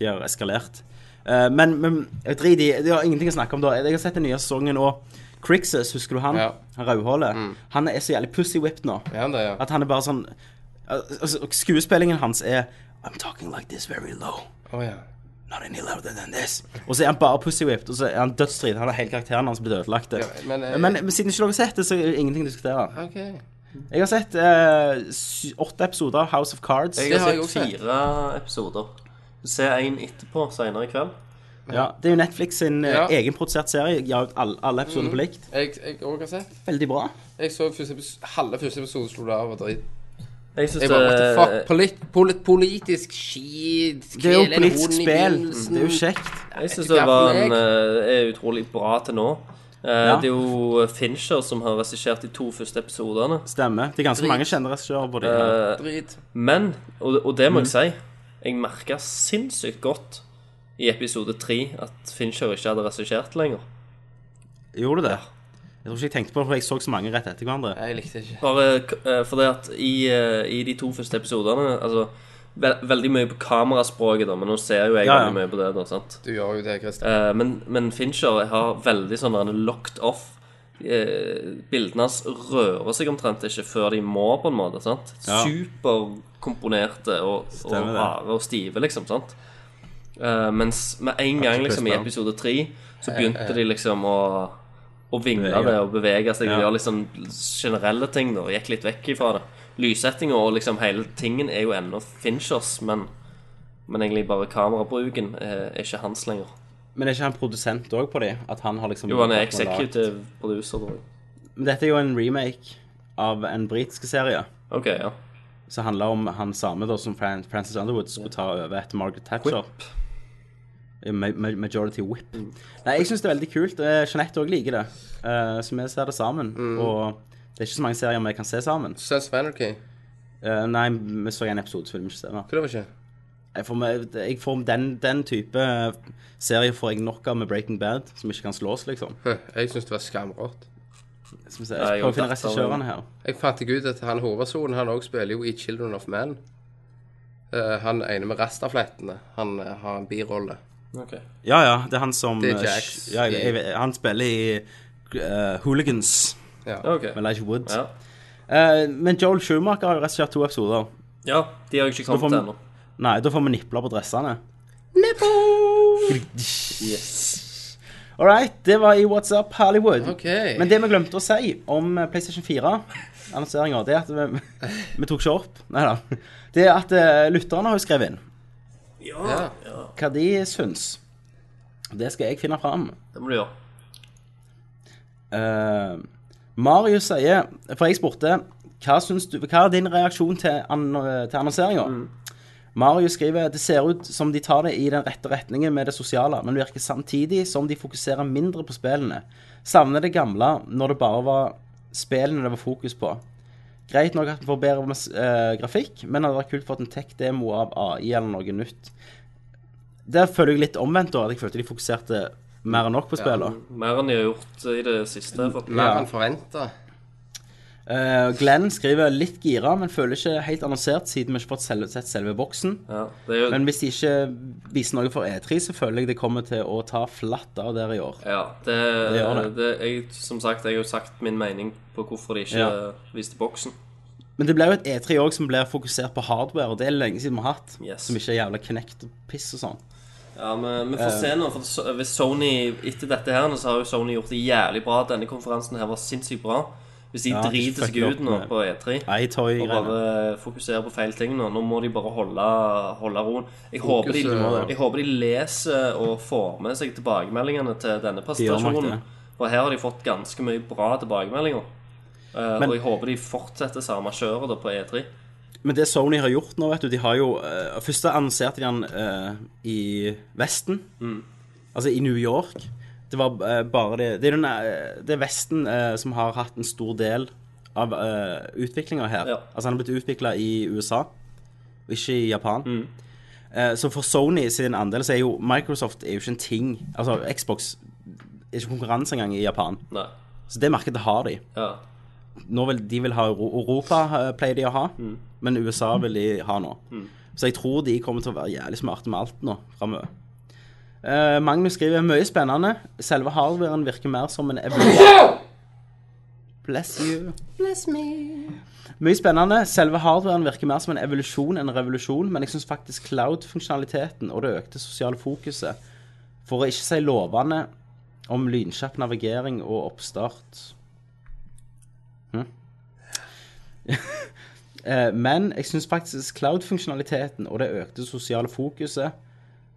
Speaker 4: De har eskalert. Eh, men, men jeg drit i Det har ingenting å snakke om da. Jeg har sett den nye sesongen og Crixus, husker du han?
Speaker 5: Ja. Mm.
Speaker 4: Han rødhålet. Han er så jævlig pussy-whipped nå.
Speaker 5: Ja, det, ja.
Speaker 4: At han er bare sånn altså, Skuespillingen hans er I'm talking like this very low.
Speaker 5: Å, ja.
Speaker 4: Not any louder than this. Og så er han bare pussy-whipped, og så er han dødsdrit. Han har hele karakteren hans blitt ødelagt.
Speaker 5: Ja, men, eh,
Speaker 4: men, men siden ikke dere har sett det, så er det ingenting å diskutere.
Speaker 5: OK.
Speaker 4: Jeg har sett eh, sy- åtte episoder av House of Cards.
Speaker 6: Jeg
Speaker 5: har
Speaker 6: har
Speaker 5: jeg
Speaker 6: sett
Speaker 5: også sett.
Speaker 6: fire episoder. Se en etterpå senere i kveld.
Speaker 4: Ja, det er jo Netflix sin eh,
Speaker 5: Ja.
Speaker 4: egenprodusert serie. De har ut alle, alle episodene på likt.
Speaker 5: Jeg, jeg også har sett.
Speaker 4: Veldig bra.
Speaker 5: Jeg så første episode, halve første episode slo det av og drit.
Speaker 6: Jeg synes
Speaker 5: Jeg bare, what
Speaker 4: eh,
Speaker 5: the fuck?
Speaker 6: det,
Speaker 5: Polit, polit, politisk skit.
Speaker 4: Det er jo
Speaker 5: kvele en
Speaker 4: politisk
Speaker 5: horn i
Speaker 4: spill.
Speaker 5: bilsen.
Speaker 4: Det er jo kjekt.
Speaker 6: jeg synes
Speaker 5: Ikke
Speaker 6: det var
Speaker 5: jeg.
Speaker 6: en, eh, er utrolig bra til nå. Eh,
Speaker 4: Ja.
Speaker 6: Det er jo Fincher som har regissert de to første episodene.
Speaker 4: Stemmer. Det er ganske mange kjente regissører på det.
Speaker 6: Eh,
Speaker 5: Drit.
Speaker 6: Men, og, og
Speaker 5: Mm.
Speaker 6: det må jeg si, jeg merka sinnssykt godt i episode tre at Fincher ikke hadde regissert lenger.
Speaker 4: Gjorde det? Jeg tror ikke jeg tenkte på det, for jeg så så mange rett etter hverandre.
Speaker 5: Nei, jeg likte det ikke.
Speaker 6: Bare eh, fordi at i, eh, i de to første episodene Altså ve veldig mye på kameraspråket, da, men nå ser jo jeg
Speaker 4: Ja, ja.
Speaker 6: veldig mye på det. da, sant?
Speaker 5: Du gjør jo det, Christian.
Speaker 6: Eh, men, men Fincher har veldig sånn han er locked off. Eh, bildene hans rører seg omtrent ikke før de må, på en måte. sant?
Speaker 4: Ja.
Speaker 6: Superkomponerte og, og
Speaker 4: Stemmer det.
Speaker 6: harde og stive, liksom. sant? Eh, mens med en gang liksom i
Speaker 4: Christian.
Speaker 6: episode tre så begynte de liksom å å vingle
Speaker 4: Bevege.
Speaker 6: det og bevege seg og
Speaker 4: Ja.
Speaker 6: gjøre liksom generelle ting. da, og Gikk litt vekk ifra det. Lyssettinga og liksom hele tingen er jo ennå Finchers, men, men egentlig bare kamerabruken er, er ikke hans lenger.
Speaker 4: Men er ikke han produsent òg på de? At han har liksom
Speaker 6: Jo, han er executive producer, tror jeg.
Speaker 4: Men Dette er jo en remake av en britisk serie
Speaker 6: Ok, ja.
Speaker 4: som handler om han samme da som Fran Frances Underwood skulle ta over etter Margaret Thatcher. Ja, ma- ma- Majority whip.
Speaker 6: Mm.
Speaker 4: Nei, jeg syns det er veldig kult. Eh, Jeanette òg liker det. Eh, så vi ser det sammen.
Speaker 6: Mm.
Speaker 4: Og det er ikke så mange serier vi kan se sammen.
Speaker 5: Sons of Anarchy.
Speaker 4: Eh, nei, vi så en episode, så vil vi ikke se det.
Speaker 5: Hva det var ikke?
Speaker 4: Jeg får, med- jeg får med den, den type serie får jeg nok av med Breaking Bad, som ikke kan slås, liksom.
Speaker 5: Hø, Jeg synes det var skamrått.
Speaker 4: Som jeg,
Speaker 6: Nei,
Speaker 4: jeg prøver
Speaker 6: jeg
Speaker 4: å
Speaker 6: har
Speaker 4: finne
Speaker 6: tatt av-
Speaker 4: regissørene her.
Speaker 5: Jeg fant ikke ut at han hovedsonen, han også spiller jo i Children of Men. Eh, han ene med rastaflettene, han eh, har en birolle.
Speaker 4: Ja, ja, det er han som
Speaker 5: Det er
Speaker 4: eh,
Speaker 5: Jax
Speaker 4: Ja, jeg,
Speaker 5: i-
Speaker 4: jeg, han spiller i eh, Hooligans,
Speaker 5: Ja.
Speaker 6: Ok.
Speaker 4: Elijah Wood.
Speaker 6: Ja.
Speaker 4: Eh, men Joel Schumacher har jo regissert to episoder.
Speaker 6: ja, de har jo ikke
Speaker 4: får
Speaker 6: kommet
Speaker 4: vi-
Speaker 6: ennå.
Speaker 4: Nei, da får vi nipler på dressene.
Speaker 6: Yes.
Speaker 4: All right, det var i What's Up Hollywood.
Speaker 5: OK.
Speaker 4: Men det vi glemte å si om eh, PlayStation 4-annonseringa, det er at vi, vi tok ikke opp Nei da. Det er at eh, lytterne har jo skrevet inn
Speaker 5: ja.
Speaker 4: hva de syns. Det skal jeg finne fram.
Speaker 6: Det må du gjøre.
Speaker 4: Eh, Marius sier For jeg spurte hva, syns du, hva er din reaksjon til, an, til annonseringa? Marius skriver det ser ut som de tar det i den rette retningen med det sosiale, men det virker samtidig som de fokuserer mindre på spillene. Savner det gamle når det bare var spillene det var fokus på. Greit nok at den får bedre mas- eh, grafikk, men hadde vært kult fått en tech-demo av AI eller noe nytt. Der føler jeg litt omvendt, da. At jeg følte de fokuserte mer enn nok på spillene.
Speaker 6: Mer enn de har gjort i det siste. For...
Speaker 5: Mer
Speaker 4: Ja.
Speaker 5: enn forventa.
Speaker 4: Eh, Glenn skriver litt gira, men føler ikke helt annonsert siden vi ikke har fått selve, sett selve boksen.
Speaker 6: Ja, det er jo
Speaker 4: Men hvis de ikke viser noe for E3, så føler jeg det kommer til å ta flatt av der i år.
Speaker 6: Ja, det,
Speaker 4: Det
Speaker 6: det,
Speaker 4: gjør det.
Speaker 6: jeg, Som sagt, jeg har jo sagt min mening på hvorfor de ikke
Speaker 4: Ja.
Speaker 6: viste boksen.
Speaker 4: Men det blir jo et E3 òg som blir fokusert på hardware, og det er lenge siden vi har hatt.
Speaker 6: Yes.
Speaker 4: Som ikke er jævla knekt og piss og sånn.
Speaker 6: Ja, men vi får
Speaker 4: Eh.
Speaker 6: se nå. For så- hvis Sony Etter dette her nå, så har jo Sony gjort det jævlig bra. Denne konferansen her var sinnssykt bra. Hvis de
Speaker 4: Ja,
Speaker 6: driter
Speaker 4: fuck
Speaker 6: seg ut
Speaker 4: opp
Speaker 6: nå
Speaker 4: med-
Speaker 6: på E3 og
Speaker 4: Eitoy-greiene.
Speaker 6: bare fokuserer på feil ting nå Nå må de bare holde, holde roen. Jeg håper, de,
Speaker 5: Fokuset, ja.
Speaker 6: jeg håper de leser og får med seg tilbakemeldingene til denne
Speaker 4: gjør nok
Speaker 6: presentasjonen.
Speaker 4: det.
Speaker 6: For her har de fått ganske mye bra tilbakemeldinger. Eh,
Speaker 4: Men-
Speaker 6: og jeg håper de fortsetter samme kjøret da på E3.
Speaker 4: Men det Sony har gjort nå, vet du De har jo eh, Først annonserte de den eh, i Vesten. Altså i New York. Det var eh, bare det Det er, den, eh, det er Vesten eh, som har hatt en stor del av uh, utviklinga her.
Speaker 6: Ja.
Speaker 4: Altså han har blitt utvikla i USA, og ikke i Japan. Eh, så for Sony sin andel så er jo Microsoft er jo ikke en ting. Altså Xbox er ikke konkurranse engang i Japan.
Speaker 6: Nei.
Speaker 4: Så det markedet har de
Speaker 6: Ja.
Speaker 4: nå vil, de vil ha Euro- Europa, eh, pleier de å ha, men USA vil de ha nå. Så jeg tror de kommer til å være jævlig smarte med alt nå framover. Eh, Magnus skriver mye spennende. Selve hardwaren virker mer som en evolusjon Bless you. Mye spennende. Selve hardwaren virker mer som en evolusjon enn en revolusjon, men jeg syns faktisk cloud-funksjonaliteten og det økte sosiale fokuset, for å ikke si lovende, om lynkjapp navigering og oppstart Hm? [laughs] Eh, Men jeg syns faktisk cloud-funksjonaliteten og det økte sosiale fokuset,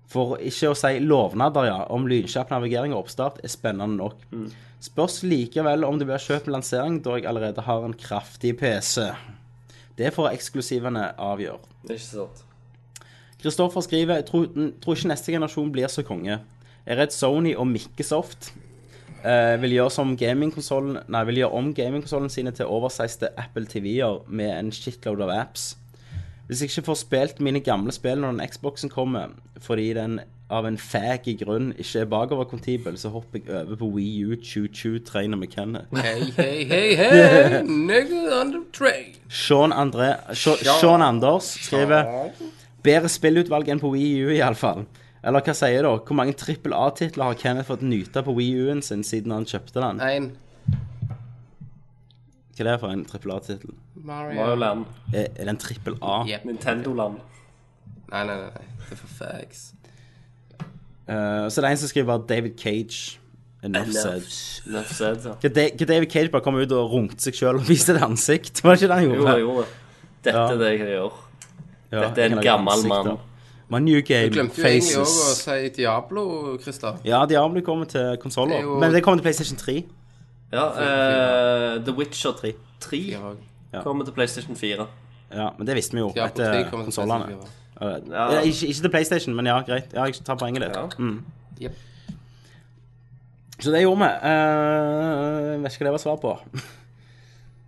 Speaker 4: for ikke å si lovnader, ja, om lynkjapp navigering og oppstart, er spennende nok. Spørs likevel om det blir kjøpt med lansering, da jeg allerede har en kraftig PC. Det får eksklusivene avgjøre.
Speaker 6: Ikke sant.
Speaker 4: Kristoffer skriver jeg tror, tror ikke neste generasjon blir så konge. Jeg er redd Sony og Microsoft eh, vil gjøre som gamingkonsollen Nei, vil gjøre om gamingkonsollen sine til oversizede Apple TV-er med en shitload av apps. Hvis jeg ikke får spilt mine gamle spill når den Xboxen kommer, fordi den av en fag i grunn ikke er bakoverkontibel, så hopper jeg over på Wii U Choo-Choo-trainer med Kenneth.
Speaker 5: Hei, hei, hei, [laughs] hei! Nigga on the train.
Speaker 4: Sean, André, Sha- Sean Anders skriver Bedre spillutvalg enn på Wii U i alle fall. Eller hva sier dere? Hvor mange trippel A-titler har Kenneth fått nyte på Wii U-en sin siden han kjøpte den?
Speaker 5: Én.
Speaker 4: Hva er det for en trippel A-tittel?
Speaker 5: Mario.
Speaker 6: Mario-land.
Speaker 4: Er, er det en trippel A?
Speaker 5: Yep.
Speaker 6: Nintendo-land.
Speaker 5: Nei, nei, nei. nei. Det er for fags.
Speaker 4: Eh, så det er en som skriver David Cage. Enough said.
Speaker 6: Enough said,
Speaker 4: [laughs]
Speaker 6: ja.
Speaker 4: Hva Da- hva David Cage bare kom ut og runkte seg sjøl og viste et ansikt? [laughs] Var det ikke det han
Speaker 6: Jo,
Speaker 4: gjorde?
Speaker 6: jeg gjorde det. Dette
Speaker 4: Ja.
Speaker 6: er det jeg gjør.
Speaker 4: Ja,
Speaker 6: Dette er
Speaker 4: jeg kan
Speaker 6: en
Speaker 4: lage
Speaker 6: gammel
Speaker 4: ansikter.
Speaker 6: mann.
Speaker 4: My new
Speaker 5: Du
Speaker 4: game,
Speaker 5: glemte jo egentlig òg å
Speaker 4: Faces.
Speaker 5: si Diablo, Christer.
Speaker 4: Ja, Diablo kommer til konsoller.
Speaker 5: Det er jo-
Speaker 4: Men det kommer til PlayStation 3.
Speaker 6: Ja, eh, The Witcher 3,
Speaker 5: Diablo
Speaker 6: kommer til PlayStation 4.
Speaker 4: Ja, men det visste vi jo
Speaker 5: 3
Speaker 4: etter
Speaker 5: kommer til
Speaker 4: konsollene.
Speaker 5: PS4.
Speaker 4: Ja. Eh, Ikke, ikke til PlayStation, men ja, greit. Ja, jeg tar poenget ditt.
Speaker 6: Ja.
Speaker 4: Mm.
Speaker 5: Jep.
Speaker 4: Så det gjorde vi. Eh, vet ikke hva det var svar på.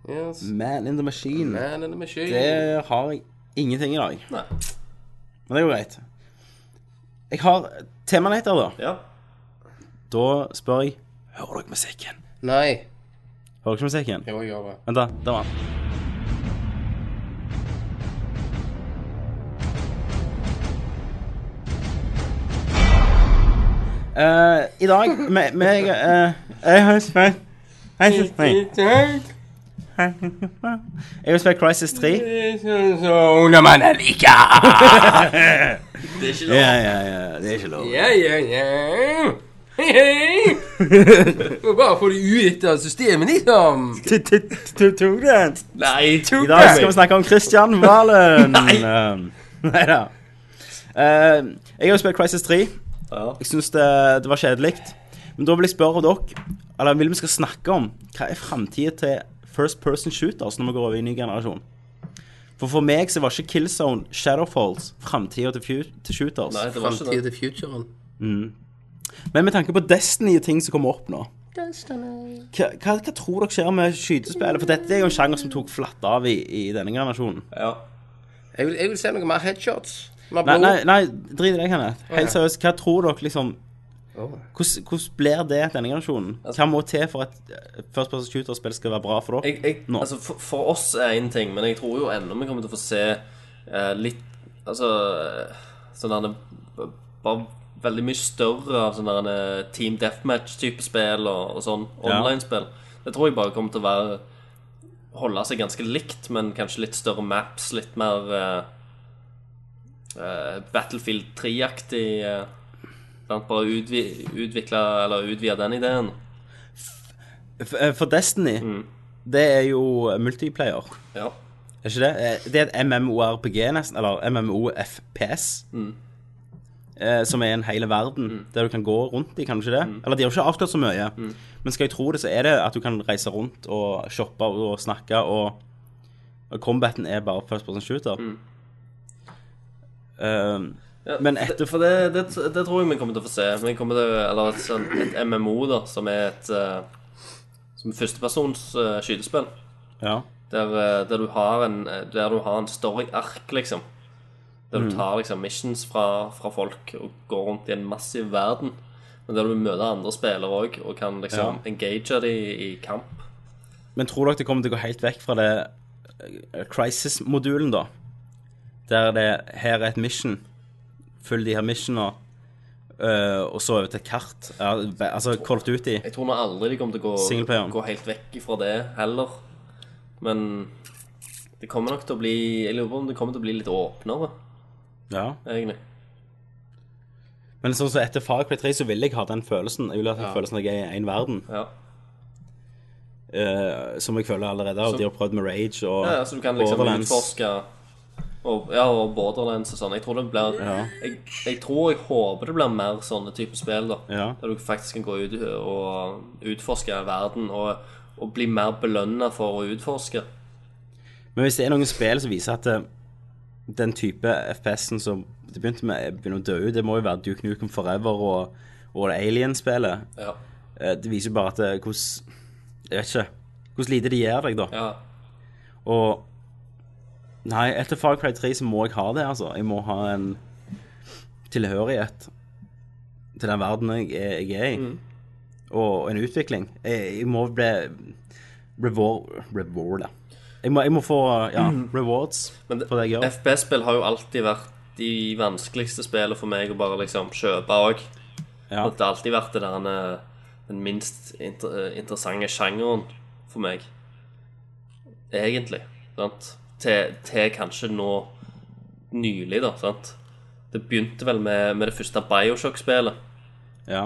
Speaker 5: Yes.
Speaker 4: Man in the machine.
Speaker 5: Man in the machine.
Speaker 4: Det har jeg ingenting i dag.
Speaker 6: Nei.
Speaker 4: Men det er jo greit. Jeg har Temanator, da.
Speaker 6: Ja.
Speaker 4: Da spør jeg Hører dere musikken?
Speaker 5: Nei.
Speaker 4: Hører dere ikke musikken?
Speaker 5: Jo, jeg gjør det.
Speaker 4: Vent, da. Der var den. Eh, I dag med, med eh, Jeg har spilt Jeg har spilt- jeg har spilt Crisis 3.
Speaker 5: Sånn man er like.
Speaker 6: Det er ikke
Speaker 4: Ja,
Speaker 6: noe.
Speaker 4: ja, ja. Det er ikke lov.
Speaker 5: Ja, ja, ja. Hei,
Speaker 4: [laughs]
Speaker 5: hei. Må Bare få det ut av systemet, liksom.
Speaker 4: Tu- tu- tu- Tok den.
Speaker 6: Nei,
Speaker 4: I dag skal vi snakke om Christian Valen. Nei. [laughs] da. Eh, jeg har jo spilt Crisis 3.
Speaker 6: Ja.
Speaker 4: Jeg syns det, det var kjedelig. Men da vil jeg spørre dere, eller vil vi skal snakke om, hva er framtida til first person shooters når vi går over i en ny generasjon? For for meg så var ikke Killzone Shadowfalls framtida til, fu- til shooters.
Speaker 6: Nei, det var ikke
Speaker 5: Framtida
Speaker 6: det.
Speaker 5: til futuren.
Speaker 4: Men med tanke på Destiny-ting som kommer opp nå hva, hva, hva tror dere skjer med skytespillet? For dette er jo en sjanger som tok flatt av i, i denne generasjonen.
Speaker 6: Ja.
Speaker 5: Jeg vil, jeg vil se noe mer headshots. Mer
Speaker 4: Nei,
Speaker 5: blod.
Speaker 4: nei, nei drit i det, Kenneth. Helt
Speaker 5: ja.
Speaker 4: seriøst, hva tror dere liksom
Speaker 5: Åh.
Speaker 4: hvordan, hvordan blir det denne generasjonen? Hva må til for at eh, First Person Shooter-spill skal være bra for dere?
Speaker 6: Jeg, jeg,
Speaker 4: Nå.
Speaker 6: altså, for, for oss er én ting, men jeg tror jo ennå vi kommer til å få se eh, litt Altså eh, sånn der eh, Bare veldig mye større av sånn der eh, Team Deathmatch-type spill og, og sånn.
Speaker 4: Ja.
Speaker 6: Online-spill. Det tror jeg bare kommer til å være Holde seg ganske likt, men kanskje litt større maps, litt mer eh, eh, Battlefield 3-aktig. eh, sant? bare utvi, utvikle eller utvide den ideen.
Speaker 4: F- eh, For Destiny, det er jo multiplayer.
Speaker 6: Ja.
Speaker 4: Er ikke det? Eh, Det er et MMORPG, nesten. Eller MMOFPS. Eh, som er en hele verden, der du kan gå rundt i, kan du ikke det? Eller de har jo ikke avslørt så mye. Men skal jeg tro det, så er det at du kan reise rundt og shoppe og, og snakke, og, og combaten er bare first person shooter. Um,
Speaker 6: Ja,
Speaker 4: Men
Speaker 6: det-
Speaker 4: etter-
Speaker 6: For det, det, det tror jeg vi kommer til å få se. Vi kommer til, eller et, sånn, et MMO, da, som er et eh, Som er førstepersons eh, skytespill.
Speaker 4: ja.
Speaker 6: Der, eh, der du har en eh, Der du har en story-ark, liksom. Der
Speaker 4: Mm.
Speaker 6: du tar liksom missions fra, fra folk og går rundt i en massiv verden. Men der du møter andre spillere òg, og kan liksom engage dem i, i kamp.
Speaker 4: Men tror dere det kommer til å gå helt vekk fra det eh, crisis-modulen, da? Der det her er et mission, følg de her missionene, eh, og så over til et kart. Ja, be- altså Call of Duty.
Speaker 6: Jeg tror nå aldri de kommer til å gå,
Speaker 4: Singleplayeren.
Speaker 6: gå helt vekk fra det heller. Men det kommer nok til å bli Jeg lurer på om det kommer til å bli litt åpnere,
Speaker 4: Ja.
Speaker 6: egentlig.
Speaker 4: Men sånn som etter Far Cry 3 så vil jeg ha den følelsen. Jeg vil ha den følelsen at jeg er i én verden,
Speaker 6: Ja.
Speaker 4: eh, som jeg føler allerede. Og
Speaker 6: Så-
Speaker 4: de har prøvd med Rage og
Speaker 6: ja, så du kan liksom
Speaker 4: Borderlands.
Speaker 6: utforske og, Ja, og Borderlands og sånn. Jeg tror det blir jeg, jeg tror jeg håper det blir mer sånne typer spill, da.
Speaker 4: Ja.
Speaker 6: Der du faktisk kan gå ut og utforske verden og, og bli mer belønna for å utforske.
Speaker 4: Men hvis det er noen spill som viser at eh, den type FPS-en som det begynte med, er- begynner å dø ut, det må jo være Duke Nukem Forever og, og det Alien-spillet.
Speaker 6: Ja.
Speaker 4: Eh, Det viser jo bare at eh, hvordan Jeg vet ikke. Hvordan lite de gjør deg, da.
Speaker 6: ja.
Speaker 4: Og Nei, etter Far Cry 3 så må jeg ha det, altså. Jeg må ha en tilhørighet til den verden jeg er, jeg er i.
Speaker 6: Mm.
Speaker 4: Og en utvikling. Jeg, jeg må bli reward, rewarda. Jeg må, jeg må få ja, rewards
Speaker 6: Mm. Men
Speaker 4: for det jeg gjør.
Speaker 6: FPS-spill har jo alltid vært de vanskeligste spillene for meg å bare liksom kjøpe òg.
Speaker 4: Ja.
Speaker 6: Det har alltid vært det der, eh, den minst inter eh, interessante sjangeren for meg. Egentlig. Sant? Til, til kanskje nå nylig, da. Sant? Det begynte vel med, med det første Bioshock-spillet,
Speaker 4: ja,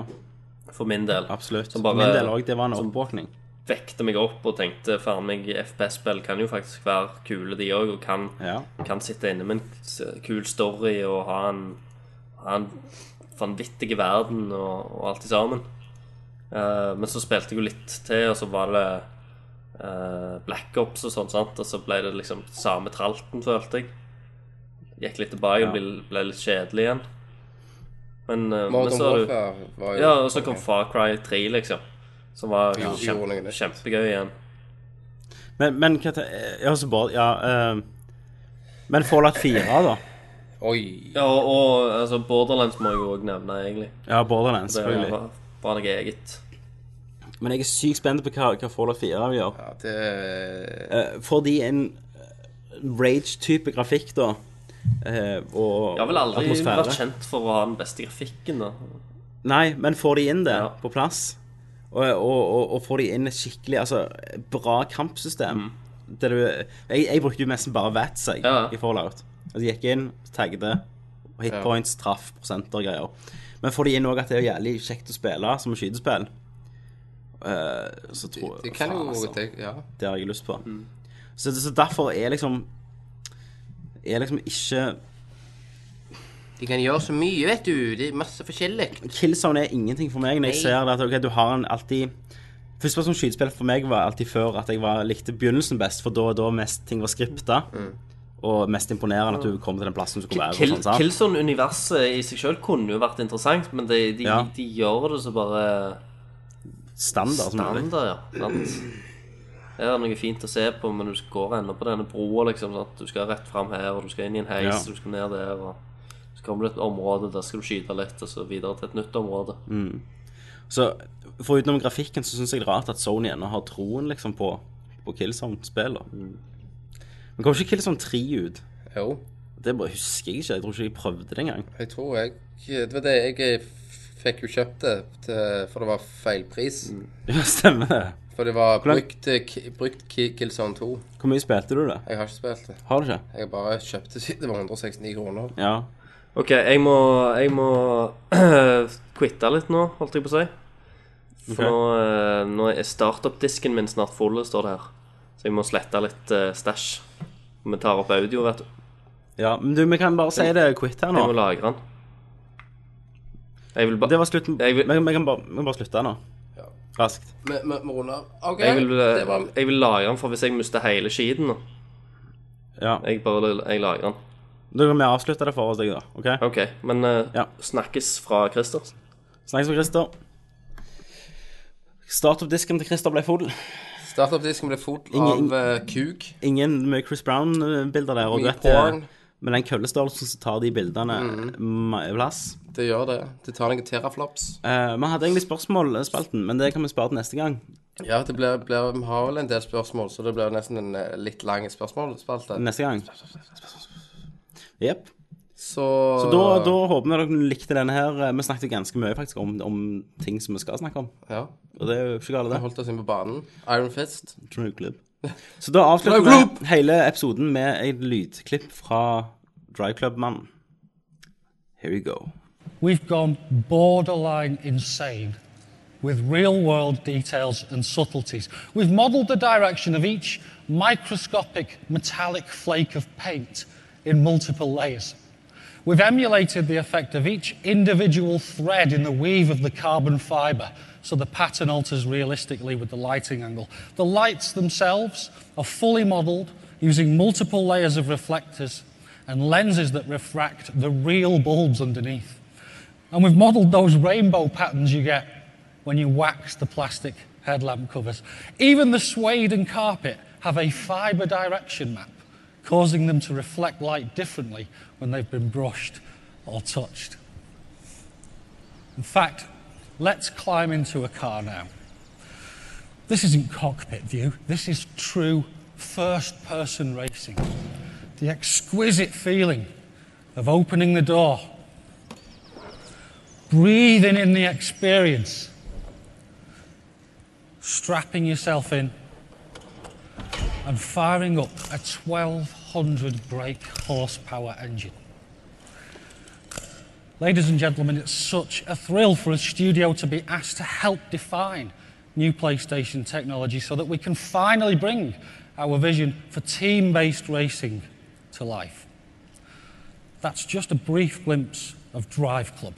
Speaker 6: for min del.
Speaker 4: absolutt.
Speaker 6: Som
Speaker 4: For
Speaker 6: bare-
Speaker 4: Min del òg, det var en
Speaker 6: som-
Speaker 4: oppvåkning.
Speaker 6: Vekte meg opp og tenkte faen meg, FPS-spill kan jo faktisk være kule, de òg, og kan
Speaker 4: Ja.
Speaker 6: kan sitte inne med en s- kul story og ha en, ha en vanvittig verden og, og alt i sammen. Eh, men så spilte jeg jo litt til, og så var det eh, Black Ops og sånn, sant? og så ble det liksom samme tralten, følte jeg. Gikk litt tilbake og ble, ble litt kjedelig igjen. Men, eh, men
Speaker 5: Modern
Speaker 6: så har du
Speaker 5: Warfare var jo
Speaker 6: Ja, og så kom Far Cry 3, liksom. Som var
Speaker 5: Ja.
Speaker 6: kjempe, kjempegøy igjen.
Speaker 4: Men, men hva te- Ja, så bare Ja. eh, men Fallout 4, da?
Speaker 5: Oi.
Speaker 6: Ja, og, og altså, Borderlands må jeg jo òg nevne, egentlig.
Speaker 4: Ja, Borderlands,
Speaker 6: Det var
Speaker 4: selvfølgelig.
Speaker 6: bare noe eget.
Speaker 4: Men jeg er sykt spent på hva, hva Fallout 4 gjør.
Speaker 5: Ja, det
Speaker 4: Eh, fordi en eh, rage-type grafikk, da, eh, og
Speaker 6: Jeg har vel aldri
Speaker 4: atmosfære
Speaker 6: vært kjent for å ha den beste grafikken. da
Speaker 4: Nei, men får de inn det
Speaker 6: Ja.
Speaker 4: på plass, og, og, og, og får de inn et skikkelig altså, bra kampsystem Det du, jeg, jeg brukte jo nesten bare vats jeg,
Speaker 6: Mm. Ja.
Speaker 4: i Fallout. Altså, jeg gikk inn, tagget, Og hitpoints, traff, prosenter og greier. Men får de inn òg at det er jævlig kjekt å spille som skytespill, eh, så tror jeg
Speaker 5: Det kan
Speaker 4: faen,
Speaker 5: jo
Speaker 4: altså.
Speaker 5: det, Ja.
Speaker 4: Det har jeg lyst på.
Speaker 6: Mm.
Speaker 4: Så, så derfor er liksom Er liksom ikke
Speaker 5: De kan gjøre så mye, vet du. Det er masse forskjellig.
Speaker 4: Killzone er ingenting for meg når jeg
Speaker 5: Nei.
Speaker 4: ser det at ok, du har en alltid Første som skytespill for meg var alltid før at jeg var, likte begynnelsen best, for da og da mest ting var skripta. Og mest imponerende at du kom til den plassen du skulle være.
Speaker 6: Mm. Kill,
Speaker 4: og sånn, sant?
Speaker 6: Killzone-universet i seg sjøl kunne jo vært interessant, men de, de,
Speaker 4: Ja.
Speaker 6: de gjør det så bare
Speaker 4: Standard. som mulig.
Speaker 6: standard, ja. Sant? Her er det noe fint å se på, men du går ennå på denne broa, liksom. Sant? Du skal rett fram her, og du skal inn i en heis,
Speaker 4: Ja.
Speaker 6: og du skal ned der, og så kommer det et område, der skal du skyte litt, og så videre til et nytt område.
Speaker 4: Så for utenom grafikken så syns jeg det er rart at Sony ennå har troen liksom på, på Killzone-spillene.
Speaker 6: Mm.
Speaker 4: Men kom ikke Killzone 3 ut?
Speaker 5: Jo,
Speaker 4: Det bare husker jeg ikke. Jeg tror ikke jeg prøvde det engang. [laughs]
Speaker 5: jeg tror jeg Det var det jeg f- fikk jo kjøpt det, til, for det var feil pris.
Speaker 4: Ja, stemmer det.
Speaker 5: For det var
Speaker 4: lang-
Speaker 5: brukt, k- brukt Ki- Killzone 2.
Speaker 4: Hvor mye spilte du det?
Speaker 5: Jeg har ikke spilt det.
Speaker 4: Har du ikke?
Speaker 5: Jeg bare kjøpte det. Det var 169 kroner.
Speaker 4: Ja.
Speaker 6: OK, jeg må, jeg må [clears throat] quitte litt nå, holdt jeg på å si. For
Speaker 4: Ok.
Speaker 6: nå, eh, nå er startup-disken min snart full, står det her. Så jeg må slette litt eh, stæsj. Vi tar opp audio, vet du.
Speaker 4: ja. Men du, vi kan bare si det quitt her nå.
Speaker 6: Jeg må lagre den. Jeg vil, ba
Speaker 4: Det var slutten.
Speaker 6: Jeg vil-
Speaker 4: Vi kan- vi kan bare, vi kan bare slutte nå. Raskt.
Speaker 5: Vi vi- vi runder av. OK.
Speaker 6: jeg, vil, eh,
Speaker 5: det var
Speaker 6: jeg vil lagre den, for hvis jeg mister hele skiten nå
Speaker 4: Ja.
Speaker 6: Jeg bare jeg lagrer den.
Speaker 4: Da kan vi avslutte det for oss, jeg, da. OK?
Speaker 6: OK. Men eh,
Speaker 4: Ja.
Speaker 6: snakkes fra Christer.
Speaker 4: Snakkes med Christer. Startup-disken til Christer ble full.
Speaker 5: Startup-disken ble fot
Speaker 4: Ingen-
Speaker 5: av eh, kuk.
Speaker 4: Ingen med Chris Brown-bilder der. Og du
Speaker 5: Mye
Speaker 4: vet, det-
Speaker 5: porn.
Speaker 4: med den køllestørrelsen så tar de bildene mm. plass.
Speaker 5: Det gjør det. Det tar noen teraflops.
Speaker 4: Eh, Vi hadde egentlig spørsmålspalten, men det kan vi spare til neste gang.
Speaker 5: Ja, det blir, blir, vi har vel en del spørsmål, så det blir nesten en eh, litt lang spørsmålsspalte.
Speaker 4: Neste gang. Jepp.
Speaker 5: Så,
Speaker 4: Så da, da håper vi dere likte denne her. Vi snakket ganske mye faktisk om, om ting som vi skal snakke om.
Speaker 5: Ja,
Speaker 4: Og det er jo ikke galt, det.
Speaker 5: vi holdt oss inn på banen. Iron Fist.
Speaker 4: Drygloop. Så da avslutter
Speaker 5: Dry Club!
Speaker 4: vi hele episoden med et lydklipp fra Dryclub-mannen. Here you go.
Speaker 9: We've gone borderline insane with real world details and subtleties. We've modeled the direction of each microscopic metallic flake of paint in multiple layers. We've emulated the effect of each individual thread in the weave of the carbon fiber so the pattern alters realistically with the lighting angle. The lights themselves are fully modeled using multiple layers of reflectors and lenses that refract the real bulbs underneath. And we've modelled those rainbow patterns you get when you wax the plastic headlamp covers. Even the suede and carpet have a fibre direction map, causing them to reflect light differently when they've been brushed or touched. In fact, let's climb into a car now. This isn't cockpit view, this is true first person racing. The exquisite feeling of opening the door breathing in the experience, strapping yourself in, and firing up a 1200 brake horsepower engine. Ladies and gentlemen, it's such a thrill for a studio to be asked to help define new PlayStation technology so that we can finally bring our vision for team based racing to life. That's just a brief glimpse of Drive Club.